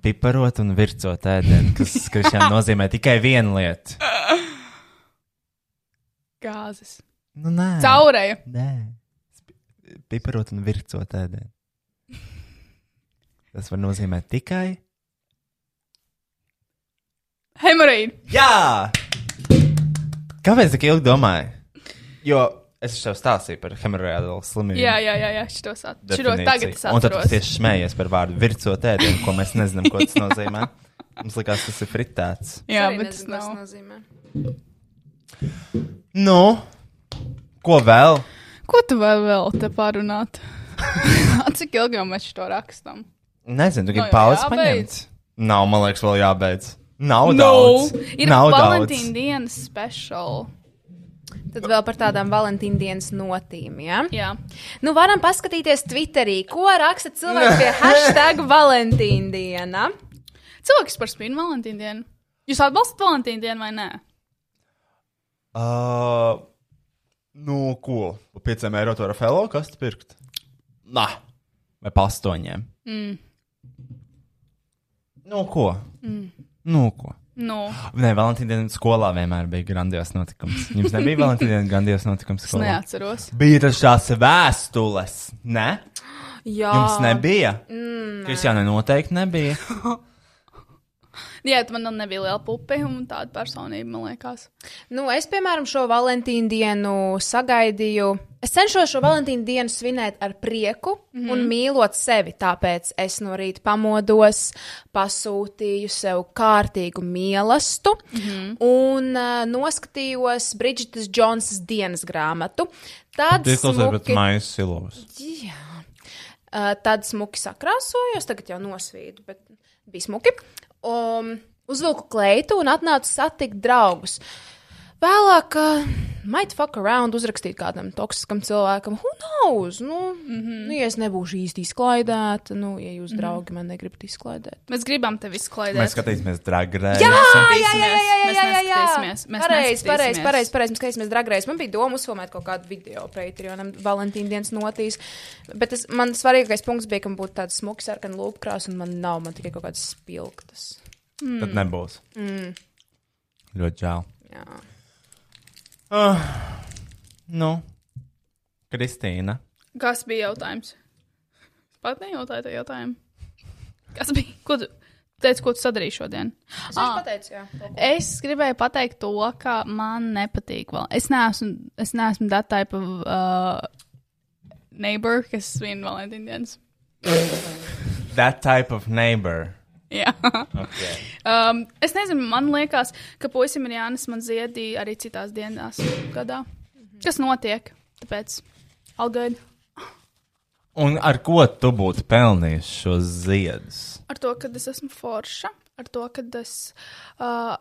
[SPEAKER 2] piparot un vircot ēdienu, kas krišām nozīmē tikai vienu lietu.
[SPEAKER 5] Gāzes.
[SPEAKER 2] Nu, nē.
[SPEAKER 5] Caurēja.
[SPEAKER 2] Nē. Sp- Piparot un vircot ēdienu. Tas var nozīmēt tikai.
[SPEAKER 5] Hemorīna.
[SPEAKER 2] Jā! Kāpēc tik ilgi domāju? Jo es jau stāstīju par hemorāģiju slimību.
[SPEAKER 5] Jā, jā, jā, jā šitos at... šito
[SPEAKER 2] definīciju.
[SPEAKER 5] tagad es
[SPEAKER 2] Un tad tu
[SPEAKER 5] atceros.
[SPEAKER 2] tieši smējies par vārdu vircot ēdienu, ko mēs nezinām, ko tas nozīmē. Mums likās, tas ir fritēts.
[SPEAKER 5] Jā,
[SPEAKER 4] Arī
[SPEAKER 5] bet tas
[SPEAKER 4] nezinu, ko
[SPEAKER 5] nav.
[SPEAKER 4] nozīmē.
[SPEAKER 2] Nu, ko vēl?
[SPEAKER 5] Ko tu vēl, vēl te pārunāt? [LAUGHS] Cik ilgi jau mēs to rakstām?
[SPEAKER 2] Nezinu,
[SPEAKER 5] Nu,
[SPEAKER 2] gribi
[SPEAKER 5] jau
[SPEAKER 2] pauzi
[SPEAKER 5] jābeidz.
[SPEAKER 2] paņemt. Nav, man liekas, vēl jābeidz. Nav
[SPEAKER 5] Nu,
[SPEAKER 2] daudz.
[SPEAKER 5] Ir
[SPEAKER 2] Nav
[SPEAKER 5] Valentīna dienas special.
[SPEAKER 4] Tad vēl par tādām Valentīna dienas notīm. Ja?
[SPEAKER 5] Jā,
[SPEAKER 4] Nu, varam paskatīties Twitterī, ko raksta cilvēks pie hashtag Valentīna diena.
[SPEAKER 5] cilvēks par spīnu Valentīna dienu. Jūs atbalstat Valentīna dienu vai nē?
[SPEAKER 2] Uh, nu, ko? Par 5 eiro to Rafaelo kastu pirkt? Nē, vai par 8? Mm. Nu, ko? Mm. Nu, ko?
[SPEAKER 5] Nu,
[SPEAKER 2] Nē, Valentīna dienas skolā vienmēr bija grandios notikums. Jums [LAUGHS] nebija Valentīna dienas grandios notikums
[SPEAKER 5] es
[SPEAKER 2] skolā?
[SPEAKER 5] neatceros.
[SPEAKER 2] Bija tas šās vēstules, ne? Ah.
[SPEAKER 4] Jā,
[SPEAKER 2] [LAUGHS] Jums nebija? Mm, Kristiāna noteikti nebija.
[SPEAKER 5] Jā, tad man vēl nebija liela pupe un tāda personība, man liekas.
[SPEAKER 4] Nu, es, piemēram, šo Valentīnu dienu sagaidīju. Es cenšos šo Valentīnu dienu svinēt ar prieku mm -hmm. un mīlot sevi. Tāpēc es no rīta pamodos, pasūtīju sev kārtīgu mīlestību mm -hmm. un uh, noskatījos Bridžitas Džonsas dienas grāmatu. Tad
[SPEAKER 2] Tas klausās pēc
[SPEAKER 4] smuki-
[SPEAKER 2] mājas silovas.
[SPEAKER 4] Jā. Uh, tad smuki sakrāsojos, tagad jau nosvīdu, bet bija smuki. Um, uzvilku kleitu un atnācu satikt draugus. Vēlāk, uh, might fuck around, uzrakstīt kādam toksiskam cilvēkam, who knows? Nu, mm -hmm. nu, ja es nebūšu īsti izklaidēta, nu, ja jūs, draugi, man negribat izklaidēt.
[SPEAKER 5] Mēs gribam tevi izklaidēt.
[SPEAKER 2] Mēs skatīsimies dragrēju.
[SPEAKER 4] jā, jā, jā, jā, jā, jā, jā.
[SPEAKER 5] neskatīsimies, mēs
[SPEAKER 4] Pareizi, pareizi,
[SPEAKER 5] neskatīsimies.
[SPEAKER 4] pareizi, pareizi. Mēs skatāmies dragrēs. Man bija doma uzfilmēt kaut kādu video Patreonam, Valentīna dienas notīs. Bet tas, man svarīgākais punkts bija, ka man būtu tāds smuks, sarkans lūpkrās, un man nav, man tikai kaut kādas spilgtas.
[SPEAKER 2] Tad nebūs. Ļoti žēl.
[SPEAKER 4] Jā.
[SPEAKER 2] Ah, Nu, Kristīna.
[SPEAKER 5] Kas bija jautājums? Es pat nejautāju to jautājumu. Kas bija? Ko tu teici, ko tu sadarīji šodien? Ah.
[SPEAKER 4] Es jau pateicu, jā.
[SPEAKER 5] Es gribēju pateikt to, ka man nepatīk. Val- Es neesmu, es neesmu that type of uh, neighbor, kas svin Valentīna dienas.
[SPEAKER 2] That type of neighbor.
[SPEAKER 5] [LAUGHS] Jā. um, es nezinu, man liekas, ka puisim ir jānes man ziedī arī citās dienās gadā. Kas notiek? Tāpēc algaidi
[SPEAKER 2] Un ar ko tu būtu pelnījis šos ziedus?
[SPEAKER 5] ar to, ka es esmu forša, ar to, ka es. Uh,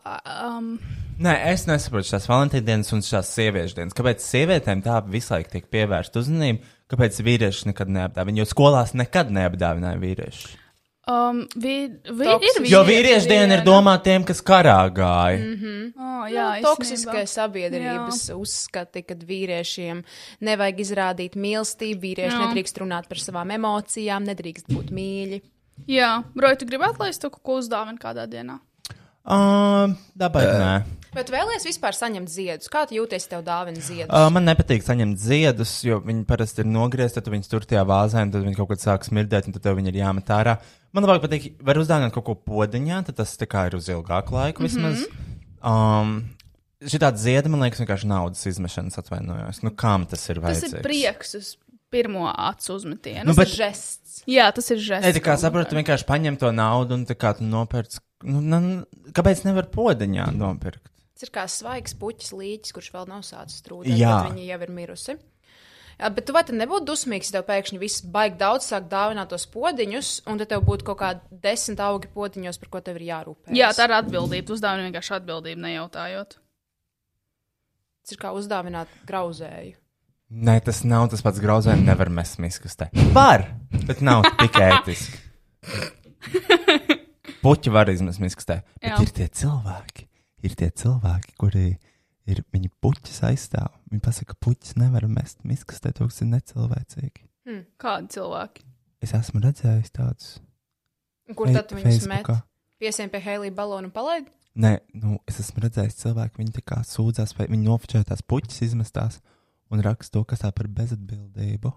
[SPEAKER 5] um,
[SPEAKER 2] Nē, es nesaprotu šīs Valentīna dienas un šīs sieviešu dienas. Kāpēc sievietēm tā visu laiku tiek pievērsta uzmanība? Kāpēc vīrieši nekad neapdāvināja? Jo skolās nekad neapdāvināja vīrieši.
[SPEAKER 5] um, vi, vi, ir
[SPEAKER 4] Toksiski.
[SPEAKER 5] vīriešu
[SPEAKER 2] Jo vīriešu diena ir
[SPEAKER 5] diena.
[SPEAKER 2] domāta tiem, kas karā gāja. Mm -hmm.
[SPEAKER 5] Oh, jā,
[SPEAKER 4] Nu, Toksiskai sabiedrības jā. uzskati, kad vīriešiem nevajag izrādīt mīlestību, vīrieši jā.
[SPEAKER 5] Jā.
[SPEAKER 4] nedrīkst runāt par savām emocijām, nedrīkst būt mīļi.
[SPEAKER 5] Jā, Roja, tu gribētu, lai es tev kaut ko uzdāvinu kādā dienā?
[SPEAKER 2] uh, Dabai, nē.
[SPEAKER 4] Bet vēlēs vispār saņemt ziedus. Kā tu jūties, ja tev dāvina ziedus?
[SPEAKER 2] Uh, man nepatīk saņemt ziedus, jo viņi parasti ir nogriezti, tad viņi tur tajā vāzē, un tad viņi kaut kad sāk smirdēt, un tad tev viņi ir jāmet ārā. Man labāk patīk, var uzdāvināt kaut ko podiņā, tad tas tā kā ir uz ilgāku laiku vismaz. Um, Šī tāda zieda, man liekas, vienkārši naudas izmešanas atvainojos. Nu, kam tas ir
[SPEAKER 5] Tas
[SPEAKER 2] vajadzīgs?
[SPEAKER 5] ir prieks uz pirmo acu uzmetienu.
[SPEAKER 2] Nu,
[SPEAKER 4] Tas
[SPEAKER 2] bet-
[SPEAKER 4] ir žests.
[SPEAKER 5] Jā, tas ir žēl.
[SPEAKER 2] Es tā kā saprotu, vienkārši paņem to naudu un tā kā tu nopērc. Nu, na, kāpēc nevar podiņā nopirkt?
[SPEAKER 4] Tas ir kā svaigs puķis, līķis, kurš vēl nav sācis strūkt.
[SPEAKER 2] Jā.
[SPEAKER 4] Viņa jau ir mirusi. Jā, bet tu vai tad nebūtu dusmīgs, ja tev pēkšņi viss baigi daudz sāk dāvināt tos podziņus, un tad tev būtu kaut kādi desmit augi podziņos, par ko tev ir jārūpējas?
[SPEAKER 5] Jā, tā ir atbildība. Uzdāvināt vienkārši atbildību, nejautājot.
[SPEAKER 4] Tas ir kā uzdāvināt grauzēju.
[SPEAKER 2] Nē, tas nav tas pats grauzējums, nevar mest miskastē. Var, bet nav tik ētiski.
[SPEAKER 4] [LAUGHS]
[SPEAKER 2] Puķi var izmest miskastē. Bet
[SPEAKER 5] Jā.
[SPEAKER 2] ir tie cilvēki, ir tie cilvēki, kuri ir viņu puķis aizstāv. Viņi pasaka, ka puķis nevar mest miskastē, tas ir necilvēcīgi.
[SPEAKER 5] Kādi cilvēki?
[SPEAKER 2] Es esmu redzējis tādus.
[SPEAKER 4] Un Kur
[SPEAKER 2] Fe-
[SPEAKER 4] tad tu viņus met?
[SPEAKER 2] Facebookā.
[SPEAKER 4] Piesien pie Helija balonu un palaid?
[SPEAKER 2] Nē, nu, es esmu redzējis cilvēku, viņi tā kā sūdzās, vai viņi nofočē tās puķis izmestās un raksta to, kas tā par bezatbildību.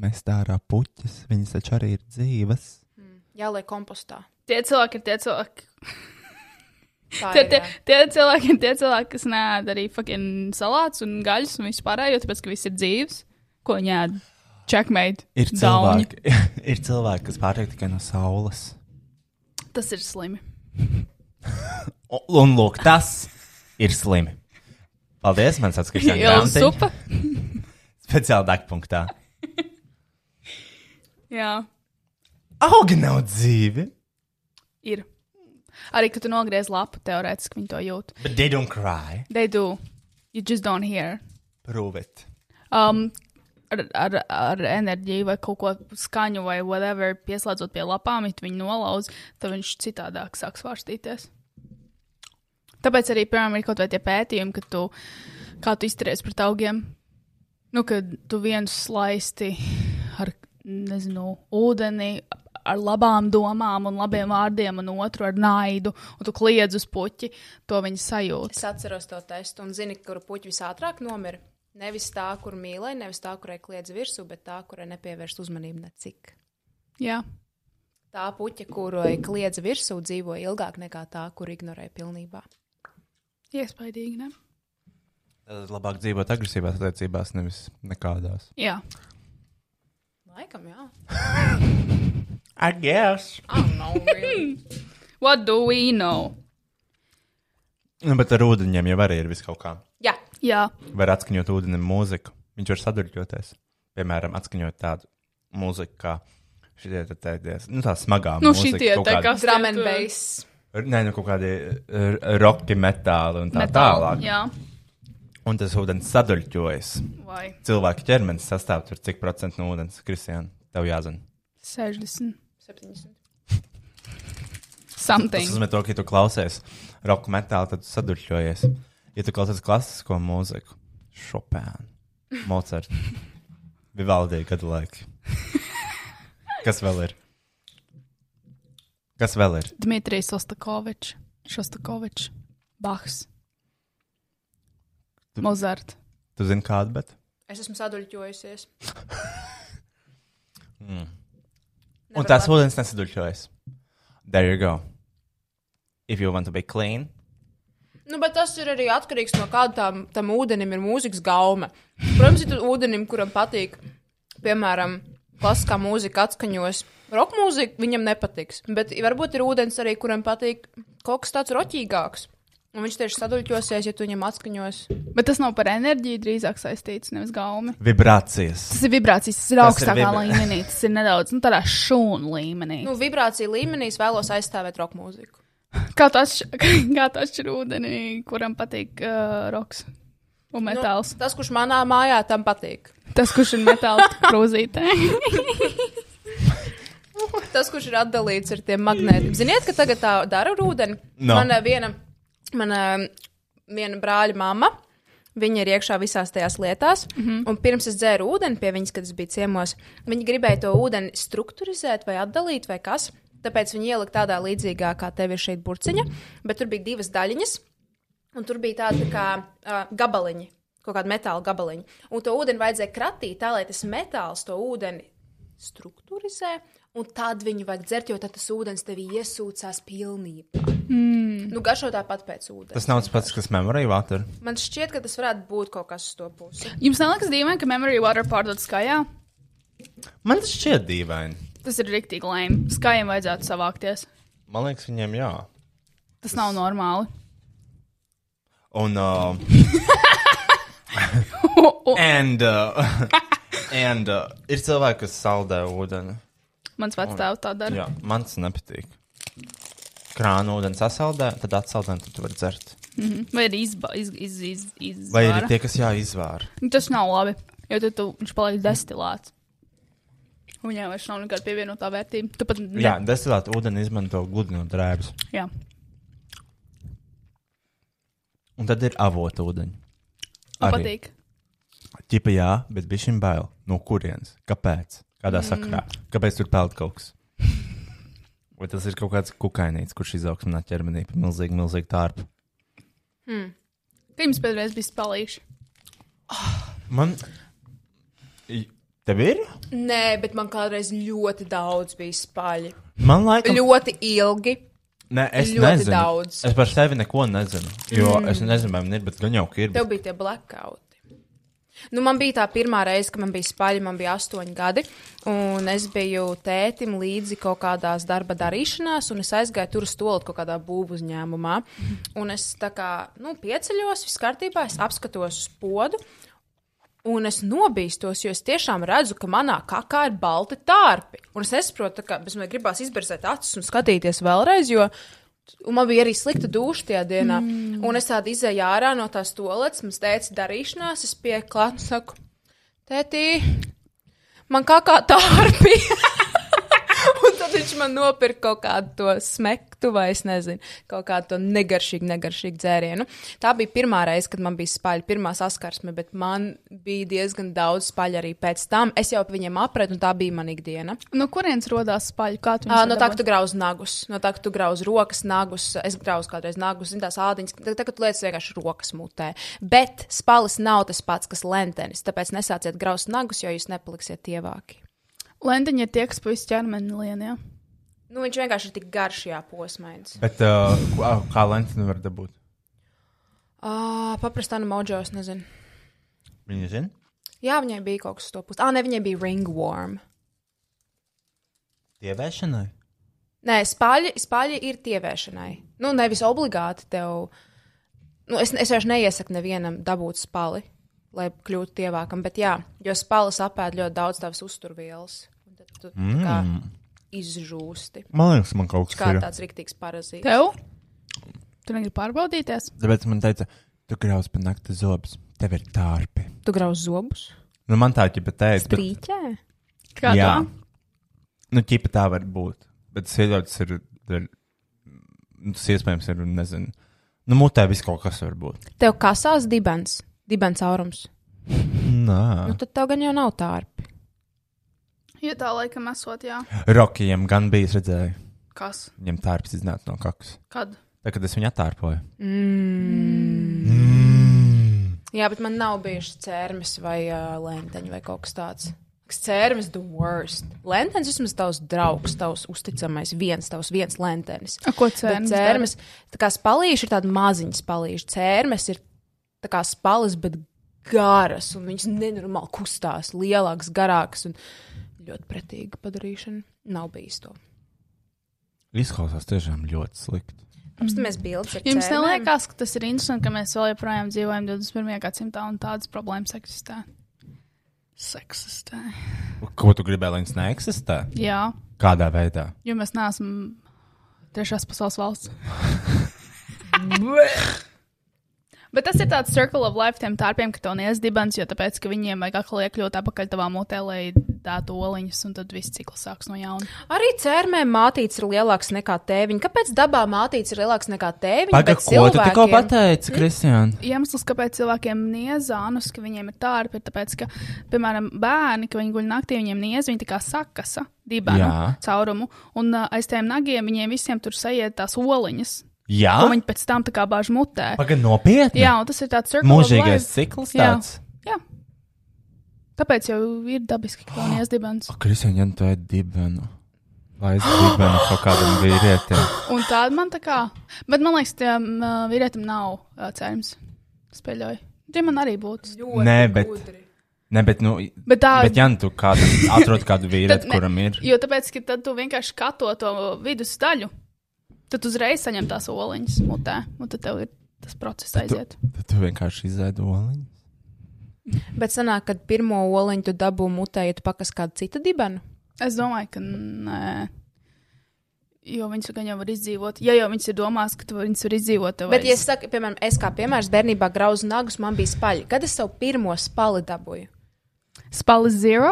[SPEAKER 2] Mest ārā puķis, viņas taču arī ir dzīves.
[SPEAKER 4] Jā, lai kompostā.
[SPEAKER 5] Tie cilvēki ir tie cilvēki.
[SPEAKER 4] Tā
[SPEAKER 5] Tie,
[SPEAKER 4] ir,
[SPEAKER 5] tie,
[SPEAKER 4] jā.
[SPEAKER 5] tie cilvēki ir tie cilvēki, kas nē, arī fucking salāts un gaļas un vispārējo, tāpēc ka viss ir dzīves. Ko viņi ēd? Checkmate.
[SPEAKER 2] Ir
[SPEAKER 5] Dauni.
[SPEAKER 2] cilvēki, [LAUGHS] ir cilvēki kas pārtiek tikai no saules.
[SPEAKER 5] Tas ir slimi.
[SPEAKER 2] O, un lūk, tas ir slimi. Paldies, man sacīja, ka
[SPEAKER 5] Jau supa.
[SPEAKER 2] Speciāli dakpunktā.
[SPEAKER 5] Jā,
[SPEAKER 2] Augi nav dzīvi,
[SPEAKER 5] ir. Arī, kad tu nogriez lapu, teorētiski viņi to jūt.
[SPEAKER 2] bet they don't cry.
[SPEAKER 5] They do. You just don't hear.
[SPEAKER 2] Prove it.
[SPEAKER 5] Um, ar, ar, ar enerģiju vai kaut ko skaņu vai whatever, pieslēdzot pie lapām, ja tu viņu nolauz, tad viņš citādāk sāk svārstīties. Tāpēc arī, piemēram, ir kaut vai tie pētījumi, ka tu, kā tu izturies pret augiem. Nu, kad tu vienu slaisti ar, nezinu, ūdeni, ar labām domām un labiem vārdiem, un otru ar naidu, un tu kliedz uz puķi, to viņi sajūt.
[SPEAKER 4] Es atceros to testu un zinu, kuru puķi visātrāk nomira. Nevis tā, kur mīlēja, nevis tā, kurai kliedz virsū, bet tā, kurai nepievērst uzmanību necik.
[SPEAKER 5] Jā,
[SPEAKER 4] Tā puķa, kurai kliedz virsū, dzīvoja ilgāk nekā tā, kur ignorēja pilnībā.
[SPEAKER 5] Iespaidīgi, ne?
[SPEAKER 2] Tad labāk dzīvot agresīvās attiecībās, nevis nekādās.
[SPEAKER 5] Jā.
[SPEAKER 4] Laikam, jā.
[SPEAKER 2] I guess.
[SPEAKER 4] Ah, [LAUGHS] nav really.
[SPEAKER 5] What do we know?
[SPEAKER 2] Nu, bet ar ūdeņiem jau arī ir vis kaut kā.
[SPEAKER 4] jā.
[SPEAKER 5] Jā,
[SPEAKER 2] Var atskaņot ūdenim mūziku. Viņš var sadurķoties. Piemēram, atskaņot tādu mūziku, kā šitie te tēties. Nu, tā smagā
[SPEAKER 5] nu
[SPEAKER 2] mūzika.
[SPEAKER 5] šitie
[SPEAKER 2] kaut
[SPEAKER 5] tā
[SPEAKER 2] kāda-
[SPEAKER 5] kā
[SPEAKER 4] Drum and bass.
[SPEAKER 2] Nē, nu kaut kādi eh, roki, metāli un tā
[SPEAKER 5] Metāli.
[SPEAKER 2] tālāk.
[SPEAKER 5] Jā,
[SPEAKER 2] Un tas ūdens sadurķojas.
[SPEAKER 5] vai
[SPEAKER 2] Cilvēka ķermenis sastāv tur cik procentu no ūdens, Kristiāna. Tev jāzina.
[SPEAKER 5] 60.
[SPEAKER 4] 70.
[SPEAKER 2] Tas
[SPEAKER 5] Something.
[SPEAKER 2] nozīmē, to, ka, ja tu klausies roka metālu, tad tu sadurķojies. Ja tu klausies klasisko mūziku, Chopin, Mozart, Vivaldi gadu laiku. Kas vēl ir? Kas vēl ir?
[SPEAKER 5] Dmitrijs Ostakovičs, Šostakovičs, Bahs,
[SPEAKER 2] Tu-
[SPEAKER 5] Mozart.
[SPEAKER 2] Tu zini kādu, bet.
[SPEAKER 4] Es esmu saduļķojusies.
[SPEAKER 2] Mm. Un tās ūdens nesadurķojas. There you go. If you want to be clean,
[SPEAKER 4] Nu, bet tas ir arī atkarīgs no kāda tam, tam ūdenim ir mūzikas gauma. Protams, ir tur ūdenim, kuram patīk, piemēram, klasiskā mūzika atskaņos. Roka mūzika viņam nepatiks. Bet varbūt ir ūdens arī, kuram patīk kaut kas tāds roķīgāks. Un viņš tieši saduļķosies, ja tu viņam atskaņos.
[SPEAKER 5] Bet tas nav par enerģiju, drīzāk saistīts nevis gaumi.
[SPEAKER 2] vibrācijas.
[SPEAKER 5] Tas ir vibrācijas, tas ir
[SPEAKER 2] Tas ir
[SPEAKER 5] augstākā
[SPEAKER 2] vibra-
[SPEAKER 5] līmenī, tas ir nedaudz nu, tādā šūnu līmenī.
[SPEAKER 4] Nu, vibrācija līmenī es vēlos aizstāvēt roka mūziku.
[SPEAKER 5] [LAUGHS] Kā tas atšķiras ūdenī, kuram patīk uh, roks un metāls?
[SPEAKER 4] Nu, tas, kurš manā mājā tam patīk.
[SPEAKER 5] Nu. Tas, kurš ir metāls [LAUGHS] krūzītē.
[SPEAKER 4] Tas, kurš ir atdalīts ar tiem magnētiem. Ziniet, ka tagad tā dara ar ūdeni.
[SPEAKER 2] No.
[SPEAKER 4] Mana viena, mana, viena brāļa mamma. Viņa ir iekšā visās tajās lietās. Mm -hmm. Un pirms es dzēru ūdeni pie viņas, kad es biju ciemos, viņa gribēja to ūdeni struktūrizēt vai atdalīt vai kas. Tāpēc viņa ielika tādā līdzīgā, kā tev ir šeit burciņa, bet tur bija divas daļiņas. Un tur bija tādi tā kā uh, gabaliņi, kaut kāda metāla gabaliņi. Un to ūdeni vajadzēja kratīt tā, lai tas metāls to ūdeni struktūrizē. Un tad viņu vajag dzert, jo tad tas ūdens tev iesūcās pilnībā. Mm. Nu, garšo tāpat pēc ūdens.
[SPEAKER 2] Tas nav tas pats, kas memory water.
[SPEAKER 4] Man šķiet, ka tas varētu būt kaut kas uz to pusi.
[SPEAKER 5] Jums neliekas dīvaini, ka Memory Water pārdod skaļā?
[SPEAKER 2] Man tas šķiet dīvaini.
[SPEAKER 5] Tas ir rīktīgi lēmumi. Skaļiem vajadzētu savākties.
[SPEAKER 2] Man liekas, viņiem jā.
[SPEAKER 5] Tas nav normāli.
[SPEAKER 2] Un. Uh,
[SPEAKER 5] U-
[SPEAKER 2] And, uh, [LAUGHS] and uh, ir cilvēki, kas saldē ūdeni.
[SPEAKER 5] Mans vecāks tā dara.
[SPEAKER 2] Jā, man tas nepatīk. Krāna ūdeni sasaldē, tad atsaldē, un tad tu vari dzert.
[SPEAKER 5] Vai ir izba, iz, iz, iz, iz,
[SPEAKER 2] Vai ir tie, kas jāizvāra?
[SPEAKER 5] Tas nav labi, jo tad tu, viņš paliek destilēts. Un Viņai vairs nav nekāda pievienotā vērtība. Tu pat ne-
[SPEAKER 2] Jā, destilēt ūdeni izmanto gludinot drēbes.
[SPEAKER 5] jā.
[SPEAKER 2] Un tad ir avota ūdeņi.
[SPEAKER 5] Man
[SPEAKER 2] Arī.
[SPEAKER 5] patīk.
[SPEAKER 2] Ķipa jā, bet bija šim bail. No kurienes? Kāpēc? Kādā mm. sakrā? Kāpēc tur peld kaut kas? Vai tas ir kaut kāds kukainīts, kurš izaugs manā ķermenī pa milzīgu, milzīgu tārpu?
[SPEAKER 5] Kad jums pēdējais bija spēlīši?
[SPEAKER 2] Man. I- Tev ir?
[SPEAKER 4] Nē, bet man kādreiz ļoti daudz bija spaļi.
[SPEAKER 2] Man liekas,
[SPEAKER 4] Ļoti ilgi.
[SPEAKER 2] Nē, es
[SPEAKER 4] Ļoti
[SPEAKER 2] nezinu.
[SPEAKER 4] daudz.
[SPEAKER 2] Es par sevi neko nezinu. Jo mm. es nezinu, vai man ir, bet gan jau ka ir.
[SPEAKER 4] Tev bija tie blackouti. Nu, man bija tā pirmā reize, kad man bija spaļi, man bija astoņi gadi. Un es biju tētim līdzi kaut kādās darba darīšanās, un es aizgāju tur uz stūlīt kaut kādā būvniecības uzņēmumā. Un es tā kā nu, pieceļos, viss kārtībā, es apskatos uz podu. Un es nobīstos, jo es tiešām redzu, ka manā kakā ir balti tārpi. Un es nesaprotu, ka man gribās izberzēt acis un skatīties vēlreiz, jo un man bija arī slikta duša tajā dienā. Mm. Un es tādu izēju ārā no tās toaletes, man teica, darīšanās, es pieklātu un saku, tētī, man kakā tārpi. [LAUGHS] Un tad viņš man nopirka kaut kādu to smektu, vai es nezinu, kaut kādu to negaršīgu, negaršīgu dzērienu. Tā bija pirmā reize, kad man bija spaļa, pirmā saskarsme, bet man bija diezgan daudz spaļa arī pēc tam. Es jau pie viņiem apredu, un tā bija mana ikdiena.
[SPEAKER 5] No kurienes rodās spaļi? Kā tu
[SPEAKER 4] Ā,
[SPEAKER 5] viņus
[SPEAKER 4] No tā, ka
[SPEAKER 5] dabūji?
[SPEAKER 4] tu grauzi nagus, no tā, ka tu grauzi rokas, nagus. Es grauzu kādreiz nagus, zini, tās ādiņas. Tā, tā, ka tu liec vienkārši rokas mutē. Bet spalis nav tas pats, kas lentenis. Tāpēc nesāciet grauzt nagus, jo jūs nepaliksiet tievāki.
[SPEAKER 5] Lendiņi ir tie, kas pa visu ķermeni lien, jā.
[SPEAKER 4] Nu, viņš vienkārši ir tik garš, jā, posmains.
[SPEAKER 6] Bet uh, kā, kā lenti nevar dabūt?
[SPEAKER 4] Ah, paprastā no maudžos, nezinu.
[SPEAKER 2] Viņa zina?
[SPEAKER 4] Jā, viņai bija kaut kas uz to pusi. Ah, ne, viņai bija ringworm.
[SPEAKER 2] Tievēršanai?
[SPEAKER 4] Nē, spāļi, spāļi ir tievēršanai. Nu, nevis obligāti tev. Nu, es, es vienkārši neiesaku nevienam dabūt spāli, lai kļūtu tievākam. Bet jā, jo spālis apēd ļoti daudz tavas uzturvielas. Un tad tu mm. kā izžūsti.
[SPEAKER 6] Man liekas, man kaut
[SPEAKER 4] Viņš
[SPEAKER 6] kas
[SPEAKER 4] Kā
[SPEAKER 6] ir.
[SPEAKER 4] tāds rīktīgs parazīts.
[SPEAKER 3] Tev? Tu negribi pārbaudīties?
[SPEAKER 6] Tāpēc man teica, tu grauz pa nakti zobus, tev ir tārpi.
[SPEAKER 4] Tu grauž zobus?
[SPEAKER 6] Nu, man tā ķipa teica, bet,
[SPEAKER 4] Trīķē?
[SPEAKER 3] Kā
[SPEAKER 6] jā,
[SPEAKER 3] tā?
[SPEAKER 6] nu, ķipa tā var būt. Bet sieviete ir, ir, nu, tas iespējams ir, nezinu, nu, mutē viss kaut kas var būt.
[SPEAKER 4] Tev kasās dibens, dibens caurums.
[SPEAKER 6] Nā,
[SPEAKER 4] Nu, tad tev gan jau nav tārpi.
[SPEAKER 5] Ja tā laikam esot, jā.
[SPEAKER 6] Rokijam gan bija, es redzēju,
[SPEAKER 5] Kas?
[SPEAKER 6] viņam tārps iznāca no kakas.
[SPEAKER 5] Kad?
[SPEAKER 6] Tā, kad es viņu attārpoju.
[SPEAKER 4] Jā, bet man nav bijušas cērmes vai uh, lenteņi vai kaut kas tāds. Kas Cērmes the worst. Lentenis vismaz tavs draugs, tavs uzticamais, viens tavs viens lentenis.
[SPEAKER 3] A, ko
[SPEAKER 4] Bet
[SPEAKER 3] cēlies?
[SPEAKER 4] Cērmes, tā kā spalīši ir tāda maziņa spalīša. Cērmes ir tā kā spalis, bet garas, un viņas nenormāli kustās, lielākas, garākas un ļoti pretīga padarīšana. Nav bijis to.
[SPEAKER 6] Izklausās tiešām ļoti slikti.
[SPEAKER 3] Mm.
[SPEAKER 4] Apstamies bildes ar
[SPEAKER 5] Jums
[SPEAKER 4] cērmēm.
[SPEAKER 5] neliekas, ka tas ir interesanti, ka mēs vēl joprojām dzīvojam 21. gadsimtā un tādas problēmas eksistē? Seksistē.
[SPEAKER 6] Ko tu gribēji, lai viņas neeksistē?
[SPEAKER 5] Jā,
[SPEAKER 6] Kādā veidā?
[SPEAKER 5] jo mēs neesam trešās pasaules valsts. Bet tas ir tāds circle of life tiem tārpiem, ka tev neiesdibens, jo tāpēc, ka viņiem vajag atkal iekļūt apakaļ tavā mutē, lai dātu oliņas, un tad viss cikls sāks no jauna.
[SPEAKER 4] Arī cērmēm mātīts ir lielāks nekā tēviņa. Kāpēc dabā mātīts ir lielāks nekā tēviņa?
[SPEAKER 2] Pagaid,
[SPEAKER 4] bet
[SPEAKER 2] ko tu tikko
[SPEAKER 4] cilvēkiem-
[SPEAKER 2] pateici, Kristian?
[SPEAKER 5] iemesls, kāpēc cilvēkiem niezānus, ka viņiem ir tārpi, ir tāpēc, ka, piemēram, bērni, kad viņi guļ naktī, viņiem niez, viņi tā kā sakasa dibenu
[SPEAKER 6] Jā.
[SPEAKER 5] caurumu, un uh, aiz tiem nagiem viņiem visiem tur sajiet tās oliņas,
[SPEAKER 6] Jā,
[SPEAKER 5] ko viņi pēc tam tā kā bāž mutē.
[SPEAKER 6] pagaidi nopietni.
[SPEAKER 5] Jā, un tas ir tāds circle of
[SPEAKER 6] Mūžīgais
[SPEAKER 5] life.
[SPEAKER 6] cikls
[SPEAKER 5] Jā.
[SPEAKER 6] tāds.
[SPEAKER 5] Jā. Tāpēc jau ir dabiski, ka viņi iesdibens.
[SPEAKER 6] Kristian, ja nu tu ēd dibenu, vai es
[SPEAKER 5] [GASPS]
[SPEAKER 6] dibenu kaut kādam vīrietim?
[SPEAKER 5] Un tāda man tā kā, bet man liekas, tiem uh, vīrietim nav uh, cerības. Spēļoju. Tie man arī būtu.
[SPEAKER 6] Nē, bet. Nē, bet, nu,
[SPEAKER 5] Bet tā,
[SPEAKER 6] bet ja nu tu
[SPEAKER 5] [LAUGHS]
[SPEAKER 6] kādam atrod kādu
[SPEAKER 5] Tad
[SPEAKER 6] vīrieti,
[SPEAKER 5] ne-
[SPEAKER 6] kuram ir.
[SPEAKER 5] Jo tāpēc, ka tad tu vienkārši skato to vidus daļu, tad uzreiz saņem tās oliņas mutē, un tad tev ir tas process aiziet.
[SPEAKER 6] Tad tu vienkārši izēdi oliņu.
[SPEAKER 4] Bet sanāk, kad pirmo oliņu tu dabū mutē, ja tu pakas kādu citu dibenu.
[SPEAKER 5] Es domāju, ka nē. Jo viņas gan jau var izdzīvot. Ja jau viņas ir domās, ka tu viņas var izdzīvot, tad
[SPEAKER 4] Bet, ja es saku, piemēram, es kā piemērs bērnībā grauzu nagus, man bija spaļi. Kad es savu pirmo spali dabūju?
[SPEAKER 5] spēlē zero,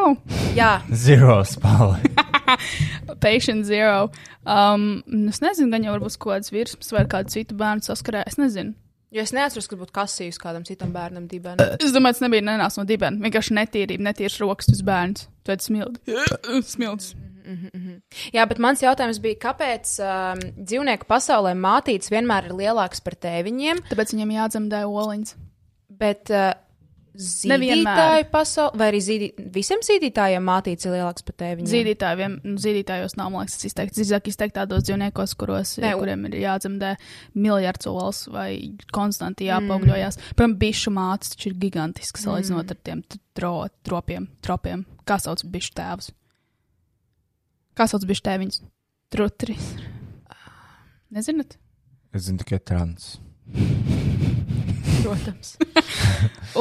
[SPEAKER 4] Jā,
[SPEAKER 6] Zero spāli.
[SPEAKER 5] [LAUGHS] patient zero, um, nu, es nezinu, gan jau varbūt kaut kāds virsmas vai ar kādu citu bērnu saskarē. Es nezinu.
[SPEAKER 4] jo es neatceros, ka būtu kasījis kādam citam bērnam dibenu.
[SPEAKER 5] Es domāju, tas nebija nenāks no dibena. Vienkārši netīrība, netīrs rokas uz bērnu. Tu esi smilts. smilts.
[SPEAKER 4] Jā, bet mans jautājums bija, kāpēc um, dzīvnieku pasaulē mātīts vienmēr ir lielāks par tēviņiem?
[SPEAKER 5] Tāpēc viņam jādzemdē oliņas.
[SPEAKER 4] Bet uh, zīdītāju pasaulē, vai arī zīdī, visiem zīdītājiem mātīts ir lielāks par tēviņu?
[SPEAKER 5] Zīdītāji, vien, nu, zīdītājos nav, man liekas, tas izteikts. Zizāk izteikt tādos dzīvniekos, kuros,
[SPEAKER 4] Ne,
[SPEAKER 5] ne,
[SPEAKER 4] u-
[SPEAKER 5] kuriem ir jādzemdē miljards olas vai konstanti jāpaugļojās. Mm. Piemēram, bišu mātes taču ir gigantisks, salīdzinot mm. ar tiem t- tro, tropiem, tropiem. Kā sauc bišu tēvs? Kā sauc bišu tēviņus? [LAUGHS] Trutris. Nezināt?
[SPEAKER 6] Es zinu tikai trans.
[SPEAKER 5] Protams. [LAUGHS]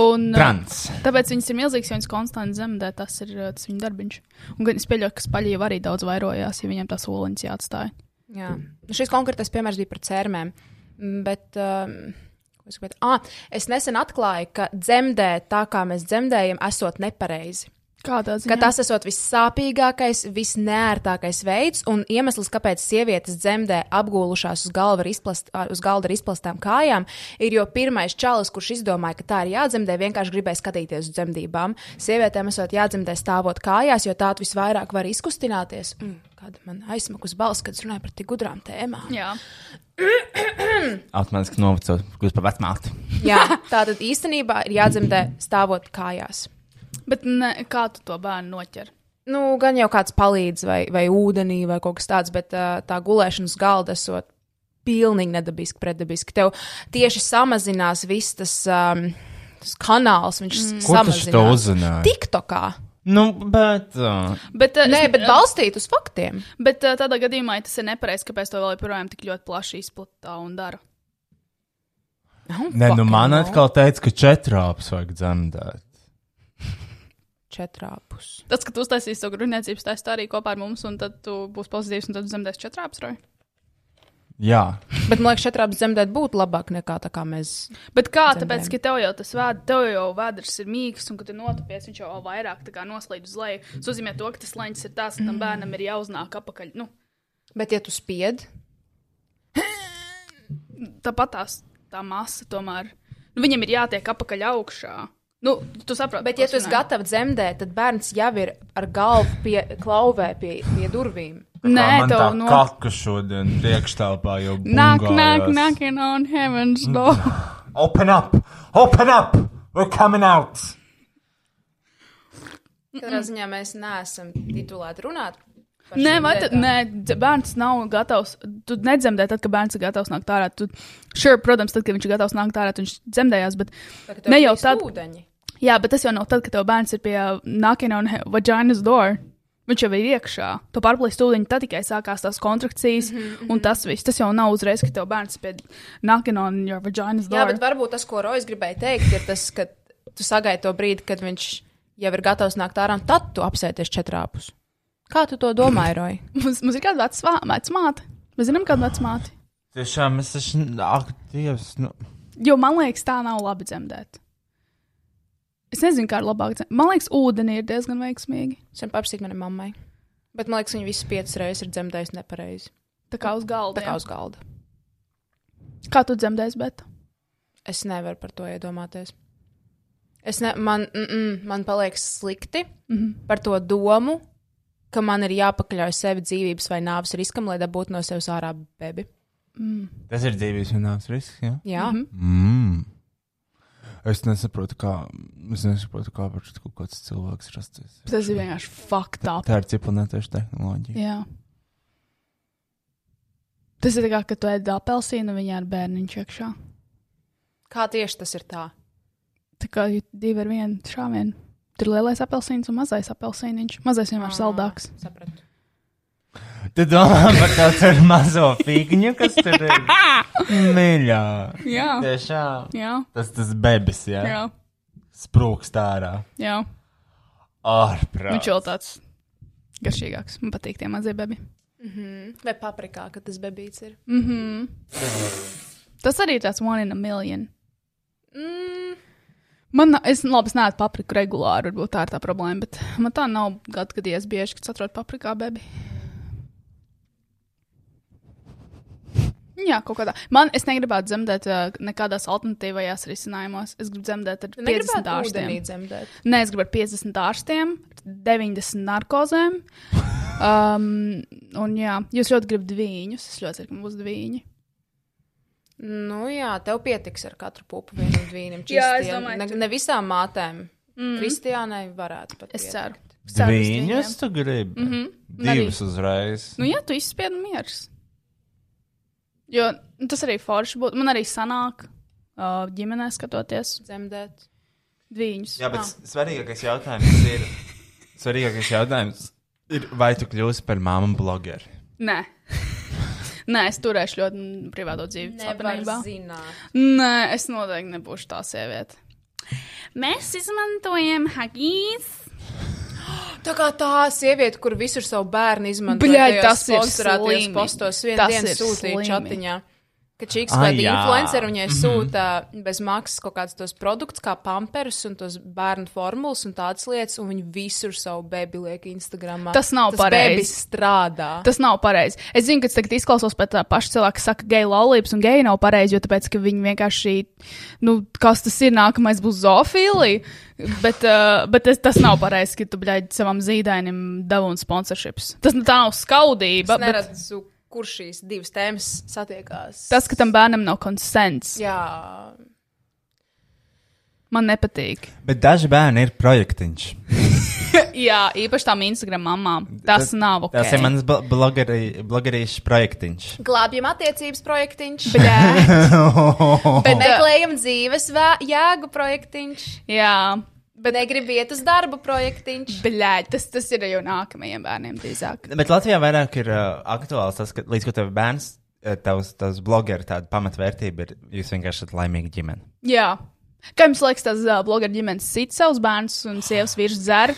[SPEAKER 5] Un, uh,
[SPEAKER 6] Trans.
[SPEAKER 5] Tāpēc viņas ir milzīgas, jo viņas konstanti zemdē. Tas ir uh, tas viņa darbiņš. Un gan es pieļauju, ka spaļi jau arī daudz vairojās, ja viņiem tās oliņas jāatstāja.
[SPEAKER 4] Jā, nu, šis konkrētais piemērs bija par cērmēm. Mm, Bet, um, ko es, gribētu- ah, es nesen atklāju, ka dzemdēt tā, kā mēs dzemdējam, esot nepareizi.
[SPEAKER 5] Kādā
[SPEAKER 4] Ka
[SPEAKER 5] ziņā?
[SPEAKER 4] tas esot vissāpīgākais, visnērtākais veids, un iemesls, kāpēc sievietes dzemdē apgūlušās uz galda ar, izplast, ar- uz galda ar izplastām kājām, ir jo pirmais čalis, kurš izdomāja, ka tā ir jādzemdē, vienkārši gribēja skatīties uz dzemdībām. Sievietēm esot jādzemdē stāvot kājās, jo tā tu visvairāk var izkustināties. Mm, kāda man aizsmakus balss, kad es runāju par tik gudrām tēmām.
[SPEAKER 5] Jā,
[SPEAKER 2] Automātiski novacot, kurš pa vecmāti.
[SPEAKER 4] Jā, tā tad īstenībā ir jādzemdē stāvot kājās.
[SPEAKER 5] bet ne, kā tu to bērnu noķer?
[SPEAKER 4] Nu, gan jau kāds palīdz, vai, vai ūdenī, vai kaut kas tāds, bet uh, tā gulēšanas galda esot pilnīgi nedabiski, pretdabiski. Tev tieši samazinās viss tas, um, tas kanāls, viņš mm.
[SPEAKER 6] Kur tu to
[SPEAKER 4] samazinās.
[SPEAKER 6] uzzināji?
[SPEAKER 4] TikTokā.
[SPEAKER 6] Nu, bet. Uh,
[SPEAKER 5] Bet, uh,
[SPEAKER 4] Nē,
[SPEAKER 5] es-
[SPEAKER 4] bet balstīt uz faktiem.
[SPEAKER 5] bet uh, tādā gadījumā ja tas ir nepareizi, kāpēc to vēl joprojām tik ļoti plaši izplatīta un dara.
[SPEAKER 6] nē, nu man atkal teica, ka četrāps vajag dzemdēt.
[SPEAKER 4] Četrāpus.
[SPEAKER 5] Tas, ka tu uztaisīsi to grūtniecības testu arī kopā ar mums, un tad tu būsi pozitīvs, un tad zemdēs četrāps roju.
[SPEAKER 6] Jā,
[SPEAKER 4] Bet man liekas, četrāpus dzemdēt būtu labāk nekā tā, kā mēs.
[SPEAKER 5] Bet kā?
[SPEAKER 4] Dzemdēm.
[SPEAKER 5] Tāpēc, ka tev jau tas vēd, tev jau vēders ir mīgs, un kad tu notupies, viņš jau vēl vairāk tā kā noslīd uz leju. Tas nozīmē to, ka tas leņķis ir tās, ka tam bērnam ir jāuznāk apakaļ. Nu,
[SPEAKER 4] Bet, ja tu spied,
[SPEAKER 5] tāpat tās tā masa tomēr. Nu, viņam ir jātiek apakaļ augšā. Nu, tu saproti,
[SPEAKER 4] bet,
[SPEAKER 5] ko
[SPEAKER 4] ja
[SPEAKER 5] es
[SPEAKER 4] tu esi
[SPEAKER 5] runāju.
[SPEAKER 4] gatavs dzemdēt, tad bērns jau ir ar galvu pie klauvē, pie, pie durvīm.
[SPEAKER 5] Nē,
[SPEAKER 6] Kā man
[SPEAKER 5] tev
[SPEAKER 6] tā
[SPEAKER 5] no-
[SPEAKER 6] Kaka šodien priekšstāvā jau.
[SPEAKER 5] Nāk, nāk,
[SPEAKER 6] bungājās.
[SPEAKER 5] nāk, in on heavens,
[SPEAKER 6] [LAUGHS]
[SPEAKER 5] no.
[SPEAKER 6] Open up! Open up! We're coming out!
[SPEAKER 4] Katrā ziņā mēs neesam titulēti runāt. par
[SPEAKER 5] Mm. Nē,
[SPEAKER 4] šīm
[SPEAKER 5] vai tad,
[SPEAKER 4] lietām.
[SPEAKER 5] nē, dz- bērns nav gatavs. Tu nedzemdē, tad, kad bērns ir gatavs nākt ārā. Tu, sure, protams, tad, kad viņš ir gatavs nākt ārā, tad viņš dzemdējās. Bet,
[SPEAKER 4] Tagad tev
[SPEAKER 5] ne jau
[SPEAKER 4] trīs
[SPEAKER 5] tad,
[SPEAKER 4] Ūdeņi.
[SPEAKER 5] jā, bet tas jau nav tad, kad tev bērns ir pie knocking on he- vaginas door. Viņš jau ir iekšā. Tu pārplīsi ūdeni, tad tikai sākās tās kontrakcijas, mm
[SPEAKER 4] Mhm,
[SPEAKER 5] -hmm. un tas viss. Tas jau nav uzreiz, kad tev bērns ir pie knocking on your vaginas door.
[SPEAKER 4] Jā, bet varbūt tas, ko Rojas gribēja teikt, ir tas, ka tu sagaidi to brīdi, kad viņš jau ir gatavs nākt ārā, un tad tu apsēties četrāpus. Kā tu to
[SPEAKER 5] [CLEARS THROAT]
[SPEAKER 4] domāji, Roja?
[SPEAKER 5] mums, mums ir kāda vecā vecmāte. Mēs zinām, kāda vecmāte.
[SPEAKER 6] Tiešām es esmu. Ak, Dievs! Nu.
[SPEAKER 5] Jo man liekas, tā nav labi dzemdēt. Es nezinu, kā ir labāk. dzem- Man liekas, ūdeni ir diezgan veiksmīgi.
[SPEAKER 4] Es viņam papsīju manai mammai. Bet man liekas, viņa visas piecas reizes ir dzemdējusi nepareizi.
[SPEAKER 5] Tā kā uz galda.
[SPEAKER 4] Tā kā
[SPEAKER 5] jā.
[SPEAKER 4] uz galda.
[SPEAKER 5] kā tu dzemdēsi, bet
[SPEAKER 4] Es nevaru par to iedomāties. Es ne, man, mm, mm, man paliek slikti mm -hmm. par to domu, ka man ir jāpakaļauj sevi dzīvības vai nāves riskam, lai dabūtu no sevis ārā bebi.
[SPEAKER 5] Mm.
[SPEAKER 6] Tas ir dzīvības un nāves risks. Ja?
[SPEAKER 4] Jā, mm -hmm.
[SPEAKER 6] Mm. Es nesaprotu, kā, es nesaprotu, kā var kaut kāds cilvēks rasties.
[SPEAKER 5] tas ir vienkārši fucked up.
[SPEAKER 6] Tā ir ciprunētieša tehnoloģija.
[SPEAKER 5] Jā. Tas ir tā kā, kad tu ēd apelsīnu, viņa ar bērnu iekšā.
[SPEAKER 4] kā tieši tas ir tā?
[SPEAKER 5] Tā kā ju- divi ar vienu šāvienu. Tur ir lielais apelsīns un mazais apelsīniņš. Mazais vienmēr saldāks.
[SPEAKER 4] Sapratu.
[SPEAKER 6] Tu domā
[SPEAKER 5] [LAUGHS]
[SPEAKER 6] par to tur mazo figņu, kas tur ir mīļā.
[SPEAKER 5] Jā,
[SPEAKER 6] Tiešām.
[SPEAKER 5] jā,
[SPEAKER 6] Tas tas bebis, jā. jā.
[SPEAKER 5] jā.
[SPEAKER 6] Sprūkst ārā.
[SPEAKER 5] jā. Viņš
[SPEAKER 6] Ārprāt.
[SPEAKER 5] jau Nu, tāds garšīgāks. Man patīk tie mazie bebi.
[SPEAKER 4] Vai paprikā, ka tas bebīts ir?
[SPEAKER 5] Mhm. Mm-hmm. Tas arī ir tāds one in a million.
[SPEAKER 4] Mm,
[SPEAKER 5] Man, na- es, labi, es neēdu papriku regulāri, varbūt tā ir tā problēma, bet man tā nav gadgadījies bieži, kad atrodu paprikā bebi. Jā, kaut kādā. Man, es negribētu dzemdēt ā, nekādās alternatīvajās risinājumos. Es gribu dzemdēt ar 50
[SPEAKER 4] Negribētu
[SPEAKER 5] ārstiem.
[SPEAKER 4] ūdenī dzemdēt.
[SPEAKER 5] Nē, es gribu ar 50 ārstiem, 90
[SPEAKER 4] [LAUGHS]
[SPEAKER 5] narkozēm. Um, un jā, jūs ļoti gribat dviņus. Es ļoti ceru, ka mums būs dviņi.
[SPEAKER 4] Nu jā, tev pietiks ar katru pupu vienam [LAUGHS] dvīnim.
[SPEAKER 5] Jā, es
[SPEAKER 4] čistiem.
[SPEAKER 5] domāju,
[SPEAKER 4] Ne,
[SPEAKER 5] tu-
[SPEAKER 4] ne visām mātēm. Mm. Kristiānai varētu pat.
[SPEAKER 5] Es
[SPEAKER 4] pietikt.
[SPEAKER 5] ceru. Es ceru uz Mhm.
[SPEAKER 6] Viņas tu gribi? Mm -hmm. Divas uzreiz.
[SPEAKER 5] Nu, jā, tu izspied mieras. Jo nu, tas arī forši būtu. Man arī sanāk, uh, ģimenē skatoties
[SPEAKER 4] Dzemdēt.
[SPEAKER 5] viņus.
[SPEAKER 6] Jā, bet svarīgākais jautājums [LAUGHS] ir. Svarīgākais jautājums ir, vai tu kļūsi par māmu blogeri?
[SPEAKER 5] Nē. [LAUGHS] Nē, es turēšu ļoti mm, privāto dzīvi.
[SPEAKER 4] Nevar
[SPEAKER 5] slapenībā.
[SPEAKER 4] zināt.
[SPEAKER 5] Nē, es noteikti nebūšu tā sieviete. Mēs izmantojam hagijas.
[SPEAKER 4] Tā kā tā sieviete, kur visur savu bērnu izmanto.
[SPEAKER 5] Bļaļ,
[SPEAKER 4] tajos
[SPEAKER 5] tas ir
[SPEAKER 4] sponsorētajos
[SPEAKER 5] slimi.
[SPEAKER 4] postos vienā
[SPEAKER 5] Tas
[SPEAKER 4] dienā
[SPEAKER 5] ir
[SPEAKER 4] sūtīja
[SPEAKER 5] slimi.
[SPEAKER 4] čatiņā. Ka čīks
[SPEAKER 6] Ai,
[SPEAKER 4] vai
[SPEAKER 6] jā.
[SPEAKER 4] influenceri viņai sūta bez maksas kaut kādus tos produktus, kā pamperus un tos bērnu formulas un tādas lietas, un viņi visur savu bebi liek Instagramā.
[SPEAKER 5] Tas nav pareizi.
[SPEAKER 4] bebis strādā.
[SPEAKER 5] Tas nav pareizi. Es zinu, ka tas tagad izklausās pēc tā paša cilvēka, kas saka, geju laulības un geju nav pareizi, jo tāpēc, ka viņi vienkārši, nu, kas tas ir, nākamais būs zoofīlija. Bet, uh, bet es, tas nav pareizi, ka tu, bļaigi, savam zīdainim devu un sponsorships. Tas nu, tā nav skaudība.
[SPEAKER 4] Es
[SPEAKER 5] bet
[SPEAKER 4] neredzu, kur šīs divas tēmas satiekās.
[SPEAKER 5] Tas, ka tam bērnam nav konsens,
[SPEAKER 4] Jā,
[SPEAKER 5] man nepatīk.
[SPEAKER 6] Bet daži bērni ir projektiņš.
[SPEAKER 5] Jā, īpaši tām Instagram mamām. Tas nav ok.
[SPEAKER 2] Tas ir mans bl- blogeri- blogerīšu projektiņš.
[SPEAKER 4] Glābjam attiecības projektiņš, bet meklējam dzīves vē- jēgu projektiņš,
[SPEAKER 5] Jā,
[SPEAKER 4] bet negribu iet uz darbu projektiņš.
[SPEAKER 5] bļēj, tas, tas ir jau nākamajiem bērniem drīzāk.
[SPEAKER 2] Bet Latvijā vairāk ir uh, aktuāls tas, ka līdz ko tev ir bērns, eh, tavs, tavs blogeri tāda pamatvērtība ir, jūs vienkārši esat laimīga ģimene.
[SPEAKER 5] Jā. Kā jums liekas, tas uh, blogeru ģimenes sit savus bērnus un sievas vīrs dzer?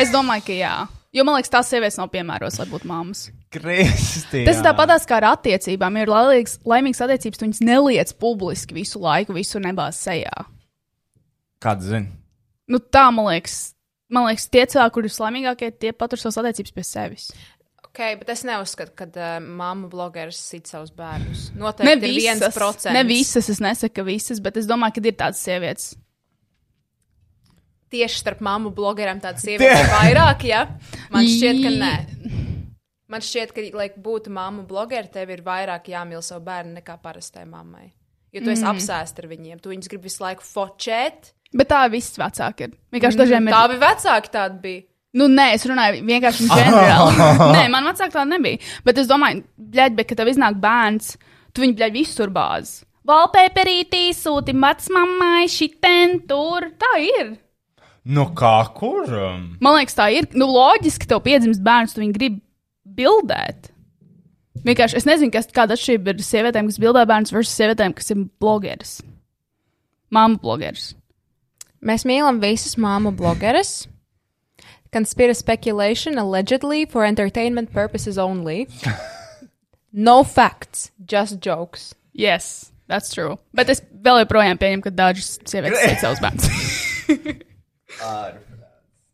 [SPEAKER 5] es domāju, ka jā. Jo man liekas, tās sievietes nav piemērotas, lai būtu mammas.
[SPEAKER 2] Kristi!
[SPEAKER 5] Tas ir tāpatās kā ar attiecībām. Ir laimīgs, laimīgs attiecības, tu viņus neliec publiski visu laiku, visu nebāz sejā.
[SPEAKER 6] Kāds zina?
[SPEAKER 5] Nu, tā man liekas. Man liekas, tie cilvēki, kuriem ir laimīgākie, tie patur savas attiecības pie sevis.
[SPEAKER 4] Ok, bet es neuzskatu, ka uh, mamma blogeris sit savus bērnus.
[SPEAKER 5] Ne
[SPEAKER 4] Noteikti ir viens
[SPEAKER 5] visas,
[SPEAKER 4] procents.
[SPEAKER 5] ne visas, es nesaku, ka visas, bet es domāju, ka ir tādas sievietes.
[SPEAKER 4] Tieši starp mammu blogeriem
[SPEAKER 5] [LAUGHS]
[SPEAKER 4] tādas sievietes ir vairāk, ja? Man šķiet, ka nē. Man šķiet, ka, lai būtu mamma blogeri, tev ir vairāk jāmīl savu bērnu nekā parastai mammai. Jo tu esi mm. apsēsts ar viņiem, tu viņus gribi visu laiku fočēt.
[SPEAKER 5] Bet tā ir visas vecāka. ir. Vienkārši dažiem ir.
[SPEAKER 4] Tā bija vecāka tāda bija.
[SPEAKER 5] Nu, nē, es runāju vienkārši ģenerāli. nē, man vecāki tāda nebija. Bet es domāju, bļaļ, bet, kad tev iznāk bērns, tu viņu bļaļ visur bāzi. Valpēperītī sūti vecmāmai šitien tur. Tā ir.
[SPEAKER 6] Nu, kā
[SPEAKER 2] um?
[SPEAKER 6] kuram?
[SPEAKER 5] Man liekas, tā ir. Nu, loģiski, ka tev piedzimst bērns, tu viņu gribi bildēt. Vienkārši es nezinu, kas kāda atšķirība ir sievietēm, kas bildē bērns versus sievietēm, kas ir blogeris. Māma blogeris.
[SPEAKER 4] Mēs mīlam visas māmu blogeres. Conspira speculation allegedly for entertainment purposes
[SPEAKER 2] [LAUGHS]
[SPEAKER 4] only. No facts, just jokes.
[SPEAKER 5] Yes, that's true. Bet es vēl joprojām pieņemu, ka dažas [LAUGHS] sievietes ir savs bērns.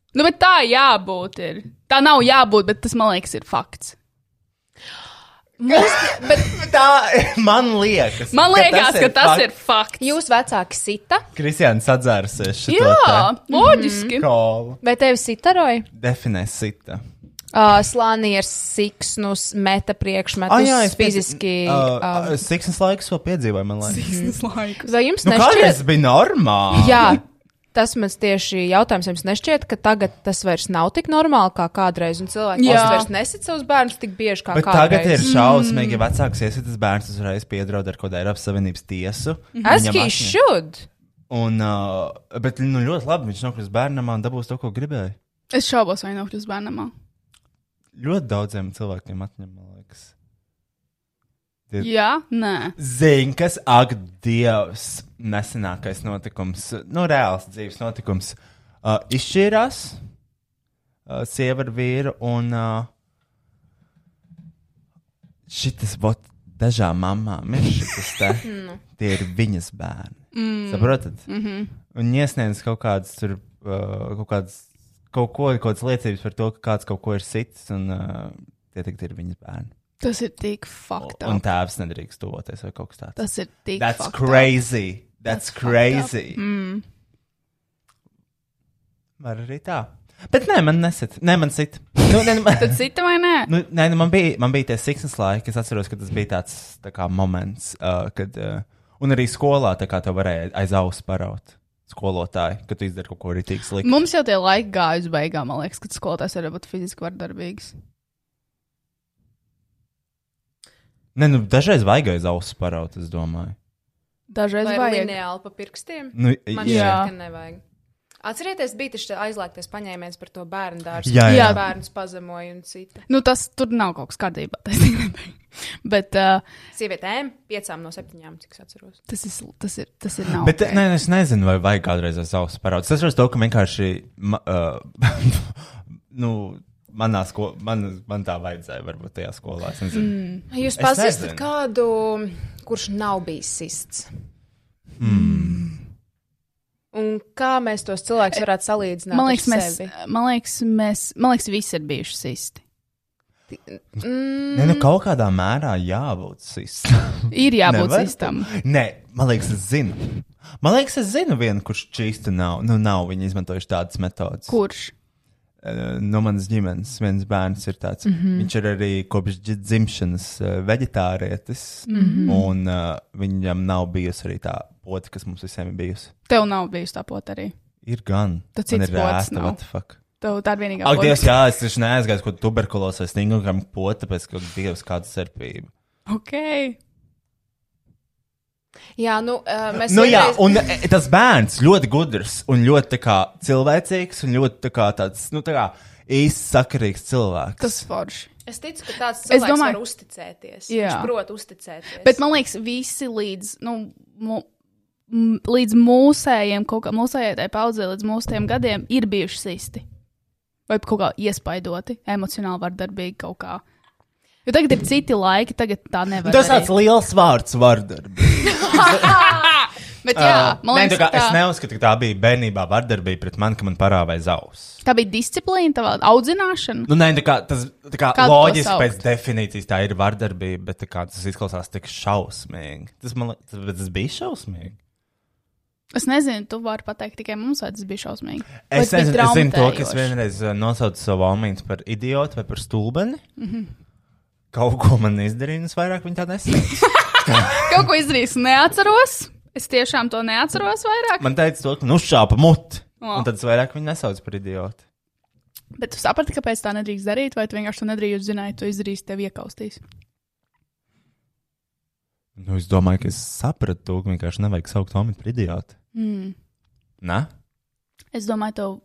[SPEAKER 5] [LAUGHS] nu, bet tā jābūt. Ir. Tā nav jābūt, bet tas man liekas, ir fakts.
[SPEAKER 2] Nu tā, [LAUGHS] man liekas.
[SPEAKER 5] Man liekas, ka tas ir fakts.
[SPEAKER 4] Jūs vecāki sita,
[SPEAKER 2] Kristians atzērsies šito.
[SPEAKER 5] Jā, loģiski. Mm -hmm.
[SPEAKER 2] Kolu.
[SPEAKER 4] vai tevi sitaroja?
[SPEAKER 2] Definē sita.
[SPEAKER 4] Uh, Slānieris, siksnus, nu, meta priekšmetus, oh, jā, fiziski.
[SPEAKER 5] um,
[SPEAKER 4] Uh,
[SPEAKER 2] Uh, Siksnes laiks vēl piedzīvoja, man liekas.
[SPEAKER 5] Tas laiks.
[SPEAKER 4] vai jums
[SPEAKER 2] Nu, kādreiz
[SPEAKER 4] nešķiet?
[SPEAKER 2] bija normāli.
[SPEAKER 4] Jā, tas man tieši jautājums jums nešķiet, ka tagad tas vairs nav tik normāli kā kādreiz, un cilvēki
[SPEAKER 5] Jā.
[SPEAKER 4] vairs nesit savus bērnus tik bieži kā
[SPEAKER 2] Bet
[SPEAKER 4] kādreiz. Mm.
[SPEAKER 2] tagad ir šausmīgi, ja vecāks iesitas bērns uzreiz piedraud ar kaut kādu Eiropas Savienības tiesu.
[SPEAKER 4] As
[SPEAKER 2] Viņam
[SPEAKER 4] he
[SPEAKER 2] atņem.
[SPEAKER 4] should.
[SPEAKER 2] Un, uh, bet nu, ļoti labi viņš nokļūst bērnam un dabūs to, ko gribēja.
[SPEAKER 5] Es šaubos, vai nokļūs bērnam.
[SPEAKER 2] Ļoti daudziem cilvēkiem atņem, man liekas.
[SPEAKER 5] Jā, nē.
[SPEAKER 2] Zini, kas, ak, Dievs, nesenākais notikums, nu, reāls dzīves notikums. Uh, izšķīrās uh, sieva ar vīru, un uh, šis vot dažām mamām ir šis te. Tie ir viņas bērni. Mm. Saprotat? Mm -hmm. Un iesniedz kaut kādas tur, uh, kaut kādas, kaut ko, kaut kādas liecības par to, ka kāds kaut ko ir sits, un uh, tie tagad ir viņas bērni.
[SPEAKER 5] Tas ir tik fakts.
[SPEAKER 2] Un tēvs nedrīkst toties vai kaut kas tāds.
[SPEAKER 5] Tas ir tik
[SPEAKER 2] That's
[SPEAKER 5] fakts.
[SPEAKER 2] crazy. That's, That's crazy. Mm.
[SPEAKER 4] Hmm.
[SPEAKER 2] Var arī tā. Bet nē, man nesit. Nē, man sit. Nu, nē, nu, man,
[SPEAKER 5] Cita vai nē?
[SPEAKER 2] [LAUGHS] nu, nē, nu, man, bija, man bija tie siksnas laiki. Es atceros, ka tas bija tāds tā kā, moments, uh, kad. Uh, un arī skolā tā kā te varēja aiz auss paraut skolotāju, ka tu izdari kaut ko rītīgi sliktu.
[SPEAKER 5] Mums jau tie laiki gāja uz beigām, man liekas, kad skolotājs var būt fiziski vardarbīgs.
[SPEAKER 2] Nē, nu, dažreiz vajag aiz auss paraut, es domāju.
[SPEAKER 5] Dažreiz
[SPEAKER 4] Vai
[SPEAKER 5] vajag.
[SPEAKER 4] lineāli pa pirkstiem?
[SPEAKER 2] Nu,
[SPEAKER 4] Man
[SPEAKER 2] jā.
[SPEAKER 4] šķiet, ka nevajag. Atcerieties, bija tas aizliegtais paņēmiens par to bērnu dārstu.
[SPEAKER 2] Jā, jā.
[SPEAKER 4] jā.
[SPEAKER 5] Jā.
[SPEAKER 4] bērns pazemoja un cita.
[SPEAKER 5] Nu, tas tur nav kaut kas kārtībā. tas tik nebija. Bet uh,
[SPEAKER 4] Sievietēm piecām no septiņām, cik es atceros.
[SPEAKER 5] tas ir. Tas ir, tas ir nav,
[SPEAKER 2] Bet eh, okay.
[SPEAKER 5] okay.
[SPEAKER 2] nē, es nezinu, vai vajag kādreiz aiz auss paraudzīt. Es saprotu, ka vienkārši ma- uh, [LAUGHS] nu, manā skolā, man, man tā vajadzēja, varbūt tajā skolā. Es nezinu. Mm.
[SPEAKER 4] Jūs
[SPEAKER 2] Es
[SPEAKER 4] pazīstat
[SPEAKER 2] nezinu.
[SPEAKER 4] kādu, kurš nav bijis sists. Mm.
[SPEAKER 5] Mm.
[SPEAKER 4] Un kā mēs tos cilvēkus varētu salīdzināt?
[SPEAKER 5] Man liekas,
[SPEAKER 4] ar
[SPEAKER 5] mēs,
[SPEAKER 4] sevi?
[SPEAKER 5] man liekas, mēs, man liekas, visi ir bijuši sisti.
[SPEAKER 4] Mm,
[SPEAKER 2] Nē, nu, kaut kādā mērā jābūt sistēmai.
[SPEAKER 5] Ir jābūt sistam.
[SPEAKER 2] Nē, man liekas, es zinu. Man liekas, es zinu vienu, kurš čīsta nav. Nu, nav viņi izmantojuši tādas metodas.
[SPEAKER 5] Kurš?
[SPEAKER 2] Eh, No manas ģimenes viens bērns ir tāds. Mm
[SPEAKER 5] Mhm.
[SPEAKER 2] -hmm. Viņš ir arī kopš dzi- dzimšanas eh, veģetārietis. Mm
[SPEAKER 5] Mhm.
[SPEAKER 2] -hmm. Un uh, viņam nav bijusi arī tā pota, kas mums visiem ir bijusi.
[SPEAKER 5] Tev nav bijusi tā pota arī.
[SPEAKER 2] Ir gan.
[SPEAKER 5] Tad
[SPEAKER 2] Man
[SPEAKER 5] cits
[SPEAKER 2] ir
[SPEAKER 5] pods
[SPEAKER 2] ēsta,
[SPEAKER 5] nav.
[SPEAKER 2] what the fuck.
[SPEAKER 5] Tev tā ir vienīgā
[SPEAKER 2] Ak,
[SPEAKER 5] forma.
[SPEAKER 2] Dievs, jā, es taču neaizgāju, ko tuberkulos vai stingam pot, tāpēc, ka Dievs kāda serpība.
[SPEAKER 5] Ok.
[SPEAKER 4] Jā, nu, uh, mēs
[SPEAKER 2] Nu jā,
[SPEAKER 4] vienreiz-
[SPEAKER 2] un e, tas bērns ļoti gudrs un ļoti tā kā cilvēcīgs un ļoti tā kā tāds, nu tā kā īsti sakarīgs cilvēks.
[SPEAKER 5] Tas forši.
[SPEAKER 4] Es ticu, ka tāds
[SPEAKER 5] Es
[SPEAKER 4] cilvēks
[SPEAKER 5] domāju-
[SPEAKER 4] domāju... var uzticēties.
[SPEAKER 5] Jā.
[SPEAKER 4] Viņš prot uzticēties.
[SPEAKER 5] Bet man liekas, visi līdz, nu, mu, m, līdz mūsējiem, kaut kā mūsējai paudzē, līdz mūsu tiem gadiem ir bijuši sisti. Vai kaut kā iespaidoti, emocionāli vardarbīgi kaut kā. Jo tagad ir citi laiki, tagad tā nevar.
[SPEAKER 2] Tas
[SPEAKER 5] darīt.
[SPEAKER 2] tāds liels vārds vardarbība.
[SPEAKER 5] Bet jā,
[SPEAKER 2] Ah,
[SPEAKER 5] man
[SPEAKER 2] Nē,
[SPEAKER 5] liekas,
[SPEAKER 2] tā kā
[SPEAKER 5] tā,
[SPEAKER 2] es neuzskatu, ka tā bija bērnībā vardarbība pret mani, ka man parāvēja zaus.
[SPEAKER 5] tā bija disciplīna, tā audzināšana.
[SPEAKER 2] Nu, nē, tā kā, tas, tā kā
[SPEAKER 5] Kā to
[SPEAKER 2] loģiski
[SPEAKER 5] saukt?
[SPEAKER 2] pēc definīcijas tā ir vardarbība, bet tā kā, tas izklausās tik šausmīgi. Tas, man, liek- tas, bet tas bija šausmīgi.
[SPEAKER 5] Es nezinu, tu vari pateikt tikai mums, vai tas bija šausmīgi. Vai
[SPEAKER 2] Es
[SPEAKER 5] tas bija
[SPEAKER 2] nezinu, es zinu to, ka es
[SPEAKER 5] traumatējoši?
[SPEAKER 2] vienreiz eh, nosaucu savu omīnu par idiotu vai par stulbeni. Mm -hmm. Kaut ko man izdarīja, un es vairāk viņa tā nesaucu.
[SPEAKER 5] Kaut ko izdarījis, neatceros. Es tiešām to neatceros vairāk.
[SPEAKER 2] Man teica, to, ka nu šāpa muti.
[SPEAKER 5] O.
[SPEAKER 2] Un tad es vairāk viņu nesaucu par idiotu.
[SPEAKER 5] Bet tu saprati, kāpēc tā nedrīkst darīt, vai tu vienkārši to nedarīji, jo zināji, to izdarīs, tev iekaustīs.
[SPEAKER 2] Nu, es domāju, ka es sapratu to, ka vienkārši nevajag saukt omīnu par idiotu.
[SPEAKER 5] Mm.
[SPEAKER 2] Nē?
[SPEAKER 5] Es domāju, tev.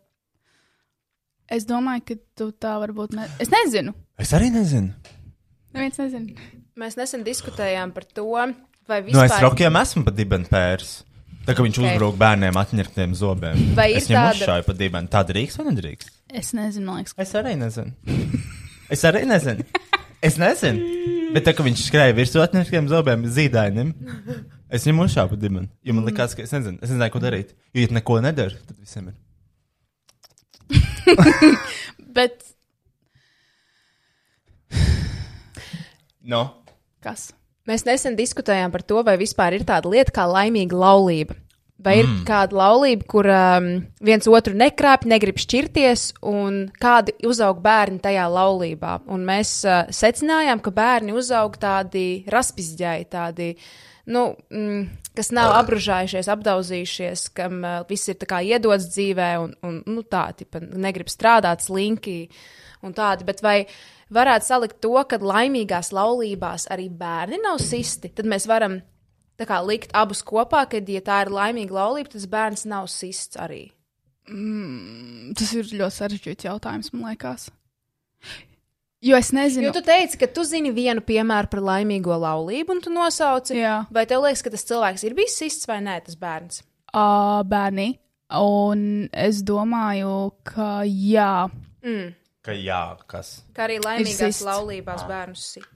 [SPEAKER 5] Es domāju, ka tu tā varbūt. Ne... Es nezinu.
[SPEAKER 2] Es arī nezinu.
[SPEAKER 5] Neviens nezina.
[SPEAKER 4] Mēs nesen diskutējām par to, vai
[SPEAKER 2] Nu, es
[SPEAKER 4] vispār
[SPEAKER 2] rokiem esmu pat dibens pērs. Tā kā viņš okay. uzbrūk bērniem atņemtiem zobiem.
[SPEAKER 4] Vai ir
[SPEAKER 2] es viņam
[SPEAKER 4] tāda-
[SPEAKER 2] uzšāvu pat dibens. Tā drīkst vai nedrīkst?
[SPEAKER 5] Es nezinu, man liekas.
[SPEAKER 2] Es arī nezinu. [LAUGHS] Es arī nezinu. Es nezinu. Bet tā kā viņš skrēja virsū atnešķiem zobiem, zīdainim, es viņam uzšāvu dimenu. Jo man likās, ka es nezinu, es nezināju, ko darīt. Jo, ja tu neko nedari, tad visiem ir.
[SPEAKER 5] Bet
[SPEAKER 2] No.
[SPEAKER 5] kas?
[SPEAKER 4] mēs nesen diskutējām par to, vai vispār ir tāda lieta kā laimīga laulība. Vai ir mm. kāda laulība, kur um, viens otru nekrāpj, negrib šķirties, un kādi uzaug bērni tajā laulībā? Un mēs uh, secinājām, ka bērni uzaug tādi raspizģēji, tādi, nu, mm, kas nav apgrūžējušies, apdaudzījušies, kam uh, viss ir tā kā iedots dzīvē, un, un nu, tādi negrib strādāt, slinki un tādi. Bet vai varētu salikt to, ka laimīgās laulībās arī bērni nav sisti, tad mēs varam tā kā likt abus kopā, kad, ja tā ir laimīga laulība, tas bērns nav sists arī.
[SPEAKER 5] Tas ir ļoti sarežģīts jautājums, man liekas. Jo es nezinu.
[SPEAKER 4] Jo tu teici, ka tu zini vienu piemēru par laimīgo laulību, un tu nosauci,
[SPEAKER 5] Jā.
[SPEAKER 4] vai tev liekas, ka tas cilvēks ir bijis sists vai nē, tas bērns.
[SPEAKER 5] uh, bērni. Un es domāju, ka jā.
[SPEAKER 2] Ka jā, kas?
[SPEAKER 4] Kā arī
[SPEAKER 5] sists. Ah.
[SPEAKER 4] laimīgās laulībās bērnus sit.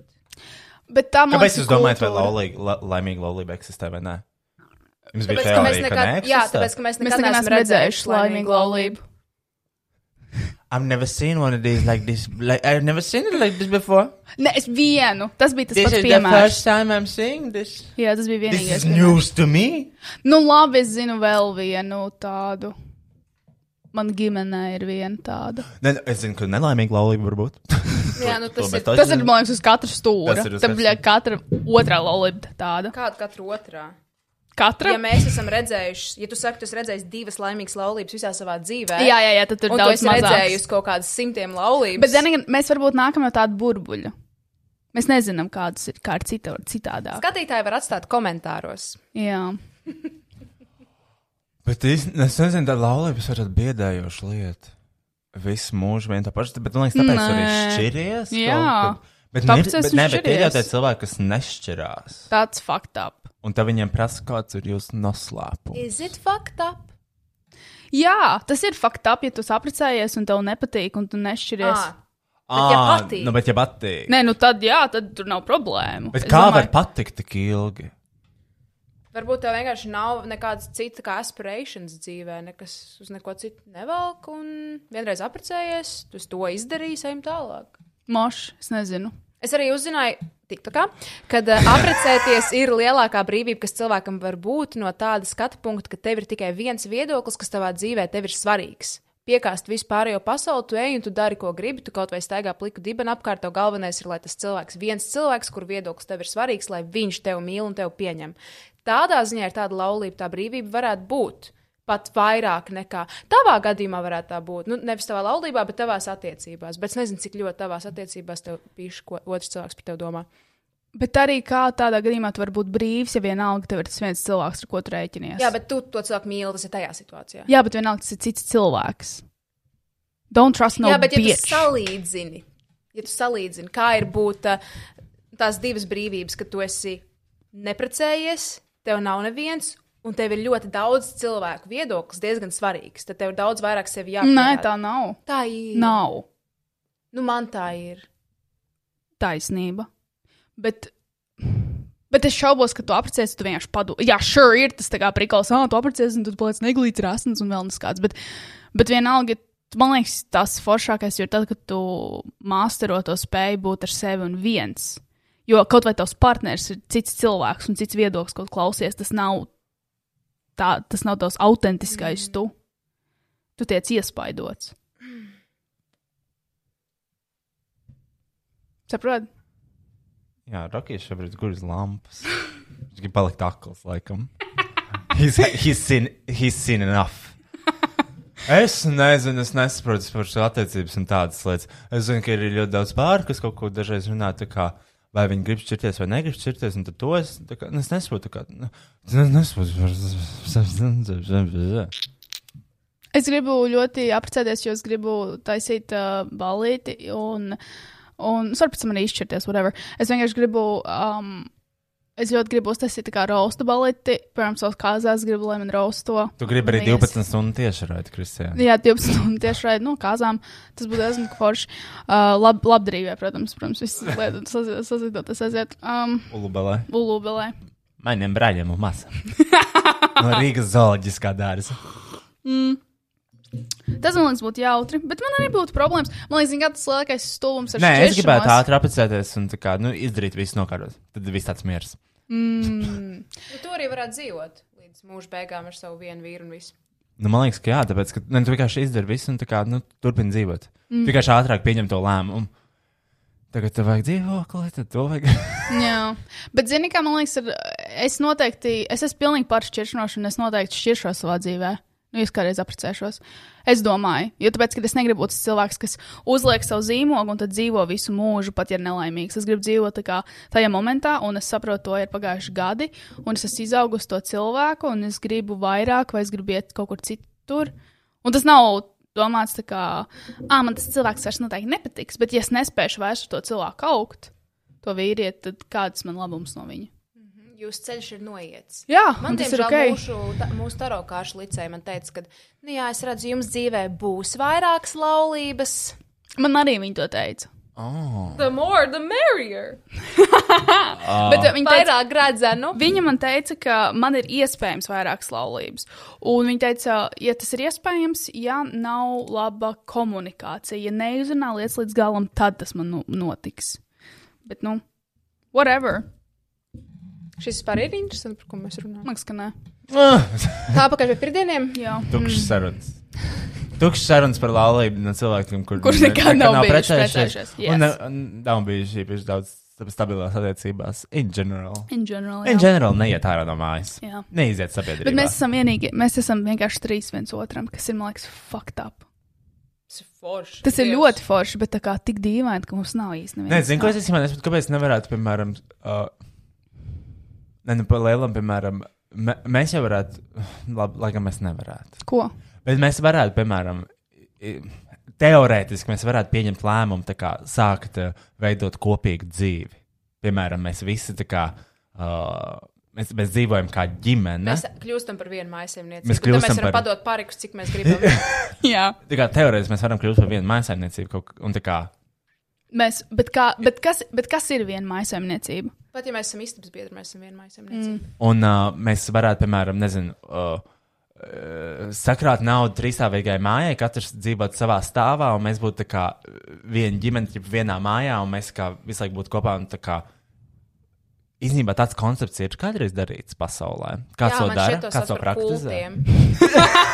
[SPEAKER 5] Bet tā man
[SPEAKER 2] Kāpēc jūs domājat, vai
[SPEAKER 5] kultūra.
[SPEAKER 2] laulīga, la, laimīga laulība eksistē vai nē? Jums bija
[SPEAKER 4] Tāpēc, ka mēs
[SPEAKER 2] teorija, ka
[SPEAKER 4] nekad, jā,
[SPEAKER 2] neeksistē?
[SPEAKER 4] tāpēc, ka mēs
[SPEAKER 5] Mēs
[SPEAKER 4] nekad
[SPEAKER 5] nekad
[SPEAKER 4] neesam
[SPEAKER 5] neesam redzējuši laimīgu laulību.
[SPEAKER 7] I've never seen one of these like this. Like I've never seen it like this before.
[SPEAKER 5] Nē, es vienu. Tas bija tas
[SPEAKER 7] This
[SPEAKER 5] pats
[SPEAKER 7] is the
[SPEAKER 5] piemērs.
[SPEAKER 7] first time I'm seeing this.
[SPEAKER 5] Jā, tas bija
[SPEAKER 2] This
[SPEAKER 5] vienīgais.
[SPEAKER 2] is
[SPEAKER 5] piemērs.
[SPEAKER 2] news to me.
[SPEAKER 5] Nu, labi, es zinu vēl vienu tādu. Man ģimenē ir viena tāda.
[SPEAKER 2] Ne, es zinu, ka nelaimīga laulība var būt.
[SPEAKER 4] Jā, nu tas
[SPEAKER 2] To, bet
[SPEAKER 4] ir
[SPEAKER 2] to es
[SPEAKER 5] Tas ir,
[SPEAKER 2] zinu.
[SPEAKER 5] man liekas, uz katru stūri.
[SPEAKER 2] Tas ir uz
[SPEAKER 5] Tad, bļa, katra otrā laulība tāda.
[SPEAKER 4] kāda katra otrā.
[SPEAKER 5] Katra?
[SPEAKER 4] Ja mēs esam redzējuši, ja tu saki, tu esi redzējis divas laimīgas laulības visā savā dzīvē,
[SPEAKER 5] Jā, jā, jā, tad tur
[SPEAKER 4] un tu
[SPEAKER 5] daudz
[SPEAKER 4] esi
[SPEAKER 5] mazāk.
[SPEAKER 4] redzējusi kaut kādas simtiem laulības,
[SPEAKER 5] Bet zini, gan mēs varbūt nākam no tāda burbuļa. Mēs nezinām, kādas ir, kā ir cita, citādāk.
[SPEAKER 4] skatītāji var atstāt komentāros.
[SPEAKER 5] Jā.
[SPEAKER 2] Bet īstenībā, es nezinu, tā laulības ir tāda biedējoša lieta. Visu mūžu vien tā paša, bet man liekas, tāpēc Nē. arī
[SPEAKER 5] Nē.
[SPEAKER 2] šķiries. kaut
[SPEAKER 5] Jā.
[SPEAKER 2] kad. Bet,
[SPEAKER 5] Tāpēc
[SPEAKER 2] nir,
[SPEAKER 5] es
[SPEAKER 2] bet, ne, bet ir jau
[SPEAKER 5] šķiries.
[SPEAKER 2] tādi cilvēki, kas nešķirās.
[SPEAKER 5] Tāds fakt up.
[SPEAKER 2] Un tad viņiem prasa, kāds ir jūsu noslēpums.
[SPEAKER 4] Is it fucked up?
[SPEAKER 5] Jā, tas ir fakt up, ja tu saprecējies un tev nepatīk un tu nešķiries.
[SPEAKER 4] Ah, Bet ja
[SPEAKER 2] Ā,
[SPEAKER 4] patīk?
[SPEAKER 2] nu, bet ja patīk.
[SPEAKER 5] Nē, nu tad jā, tad tur nav problēmu.
[SPEAKER 2] Bet
[SPEAKER 5] Es
[SPEAKER 2] kā
[SPEAKER 5] domāju-
[SPEAKER 2] var patikt tik ilgi?
[SPEAKER 4] Varbūt tev vienkārši nav nekādas citas kā aspirācijas dzīvē, nekas uz neko citu nevelk. Un vienreiz apprecējies, tu uz to izdarīji, ejam tālāk.
[SPEAKER 5] Moš, es nezinu.
[SPEAKER 4] Es arī uzzināju, TikTokā, ka eh, apprecēties ir lielākā brīvība, kas cilvēkam var būt no tāda skatu punkta, ka tev ir tikai viens viedoklis, kas tavā dzīvē tev ir svarīgs. Piekāst vispārējo pasauli, tu ej un tu dari, ko gribi. Tu kaut vai staigā pliku dibenu apkārt, tev galvenais ir, lai tas cilvēks, viens cilvēks, kur viedoklis tev ir svarīgs, lai viņš tevi mīl un tevi pieņem. Tādā ziņā ir tāda laulība, tā brīvība varētu būt. Pat vairāk nekā tavā gadījumā varētu tā būt. Nu, nevis tavā laulībā, bet tavās attiecībās. Bet es nezinu, cik ļoti tavās attiecībās tev pīši, ko otrs cilvēks par tevi domā.
[SPEAKER 5] Bet arī kā tādā gadījumā tu vari būt brīvs, ja vienalga tev ir tas viens cilvēks, ar ko tu rēķinies.
[SPEAKER 4] Jā, bet tu to cilvēku mīli, tas ir tajā situācijā.
[SPEAKER 5] Jā, bet vienalga tas ir cits cilvēks. Don't trust no
[SPEAKER 4] Jā, bet ja tu
[SPEAKER 5] bitch.
[SPEAKER 4] salīdzini, ja tu salīdzini, kā ir būt ā, tās divas brīvības, ka tu esi neprecējies, tev nav neviens, un tev ir ļoti daudz cilvēku viedoklis, diezgan svarīgs. Tad tev ir daudz vairāk sevi jāpierāda.
[SPEAKER 5] Nē, tā nav.
[SPEAKER 4] tā ir.
[SPEAKER 5] Nav
[SPEAKER 4] Nu, man tā ir.
[SPEAKER 5] taisnība. Bet, bet es šaubos, ka tu apprecēsi, tu vienkārši padomā. Jā, sure, ir tas tā kā prikals, ah, tu apprecēsi, un tu paliec neglīts, rāsnis un vēl neskāds. Bet, bet vienalga, man liekas, tas foršākais ir tad, kad tu māstero to spēju būt ar sevi un viens. Jo kaut vai tavs partneris ir cits cilvēks un cits viedoklis, ko tu klausies, tas nav, tā, tas nav tavs autentiskais mm. tu. Tu tiec iespaidots. Saproti?
[SPEAKER 2] Jā, Rukijs šobrīd guļ uz lampas. Viņš grib palikt akls, laikam. He's, he's, seen, he's seen enough. Es nezinu, es nesaprotu par šo attiecības un tādas lietas. Es zinu, ka ir ļoti daudz pāri, kas kaut ko dažreiz runā, tā kā, vai viņi grib šķirties vai negrib šķirties. un tad To es, tā kā, nu, es nesaprotu, tā kā. nu, Es ne- nesaprotu.
[SPEAKER 5] Es gribu ļoti apprecēties, jo es gribu taisīt uh, balīti, un, un es varu pēc tam arī izšķirties, whatever. Es vienkārši gribu, um, es ļoti gribu uztaisīt tā kā raustu balīti, piemēram, savas kāzās gribu, lai man rausto.
[SPEAKER 2] Tu gribi arī
[SPEAKER 5] Mēs-
[SPEAKER 2] 12 stundu tieši raidīt, Kristija.
[SPEAKER 5] Jā, 12 stundu tieši raidīt no kāzām. Tas būtu diezgan forši. Uh, lab, labdarībā, protams, protams, visas lietas [LAUGHS] sazi- sazidotas aiziet. Um,
[SPEAKER 2] Ulubelē.
[SPEAKER 5] Bulubelē.
[SPEAKER 2] Maniem brāļiem un māsām. [LAUGHS] No Rīgas zooloģiskā dārza.
[SPEAKER 5] Tas man liekas būtu jautri, bet man arī būtu problēmas. Man liekas, zini, kā tas lielākais stulbums ar
[SPEAKER 2] Nē, es gribētu
[SPEAKER 5] šķiršanos.
[SPEAKER 2] ātri apcēties un tā kā, nu, izdarīt visu nokārtot. Tad viss tāds miers.
[SPEAKER 4] Nu, tu arī varētu dzīvot līdz mūža beigām ar savu vienu vīru un visu.
[SPEAKER 2] Nu, man liekas, ka jā, tāpēc, ka ne, tu vienkārši izdari visu un tā kā, nu, turpini dzīvot. Mm. Vienkārši ātrāk pieņem to lēmumu. Tagad tev vajag dzīvokli, tad to vajag. [LAUGHS]
[SPEAKER 5] Jā, bet zini, kā man liekas, ir, es noteikti, es esmu pilnīgi par šķiršanos, un es noteikti šķiršos savā dzīvē. Nu, es kādreiz apprecēšos. Es domāju, jo tāpēc, ka es negribu būt tas cilvēks, kas uzliek savu zīmogu un tad dzīvo visu mūžu, pat ja ir nelaimīgs. Es gribu dzīvot tā kā tajā momentā, un es saprotu, to ir pagājuši gadi, un es esmu izaugusi to cilvēku, un es gribu vairāk, vai es gribu iet kaut kur citur. Un tas nav domāts tā kā, ah, man tas cilvēks vairs noteikti nepatiks, bet ja es nespēšu vairs ar to cilvēku augt, to vīrieti, tad kāds man labums no viņa?
[SPEAKER 4] Jūsu ceļš ir noiets.
[SPEAKER 5] Jā,
[SPEAKER 4] Man
[SPEAKER 5] man tas ir
[SPEAKER 4] diemžēl
[SPEAKER 5] ok.
[SPEAKER 4] mūsu, ta, mūsu tarokāšu licēja man teica, ka, nu jā, es redzu, jums dzīvē būs vairākas laulības.
[SPEAKER 5] Man arī viņi to teica.
[SPEAKER 4] The more, the merrier.
[SPEAKER 2] Ah.
[SPEAKER 5] Oh. Bet viņi teica,
[SPEAKER 4] Vairāk nu? gradzenu.
[SPEAKER 5] viņa man teica, ka man ir iespējams vairākas laulības. Un viņa teica, ja tas ir iespējams, ja nav laba komunikācija, ja neizrunā lietas līdz galam, tad tas man nu, notiks. Bet, nu, whatever.
[SPEAKER 4] Šis vispār ir interesants, par ko mēs runājam.
[SPEAKER 5] Man liekas, ka nē.
[SPEAKER 4] Tā pakaļ pie pirmdieniem.
[SPEAKER 5] Jā.
[SPEAKER 2] Ah! Tukšs mm. sarunas. Tukšs sarunas par laulību no cilvēkiem, kuriem
[SPEAKER 5] Kur nekad nav bijuši precējušies, yes.
[SPEAKER 2] Un ne- un nav bijuši īpaši daudz stabilās attiecībās. In general.
[SPEAKER 5] In general.
[SPEAKER 2] In
[SPEAKER 5] Jā.
[SPEAKER 2] general, neiet ārā no mājas.
[SPEAKER 5] Jā.
[SPEAKER 2] Neiziet sabiedrībā.
[SPEAKER 5] Bet mēs esam vienīgi, mēs esam vienkārši trīs viens otram, kas ir, man liekas, fucked up. Tas ir ļoti forši, bet tā kā tik dīvaini, ka mums nav īsti
[SPEAKER 2] Nē,
[SPEAKER 5] nevienas.
[SPEAKER 2] zinu, ko es īstenībā nesaprotu, kāpēc nevarētu, piemēram, uh, ne, nu, pa lielam, piemēram, me, mēs jau varētu, labi, lai gan mēs nevarētu.
[SPEAKER 5] Ko?
[SPEAKER 2] Bet mēs varētu, piemēram, i- teorētiski mēs varētu pieņemt lēmumu, tā kā sākt uh, veidot kopīgu dzīvi. Piemēram, mēs visi tā kā, uh, mēs, mēs dzīvojam kā ģimene.
[SPEAKER 4] Mēs kļūstam par vienu maisaimniecību.
[SPEAKER 2] Mēs
[SPEAKER 4] Mēs, mēs
[SPEAKER 2] kļūstam
[SPEAKER 4] varam
[SPEAKER 2] par-
[SPEAKER 4] par... padot pārikus, cik mēs gribam.
[SPEAKER 2] [LAUGHS]
[SPEAKER 5] Jā.
[SPEAKER 2] Tā kā teorētiski mēs varam kļūt par vienu mājsaimniecību kaut kā. un tā kā-
[SPEAKER 5] Mēs, bet, kā, bet, kas, bet kas ir viena maisaimniecība?
[SPEAKER 4] Pat ja mēs esam istabas biedri, mēs esam viena maisaimniecība. Mm.
[SPEAKER 2] Un uh, mēs varētu, piemēram, nezinu, uh, uh, sakrāt naudu trīsstāvīgai mājai, katrs dzīvot savā stāvā, un mēs būtu tā kā uh, viena ģimene, jau vienā mājā, un mēs kā visu laiku būtu kopā. un tā kā Īsnībā tāds koncepts ir kādreiz darīts pasaulē. Kāds to dara? Kāds to praktizē?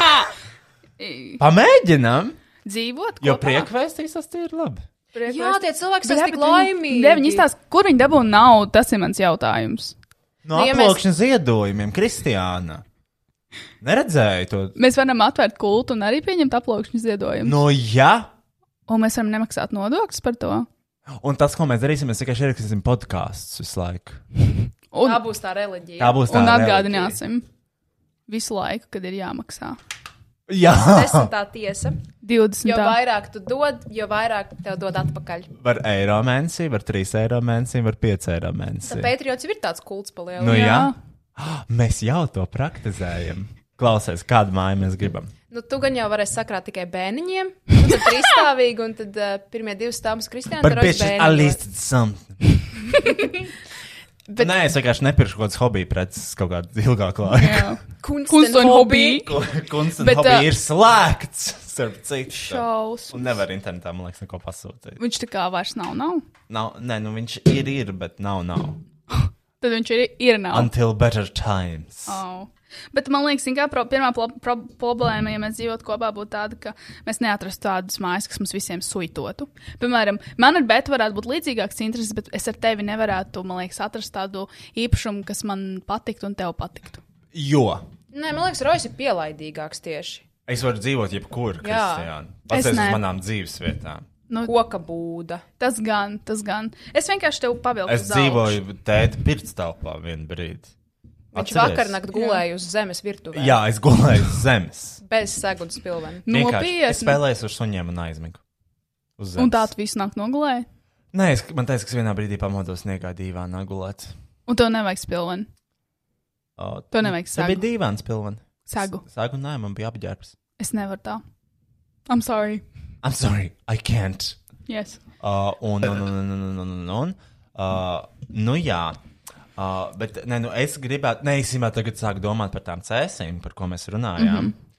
[SPEAKER 2] Pamēģinām!
[SPEAKER 5] Dzīvot,
[SPEAKER 2] Jo priekvēstīs tas ir labi.
[SPEAKER 4] Jā, tie cilvēki ir tik laimīgi.
[SPEAKER 5] Jā, viņi izstāsta, kur viņi dabū naudu. Tas ir mans jautājums.
[SPEAKER 2] No
[SPEAKER 4] Nu, ja mēs-
[SPEAKER 2] apgrozījuma ziedojumiem, Kristiāna. Neredzēju to.
[SPEAKER 5] Mēs varam atvērt kultu un arī pieņemt aplūkšņu ziedojumu.
[SPEAKER 2] Nu, jā,
[SPEAKER 5] Un mēs varam nemaksāt nodokļus par to.
[SPEAKER 2] un tas, ko mēs darīsim, mēs vienkārši ierakstīsim podkāstus visu laiku.
[SPEAKER 5] Un,
[SPEAKER 4] Tā būs tā reliģija.
[SPEAKER 2] Tā būs tā.
[SPEAKER 5] un
[SPEAKER 2] reliģija.
[SPEAKER 5] atgādināsim visu laiku, kad ir jāmaksā.
[SPEAKER 2] Jā,
[SPEAKER 4] Desmitā tiesa.
[SPEAKER 5] 20.
[SPEAKER 4] Jo vairāk tu dod, jo vairāk tev dod atpakaļ.
[SPEAKER 2] var eiro mēnesī, var 3 eiro mēnesī, var 5 eiro mēnesī.
[SPEAKER 4] Patriots ir tāds kults palielināts.
[SPEAKER 2] Nu,
[SPEAKER 4] Nu,
[SPEAKER 2] jā. Mēs jau to praktizējam. Klausies, kādu māju mēs gribam.
[SPEAKER 4] nu, tu gan jau varēsi sakrāt tikai bērniņiem. Nu, tad trīsstāvīgi, un tad uh, pirmie divi stāvus Kristiāna
[SPEAKER 2] Par pieci alisted something.
[SPEAKER 5] [LAUGHS]
[SPEAKER 2] Bet... Nē, es vienkārši nepirku kaut kādas hobiju preces kaut kādu ilgāku laiku.
[SPEAKER 5] Jā. Kunst
[SPEAKER 4] Kunsts
[SPEAKER 5] un hobiji.
[SPEAKER 2] [LAUGHS] Kunsts un
[SPEAKER 5] Bet,
[SPEAKER 2] hobija
[SPEAKER 5] ā,
[SPEAKER 2] ir slēgts, starp citu.
[SPEAKER 5] Šausmas.
[SPEAKER 2] Un nevar internetā, man liekas, neko pasūtīt.
[SPEAKER 5] Viņš tā kā vairs nav, nav.
[SPEAKER 2] Nav, nē, nu viņš ir, ir, bet nav, nav.
[SPEAKER 5] Tad viņš ir, ir nav.
[SPEAKER 2] Until better times.
[SPEAKER 5] Oh. Bet man liekas, ka pro, pirmā pro, pro, problēma, ja mēs dzīvotu kopā, būtu tāda, ka mēs neatrastu tādas mājas, kas mums visiem suitotu. Piemēram, man ar Bētu varētu būt līdzīgāks intereses, bet es ar tevi nevarētu, man liekas, atrast tādu īpašumu, kas man patiktu un tev patiktu.
[SPEAKER 2] Jo
[SPEAKER 4] Nē, man liekas, Rojas ir pielaidīgāks tieši.
[SPEAKER 2] es varu dzīvot jebkur,
[SPEAKER 4] Jā.
[SPEAKER 2] Kristiāna. Pasēs uz
[SPEAKER 5] ne.
[SPEAKER 2] manām dzīves vietām.
[SPEAKER 5] Nu,
[SPEAKER 4] Koka būda.
[SPEAKER 5] tas gan, tas gan. Es vienkārši tev pavilku.
[SPEAKER 2] Es
[SPEAKER 5] uz augšu.
[SPEAKER 2] dzīvoju tēta pirtstelpā vienu brīdi.
[SPEAKER 4] Viņš
[SPEAKER 2] Atceries?
[SPEAKER 4] vakar nakt gulēja uz zemes virtuvē.
[SPEAKER 2] Jā, es gulēju uz
[SPEAKER 5] [LAUGHS]
[SPEAKER 2] zemes.
[SPEAKER 4] Bez segunas pilvena.
[SPEAKER 2] Vienkārši. Es
[SPEAKER 5] Nopietni.
[SPEAKER 2] spēlēju ar suņiem un aizmigu. Uz
[SPEAKER 5] Un
[SPEAKER 2] zemes.
[SPEAKER 5] tā tu visu nakti nogulēji.
[SPEAKER 2] Nē, es, man teiks, ka es vienā brīdī pamodos niekā dīvainā gulēt.
[SPEAKER 5] Un tev nevajag spilveni.
[SPEAKER 2] O,
[SPEAKER 5] Tev nevajag
[SPEAKER 2] Tā bija
[SPEAKER 5] sagu.
[SPEAKER 2] dīvains pilvens.
[SPEAKER 5] Sagu.
[SPEAKER 2] Sagu, nē, man bija apģērbs.
[SPEAKER 5] Es nevaru tā. I'm sorry.
[SPEAKER 2] I'm sorry, I can't.
[SPEAKER 5] Yes.
[SPEAKER 2] Uh, un, un, un, un, un, un, un, un. Uh, nu jā. Uh, bet nē, nu es gribētu, nē, īstenībā tagad sāku domāt par tām cēsīm, par ko mēs runājām. Mm
[SPEAKER 5] Mhm.
[SPEAKER 2] -hmm.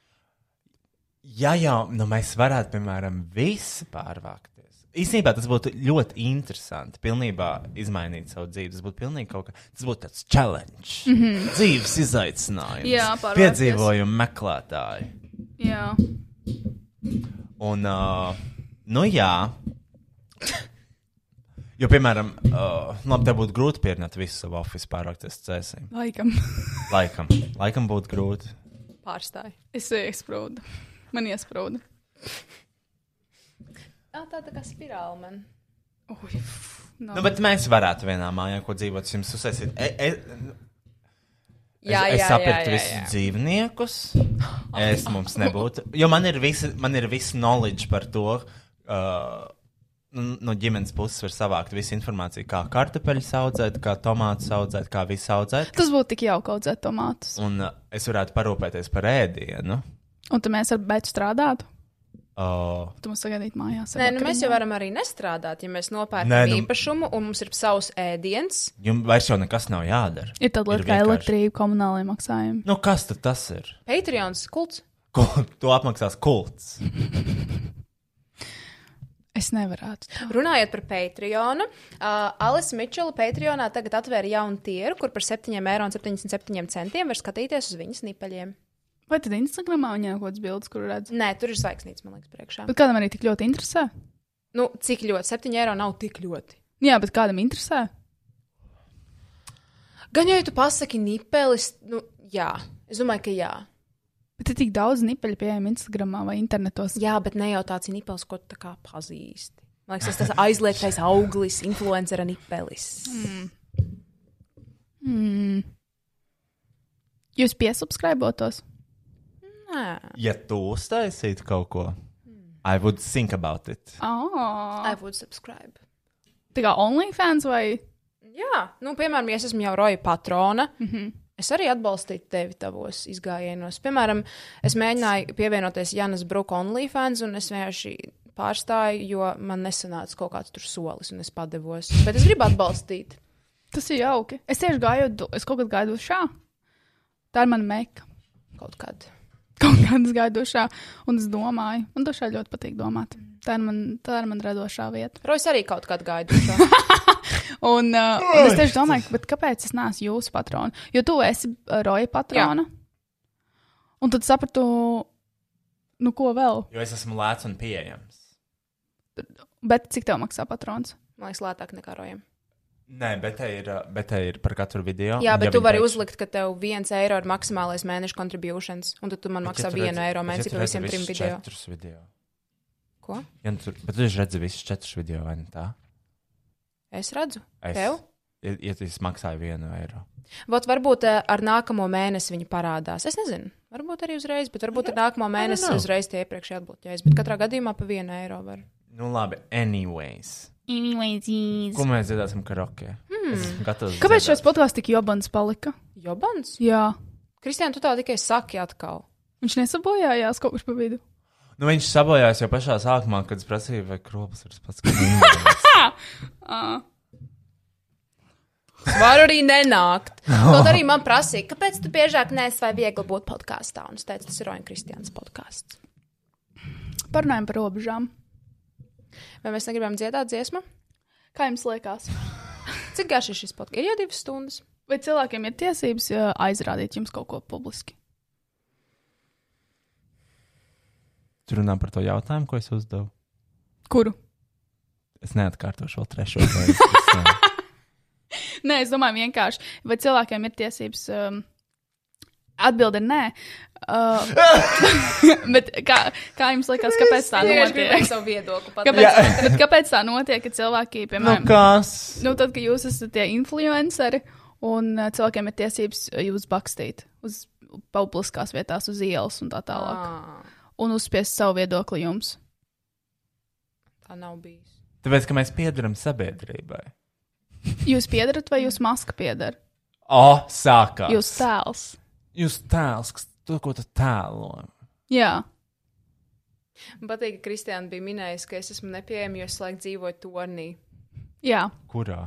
[SPEAKER 2] Ja jau nu, mēs varētu, piemēram, visi pārvākties, īstenībā tas būtu ļoti interesanti. Pilnībā izmainīt savu dzīvi. Tas būtu pilnīgi kaut kas, tas būtu tāds challenge, mm -hmm. dzīves izaicinājums,
[SPEAKER 5] Mhm. Jā, pārvākties.
[SPEAKER 2] piedzīvojumu meklētāji.
[SPEAKER 5] Jā.
[SPEAKER 2] Un, uh, nu, jā. Jo, piemēram, uh, labi, tev būtu grūti pierādīt visu savu oficiālu pārvākties cēsim.
[SPEAKER 5] Laikam. [LAUGHS]
[SPEAKER 2] Laikam, laikam būtu grūti.
[SPEAKER 4] Pārstāj.
[SPEAKER 5] Es iesprūdu. Man iesprūda.
[SPEAKER 4] Jā, tā, tā kā spirāli man.
[SPEAKER 5] Ui, pff, no.
[SPEAKER 2] Nu, bet mēs varētu vienā mājā, ko dzīvot, jums uzsākt. Es, es,
[SPEAKER 4] Jā, jā,
[SPEAKER 2] es
[SPEAKER 4] jā,
[SPEAKER 2] sapratu
[SPEAKER 4] jā,
[SPEAKER 2] visus
[SPEAKER 4] jā.
[SPEAKER 2] dzīvniekus. Es mums nebūtu. Jo man ir visi, man ir visi knowledge par to. Uh, nu, No ģimenes puses var savākt visu informāciju, kā kartupeļus audzēt, kā tomātus audzēt, kā visu audzēt.
[SPEAKER 5] Tas būtu tik jauki audzēt tomātus.
[SPEAKER 2] un uh, es varētu parūpēties par ēdienu.
[SPEAKER 5] Un tad mēs ar Bētu strādātu.
[SPEAKER 2] Uh,
[SPEAKER 5] Tu mums sagaidītu mājās. ar
[SPEAKER 4] Nē, nu mēs jau
[SPEAKER 5] vakariņām.
[SPEAKER 4] varam arī nestrādāt, ja mēs
[SPEAKER 2] Nē,
[SPEAKER 4] nopērkam
[SPEAKER 2] nu-
[SPEAKER 4] īpašumu un mums ir savs ēdiens.
[SPEAKER 2] jums vairs jau nekas nav jādara.
[SPEAKER 5] Ir tāda lieta kā
[SPEAKER 2] vienkārši.
[SPEAKER 5] elektrība, komunālajiem maksājumiem.
[SPEAKER 2] Nu, kas tad tas ir?
[SPEAKER 4] Patreons kults.
[SPEAKER 2] Ko, to apmaksās kults.
[SPEAKER 5] Es nevarētu. tā.
[SPEAKER 4] Runājot par Patreonu, uh, Alis Mičela Patreonā tagad atvēra jaunu tieru, kur par 7,77 eiro var skatīties uz viņas nipaļiem.
[SPEAKER 5] Vai tad Instagramā viņai kaut kāds bildes, kur redz?
[SPEAKER 4] Nē, tur ir zvaigznīts, man liekas, priekšā.
[SPEAKER 5] Bet kādam arī tik ļoti interesē?
[SPEAKER 4] Nu,
[SPEAKER 5] Nu
[SPEAKER 4] cik ļoti? 7 eiro nav tik ļoti.
[SPEAKER 5] Jā, bet kādam interesē?
[SPEAKER 4] Gan jau ja tu pasaki nipelis, nu jā, es domāju, ka jā.
[SPEAKER 5] Bet ir tik daudz nipeļu pieejami Instagramā vai internetos.
[SPEAKER 4] Jā, bet ne jau tāds ir nipelis, ko tu tā kā pazīsti. Man liekas, tas ir aizliegtais auglis, influencera nipelis.
[SPEAKER 2] Hmm.
[SPEAKER 5] Jūs piesubscribotos?
[SPEAKER 4] Nē,
[SPEAKER 2] Ja tu uztaisītu kaut ko, I would think about it.
[SPEAKER 5] Oh.
[SPEAKER 4] I would subscribe.
[SPEAKER 5] Tā kā OnlyFans vai?
[SPEAKER 4] Jā, nu, piemēram, ja es esmu jau roja patrona. Mm -hmm. Es arī atbalstīju tevi tavos izgājienos. Piemēram, es mēģināju pievienoties Janas Bruka OnlyFans, un es vienkārši pārstāju, jo man nesanāca kaut kāds tur solis, un es padevos. Bet es gribu atbalstīt.
[SPEAKER 5] Tas ir jauki. Es tieši gāju, du- es kaut kad gāju dušā. Tā ir mana meika.
[SPEAKER 4] Kaut kādā.
[SPEAKER 5] Kaut kādas gāju dušā, un es domāju, man dušā ļoti patīk domāt. Tā ir man, tā ir man radošā vieta.
[SPEAKER 4] Rojas arī kaut kādā [LAUGHS] gaidīja.
[SPEAKER 5] Un, uh, un es tieši domāju, bet kāpēc es neesmu jūsu patrona? Jo tu esi uh, roja patrona. Un tad sapratu, nu ko vēl,
[SPEAKER 2] Jo es esmu lēts un pieejams.
[SPEAKER 5] bet cik tev maksā patrons?
[SPEAKER 4] Man liekas, lētāk nekā rojam.
[SPEAKER 2] Nē, bet te ir, uh, bet te ir par katru video.
[SPEAKER 4] Jā,
[SPEAKER 2] un
[SPEAKER 4] bet
[SPEAKER 2] ja
[SPEAKER 4] tu
[SPEAKER 2] viņi
[SPEAKER 4] vari
[SPEAKER 2] pēkšņi-
[SPEAKER 4] uzlikt, ka tev viens eiro ir maksimālais mēneša contributions, un tad tu man maksā
[SPEAKER 2] Bet ja tu
[SPEAKER 4] vienu
[SPEAKER 2] redzi-
[SPEAKER 4] eiro
[SPEAKER 2] bet
[SPEAKER 4] mēnesī
[SPEAKER 2] ja tu
[SPEAKER 4] par
[SPEAKER 2] redzi
[SPEAKER 4] visiem trim
[SPEAKER 2] visus
[SPEAKER 4] video.
[SPEAKER 2] Četrus video.
[SPEAKER 4] Ko?
[SPEAKER 2] Ja nu tur, bet tu taču redzi visus četrus video, vai ne tā?
[SPEAKER 4] Es redzu.
[SPEAKER 2] Es,
[SPEAKER 4] Tev?
[SPEAKER 2] Ja, ja tu maksāji vienu eiro.
[SPEAKER 4] Vat varbūt eh, ar nākamo mēnesi viņi parādās. Es nezinu, varbūt arī uzreiz, bet varbūt ar nākamo mēnesi uzreiz tie iepriekšēji atbloķējas. Bet katrā gadījumā pa vienu eiro var.
[SPEAKER 2] Nu labi, anyways. Ko mēs dzirdēsim karaokē? Hmm. Es esmu gatavs.
[SPEAKER 5] Kāpēc
[SPEAKER 2] dziedāt.
[SPEAKER 5] šis podkāsts tik jobans palika?
[SPEAKER 4] Jobans?
[SPEAKER 5] Jā,
[SPEAKER 4] Kristiāna, tu tā tikai saki atkal.
[SPEAKER 5] viņš nesabojājās kaut kur pa vidu.
[SPEAKER 2] Nu, viņš sabojājās jau pašā sākumā, kad es prasīju, vai kropas ir pats
[SPEAKER 5] [LAUGHS]
[SPEAKER 2] kāds.
[SPEAKER 4] Es varu arī nenākt. Kaut arī man prasīja, kāpēc tu biežāk nes vai viegli būt podkāstā. Un es teicu, tas ir Roņa Kristiāns podkāsts.
[SPEAKER 5] Parunājam par robežām.
[SPEAKER 4] Vai mēs negribam dziedāt dziesmu?
[SPEAKER 5] Kā jums liekas?
[SPEAKER 4] Cik garš ir šis podkāsts? Ir jau divas stundas.
[SPEAKER 5] Vai cilvēkiem ir tiesības jā, aizrādīt jums kaut ko publiski?
[SPEAKER 2] Tur runā par to jautājumu, ko es uzdevu.
[SPEAKER 5] Kuru?
[SPEAKER 2] Es neatkārtošu vēl trešo reizi. Tas, nē.
[SPEAKER 5] [LAUGHS] Nē, es domāju, vienkārši. Vai cilvēkiem ir tiesības? Um, Atbilde ir nē. Uh, [LAUGHS] bet kā, kā jums liekas, kāpēc tā notiek?
[SPEAKER 4] savu viedokli.
[SPEAKER 5] Kāpēc, [LAUGHS] bet kāpēc tā notiek, ka cilvēki,
[SPEAKER 2] nu,
[SPEAKER 5] piemēram,
[SPEAKER 2] kas?
[SPEAKER 5] nu, tad, kad jūs esat tie influenceri un uh, cilvēkiem ir tiesības uh, jūs bakstīt uz publiskās vietās, uz ielas un tā
[SPEAKER 4] Ah.
[SPEAKER 5] tālāk, un uzspiest savu viedokli jums?
[SPEAKER 4] Tā nav bijusi.
[SPEAKER 2] Tāpēc, ka mēs piedaram sabiedrībai.
[SPEAKER 5] Jūs piedarat vai jūs maska piedara?
[SPEAKER 2] O, sākās.
[SPEAKER 5] Jūs tēls.
[SPEAKER 2] Jūs tēls, kas- to, ko tu tēlo.
[SPEAKER 5] Jā.
[SPEAKER 4] Man patīk, ka Kristiāna bija minējusi, ka es esmu nepieejama, jo es laikam dzīvoju tornī.
[SPEAKER 5] Jā.
[SPEAKER 2] Kurā?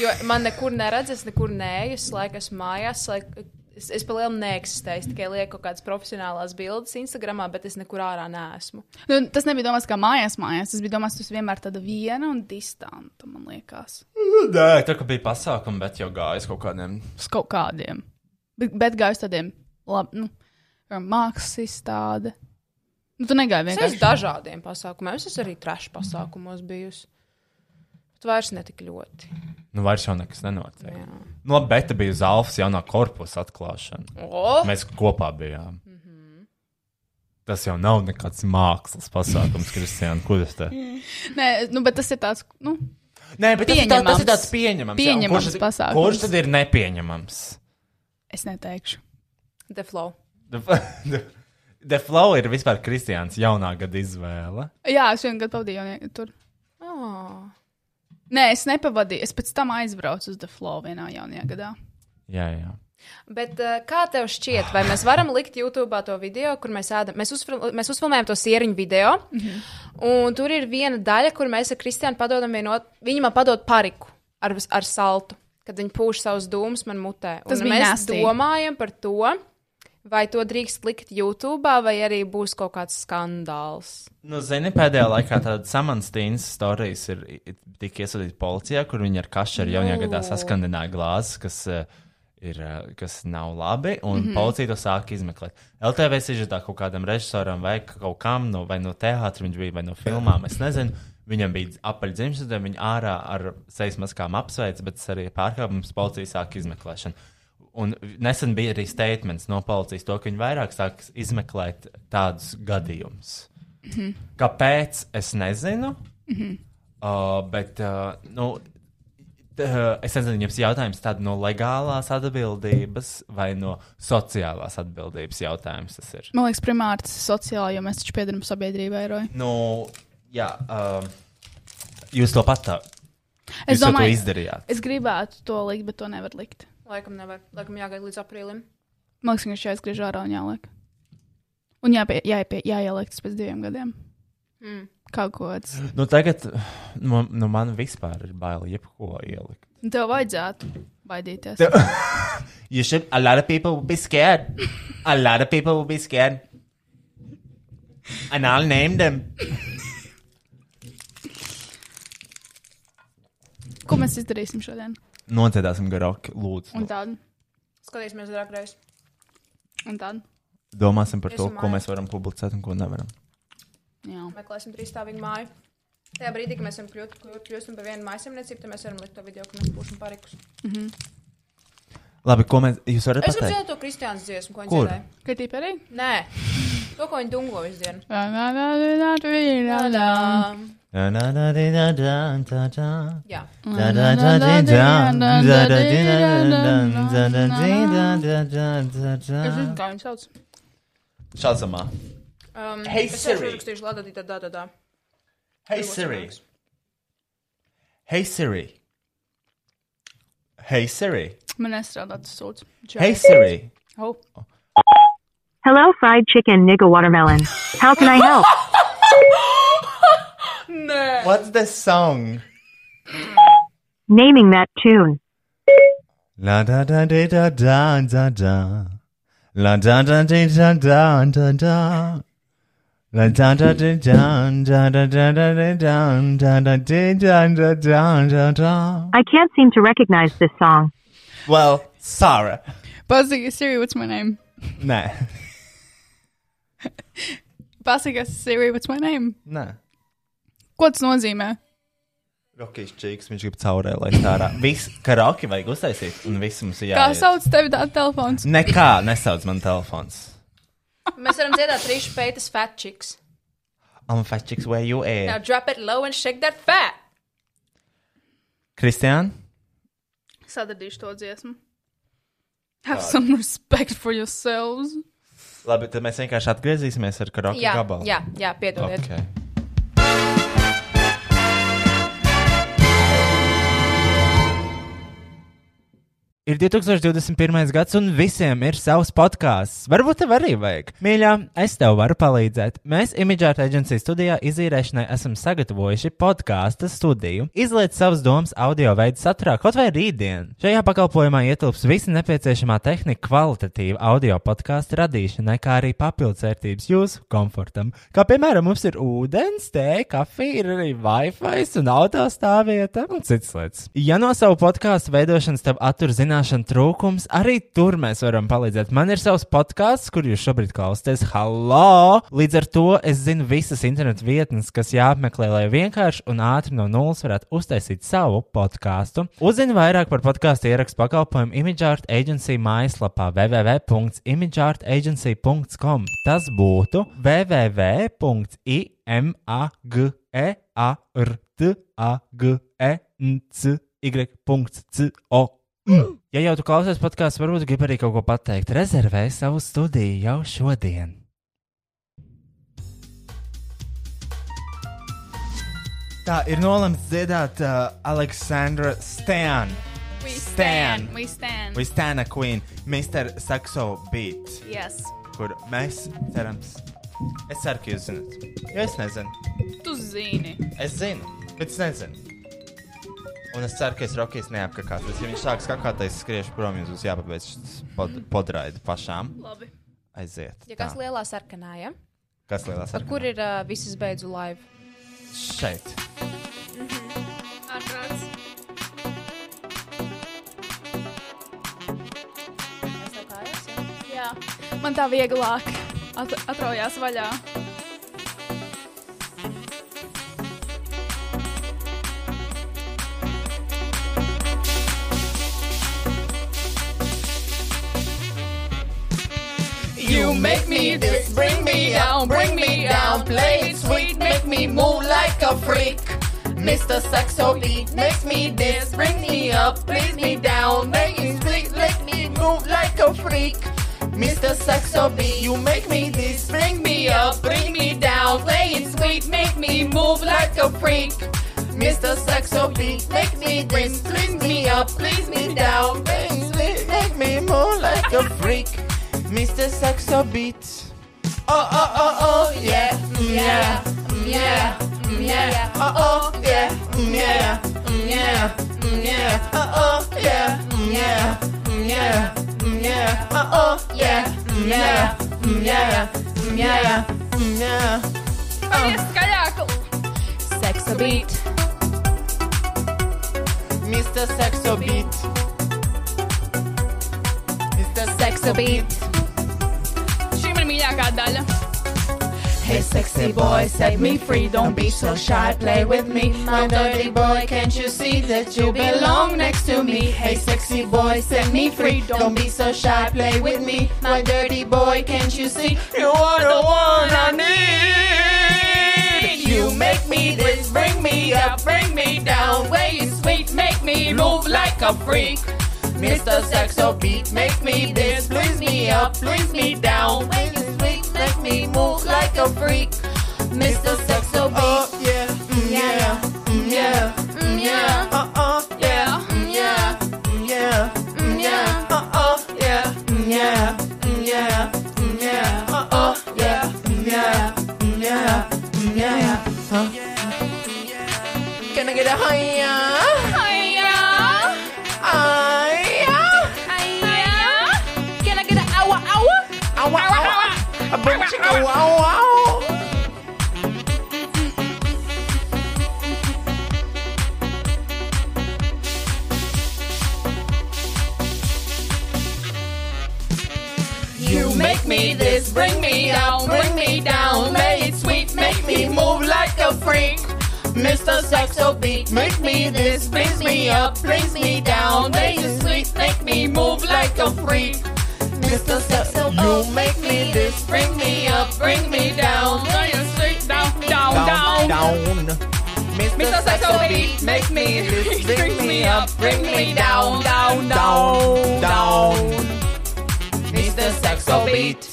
[SPEAKER 4] Jo man nekur neredz, es nekur neeju, es laikam esmu mājās. es Laik, es es palielinu neeksistēju, es tikai lieku kaut kādas profesionālās bildes Instagram, bet es nekur ārā neesmu.
[SPEAKER 5] Nu, tas nebija domāts kā mājās, mājās. Tas bija domāts, tas vienmēr tāda viena un distanta, man liekas.
[SPEAKER 2] Nē, tā kā bija pasākuma, bet jau gājis kaut kādiem.
[SPEAKER 5] Uz kaut kādiem. Bet, bet gāju uz tādiem, labi, nu, kā mākslas izstāde. Nu, tu negāji
[SPEAKER 4] Es esmu
[SPEAKER 5] vienkārši.
[SPEAKER 4] dažādiem pasākumiem, es esmu arī trašu pasākumos bijusi. Bet vairs ne tik ļoti.
[SPEAKER 2] Nu, vairs jau nekas nenotiek. Nu, labi, bet te bija uz Alfas jaunā korpusa atklāšana.
[SPEAKER 4] O,
[SPEAKER 2] Oh. Mēs kopā bijām. Mhm. Tas jau nav nekāds mākslas pasākums, Kristiāna. Kur tas te?
[SPEAKER 5] Nē, nu, bet tas ir tāds, nu,
[SPEAKER 2] [LAUGHS] Nē, bet tas ir tā- tas ir
[SPEAKER 5] Pieņemams.
[SPEAKER 2] tāds pieņemams. jā, un
[SPEAKER 5] Pieņemams
[SPEAKER 2] kurš tad-
[SPEAKER 5] pasākums.
[SPEAKER 2] Kurš tad ir nepieņemams?
[SPEAKER 5] es neteikšu.
[SPEAKER 4] The Flow.
[SPEAKER 2] The, [LAUGHS] the, the Flow ir vispār Kristiāns jaunā gada izvēle.
[SPEAKER 5] Jā, es vienu gadu pavadīju jaunie- tur.
[SPEAKER 4] Oh.
[SPEAKER 5] Nē, es nepavadīju. Es pēc tam aizbraucu uz The Flow vienā jaunajā gadā.
[SPEAKER 2] Jā, jā.
[SPEAKER 4] Bet eh, kā tev šķiet, vai mēs varam likt YouTube to video, kur mēs ēdam? Mēs, uzfil mēs uzfilmējam to sēriņu video, mm -hmm.
[SPEAKER 5] Mhm.
[SPEAKER 4] un tur ir viena daļa, kur mēs ar Kristiānu padodam vienot, viņa man padod pariku ar, ar saltu, kad viņa pūš savus dūmus man mutē.
[SPEAKER 5] Tas
[SPEAKER 4] un
[SPEAKER 5] bija
[SPEAKER 4] mēs
[SPEAKER 5] nasty.
[SPEAKER 4] domājam par to, vai to drīkst likt YouTube, vai arī būs kaut kāds skandāls.
[SPEAKER 2] Nu, zini, pēdējā laikā tāda samanstīnas stāstījis ir ir tik iesūtīta policijā, kur viņi ar kašeru jaunajā gadā saskandināja glāzes, kas, eh, ir, eh, kas nav labi, un mm -hmm. policija to sāk izmeklēt. LTV sižetā kaut kādam režisoram vai k- kaut kam, no, vai no teātra viņš bija, vai no filmām, es nezinu. Viņam bija apaļdzimšanas diena, viņa ārā ar sejas maskām apsveic, bet tas arī ir pārkāpums, policija sāk izmeklēšanu. Un nesen bija arī statements no policijas, to, ka viņi vairāk sāk izmeklēt tādus gadījumus. Kāpēc? Es nezinu.
[SPEAKER 5] Mhm.
[SPEAKER 2] uh, bet, uh, nu, t- uh, es nezinu, jums jautājums tāds no legālās atbildības vai no sociālās atbildības jautājums tas ir.
[SPEAKER 5] Man liekas, primāri tas ir sociāli, jo mēs taču piedaram sabiedrībai, Roja.
[SPEAKER 2] Nu, jā, uh, jūs to pat tā,
[SPEAKER 5] Es
[SPEAKER 2] jūs jau to
[SPEAKER 5] domāju-
[SPEAKER 2] izdarījāt.
[SPEAKER 5] Es gribētu to likt, bet to nevar likt.
[SPEAKER 4] Laikam nevar, laikam jāgaida līdz aprīlim.
[SPEAKER 5] Man liekas, ka viņš jāizgriež ārā un jāliek. Un jāpie, jāpie, jāieliek tas pēc diviem gadiem.
[SPEAKER 4] Mm.
[SPEAKER 5] Kā gods.
[SPEAKER 2] Nu, tagad nu, nu, man vispār ir bail jebko ielikt.
[SPEAKER 5] Nu, Tev vajadzētu baidīties.
[SPEAKER 2] Tev- You should. A lot of people will be scared. A lot of people will be scared. And I'll name them.
[SPEAKER 5] Ko mēs izdarīsim šodien?
[SPEAKER 2] Nocietāsim garoku, lūdzu.
[SPEAKER 5] Un tādu,
[SPEAKER 4] Skatīsimies drāgreiz.
[SPEAKER 5] un tādu.
[SPEAKER 2] Domāsim par
[SPEAKER 4] Iesim
[SPEAKER 2] to, ko
[SPEAKER 4] mājās.
[SPEAKER 2] mēs varam publicēt un ko nevaram.
[SPEAKER 5] Jā.
[SPEAKER 4] Meklēsim trīs stāvīgu māju. Tajā brīdī, kad mēs esam kļūt, kļūt, kļūstam par vienu mājasemniecību, tad mēs varam likt to video, ka mēs būsim parikus.
[SPEAKER 2] Labi, ko mēs. Jūs varat
[SPEAKER 4] Es gribu
[SPEAKER 2] pateikt?
[SPEAKER 4] dzirdēt to Kristiānas dziesmu, ko viņš
[SPEAKER 2] Kur?
[SPEAKER 4] dzirdēja.
[SPEAKER 3] Kā tīpa arī?
[SPEAKER 4] Nē, to, ko viņi dungo visu dienu. Um,
[SPEAKER 3] Jā,
[SPEAKER 2] Nā, nā, nā, dī, nā, dā, dā, dā.
[SPEAKER 4] Jā, Um,
[SPEAKER 2] Dā, dā, dā, dī, dā. Dā, dā, dī, dā, dā, dā, dā, dā, dī, dā, dā, dā, dā, dā.
[SPEAKER 5] Es zinu, kā viņu sauc.
[SPEAKER 2] Shazamā.
[SPEAKER 4] um,
[SPEAKER 2] Hey,
[SPEAKER 4] es jau
[SPEAKER 2] Siri.
[SPEAKER 4] uzrakstīšu, labi, tā, tā, tā, tā.
[SPEAKER 2] Hey Siri. Hey Siri. Hey Siri.
[SPEAKER 5] Man nestrādā tas sūds.
[SPEAKER 2] Hey Siri.
[SPEAKER 5] Oh.
[SPEAKER 8] Hello, fried chicken nigga watermelon. How can I help?
[SPEAKER 2] What's the song?
[SPEAKER 8] Naming that tune.
[SPEAKER 2] La da da da da da da da. La da da da da da da da. La da da da da da da da da da da da da da da da da da da.
[SPEAKER 8] I can't seem to recognize this song.
[SPEAKER 2] Well, Sarah.
[SPEAKER 5] Pasaka, Siri, what's my name?
[SPEAKER 2] Nē,
[SPEAKER 5] Pasaka, Siri, what's my name?
[SPEAKER 2] nē.
[SPEAKER 5] Ko tas nozīmē?
[SPEAKER 2] Rokijs čīks, viņš grib caurē, lai stāra. Viss karaoke vajag uztaisīt, un viss mums ir
[SPEAKER 5] Kā
[SPEAKER 2] jāiet.
[SPEAKER 5] sauc tevi tā telefons?
[SPEAKER 2] Nekā nesauc man telefons.
[SPEAKER 4] Mēs varam dzirdēt trīs pētas fat chicks.
[SPEAKER 2] I'm fat chicks where you
[SPEAKER 4] Now
[SPEAKER 2] are.
[SPEAKER 4] drop it low and shake that fat.
[SPEAKER 2] Kristiāna?
[SPEAKER 5] Sadadīšu to dziesmu. Have some respect for yourselves.
[SPEAKER 2] Labi, tad mēs vienkārši atgriezīsimies ar karaoke
[SPEAKER 4] Jā,
[SPEAKER 2] gabalu.
[SPEAKER 4] jā, jā piedodiet.
[SPEAKER 2] Okay.
[SPEAKER 9] Ir 2021. gads, un visiem ir savs podkāsts. Varbūt tev arī vajag. Mīļā, es tev varu palīdzēt. Mēs Imigēta aģentūras studijā izīrēšanai esam sagatavojuši podkāstu studiju. Izliet savas domas audio veidu saturā kaut vai rītdien. Šajā pakalpojumā ietilps visa nepieciešamā tehnika kvalitatīva audio podkāstu radīšanai, kā arī papildvērtības jūsu komfortam. Kā piemēram, mums ir ūdens, tēja, kafija, ir arī Wi-Fi un autostāvvieta un citas lietas. Ja no savu podkāstu veidošanas tev attur zināšanu trūkums, arī tur mēs varam palīdzēt. Man ir savs podkāsts, kur jūs šobrīd klausāties. Halo! Līdz ar to es zinu visas internetu vietnes, kas jāapmeklē, lai vienkārši un ātri no nulles varētu uztaisīt savu podkāstu. Uzzini vairāk par podkāstu ierakstu pakalpojumu ImageArt Agency mājaslapā www.imageartagency.com. Tas būtu www.i M A G E A R T A G E N C Y. C O. M. Ja jau tu klausies podkāstu, varbūt gribi arī kaut ko pateikt. Rezervē savu studiju jau šodien.
[SPEAKER 2] Tā ir nolemts dziedāt uh, Aleksandra Stan.
[SPEAKER 5] We
[SPEAKER 2] stand.
[SPEAKER 5] We stand.
[SPEAKER 2] Vai Stana Queen, Mr. Saxo Beat,
[SPEAKER 5] Yes.
[SPEAKER 2] kur mēs cerams. Es ceru, ka jūs zinat. Jo es nezinu.
[SPEAKER 5] Tu zini.
[SPEAKER 2] Es zinu, bet es nezinu. Un es ceru, ka es Rokijas neapkakāties. Ja viņš sāks kakāties, skriešu prom, jums būs jāpabeidz šis pod, podraidi pašām.
[SPEAKER 5] Labi.
[SPEAKER 2] Aiziet.
[SPEAKER 4] Ja kas
[SPEAKER 2] Tā.
[SPEAKER 4] lielā sarkanā, ja?
[SPEAKER 2] kas lielās
[SPEAKER 4] Ar
[SPEAKER 2] sarkanā?
[SPEAKER 4] kur ir uh, visas beidzu laiva?
[SPEAKER 2] Šeit.
[SPEAKER 5] Ārprāts. Jā. Man tā vieglāk. At atraujās vaļā. You make me this, bring me down, bring me down, play it sweet, make me move like a freak. Mr. Saxo beat makes me this, bring me up, brings me down, make me sweet, let me move like a freak. Mr. Saxo beat, you make me this, bring me up, bring me down, play it sweet, make me move like a freak. Mr. Saxo beat, make me this, bring me up, please me down, make me sweet, make me move like a freak. Mr. Saxo beat.
[SPEAKER 2] Oh, oh, oh, oh, yeah, mm, yeah, mm, yeah, mm, yeah. Oh, oh, yeah, mm, yeah, mm, yeah, mm, yeah. Oh, oh, yeah, mm, yeah, mm, yeah, mm, yeah. Oh, oh, yeah, mm, yeah, mm, yeah, mm, yeah, mm, yeah.
[SPEAKER 4] Seksa beat.
[SPEAKER 2] Mr. Saxo beat. Mr. Saxo beat.
[SPEAKER 5] Šī ir mīļākā daļa.
[SPEAKER 4] Hey, sexy boy, set me free. Don't be so shy, play with me. My dirty boy, can't you see that you belong next to me? Hey, sexy boy, set me free. Don't be so shy, play with me. My dirty boy, can't you see? You are the one I need. You make me this, bring me up, bring me down. Way you sweet, make me move like a freak. Mr. Saxo beat, make me this, please me up, please me down. When you sleep, make me move like a freak. Mr. Saxo beat, oh, yeah, mm, yeah, mm, yeah, mm, yeah, uh, uh, yeah, mm, yeah, mm, yeah, mm, yeah, uh, uh, yeah, mm, yeah, mm, yeah, mm, yeah, uh, uh, yeah, mm, yeah, mm, yeah, mm, yeah, huh? Can I get a hiya? Hiya.
[SPEAKER 5] Can I get an hour, hour?
[SPEAKER 4] Ow, ow, ow. A boom chicka wow wow. You make me this, bring me down, bring me down. May it sweet, make me move like a freak. Mr. Saxo beat, make me this, brings me up, brings me down. May it sweet, make me move like a freak. Mr. Saxo, you make me this, bring me up, bring me down. May it sweet, down, down, down.
[SPEAKER 10] down.
[SPEAKER 4] Mr. Saxo beat, make me this, bring me up, bring me down, down, down, down. Mr. Saxo beat.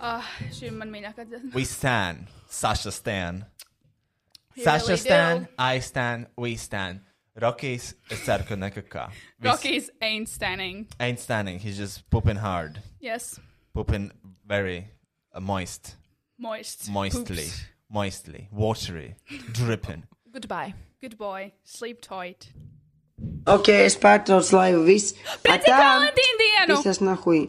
[SPEAKER 5] Ah, šī ir man mīļākā dziesma.
[SPEAKER 10] We stand. Sasha stand.
[SPEAKER 11] really
[SPEAKER 10] Sasha
[SPEAKER 11] do.
[SPEAKER 10] stand. I stand. We stand. Rockies, es ceru, ka nekakā.
[SPEAKER 5] Rockies ain't standing.
[SPEAKER 10] Ain't standing. He's just pooping hard.
[SPEAKER 5] Yes,
[SPEAKER 10] Pooping very uh, moist.
[SPEAKER 5] moist.
[SPEAKER 10] Moistly.
[SPEAKER 5] Poops.
[SPEAKER 10] Moistly. Watery. Dripping.
[SPEAKER 11] Goodbye.
[SPEAKER 5] Good boy. Sleep tight.
[SPEAKER 12] Ok, es pārtraucu laivu viss.
[SPEAKER 5] Pēc karantīna dienu!
[SPEAKER 12] Visas nahuj.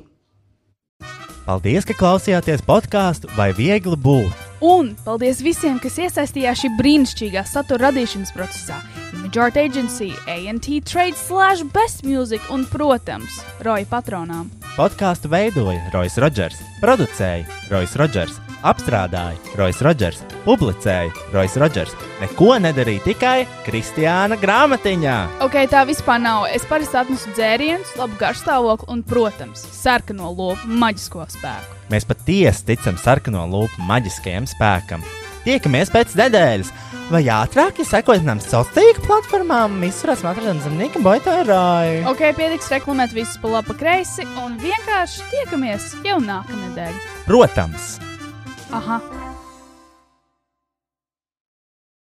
[SPEAKER 2] Paldies, ka klausījāties podkāstu vai viegli būt!
[SPEAKER 3] Un paldies visiem, kas iesaistījās šī brīnišķīgā satura radīšanas procesā. Image Art Agency, ANT Trade, Slash, Best Music un, protams, Roja patronām.
[SPEAKER 2] Podkāstu veidoja Rois Rodžers, producēja Rois Rodžers, apstrādāja Rois Rodžers, publicēja Rois Rodžers. Neko nedarīja tikai Kristiāna grāmatiņā.
[SPEAKER 3] Ok, tā vispār nav. Es parasti atnesu dzērienus, labu garšstāvokli un, protams, sarkano lopu maģisko spēku.
[SPEAKER 2] Mēs patiesi ticam sarkano lupu maģiskajam spēkam. Tiekamies pēc nedēļas, vai ātrāk, ja sekojat manām sociālajām tīkla platformām, visurās matradienas zemnieka boitārāju.
[SPEAKER 3] Ok, pietiks reklamēt visus pa labi, pa kreisi un vienkārši tiekamies jau nākamnedēļ.
[SPEAKER 2] Protams!
[SPEAKER 3] Aha,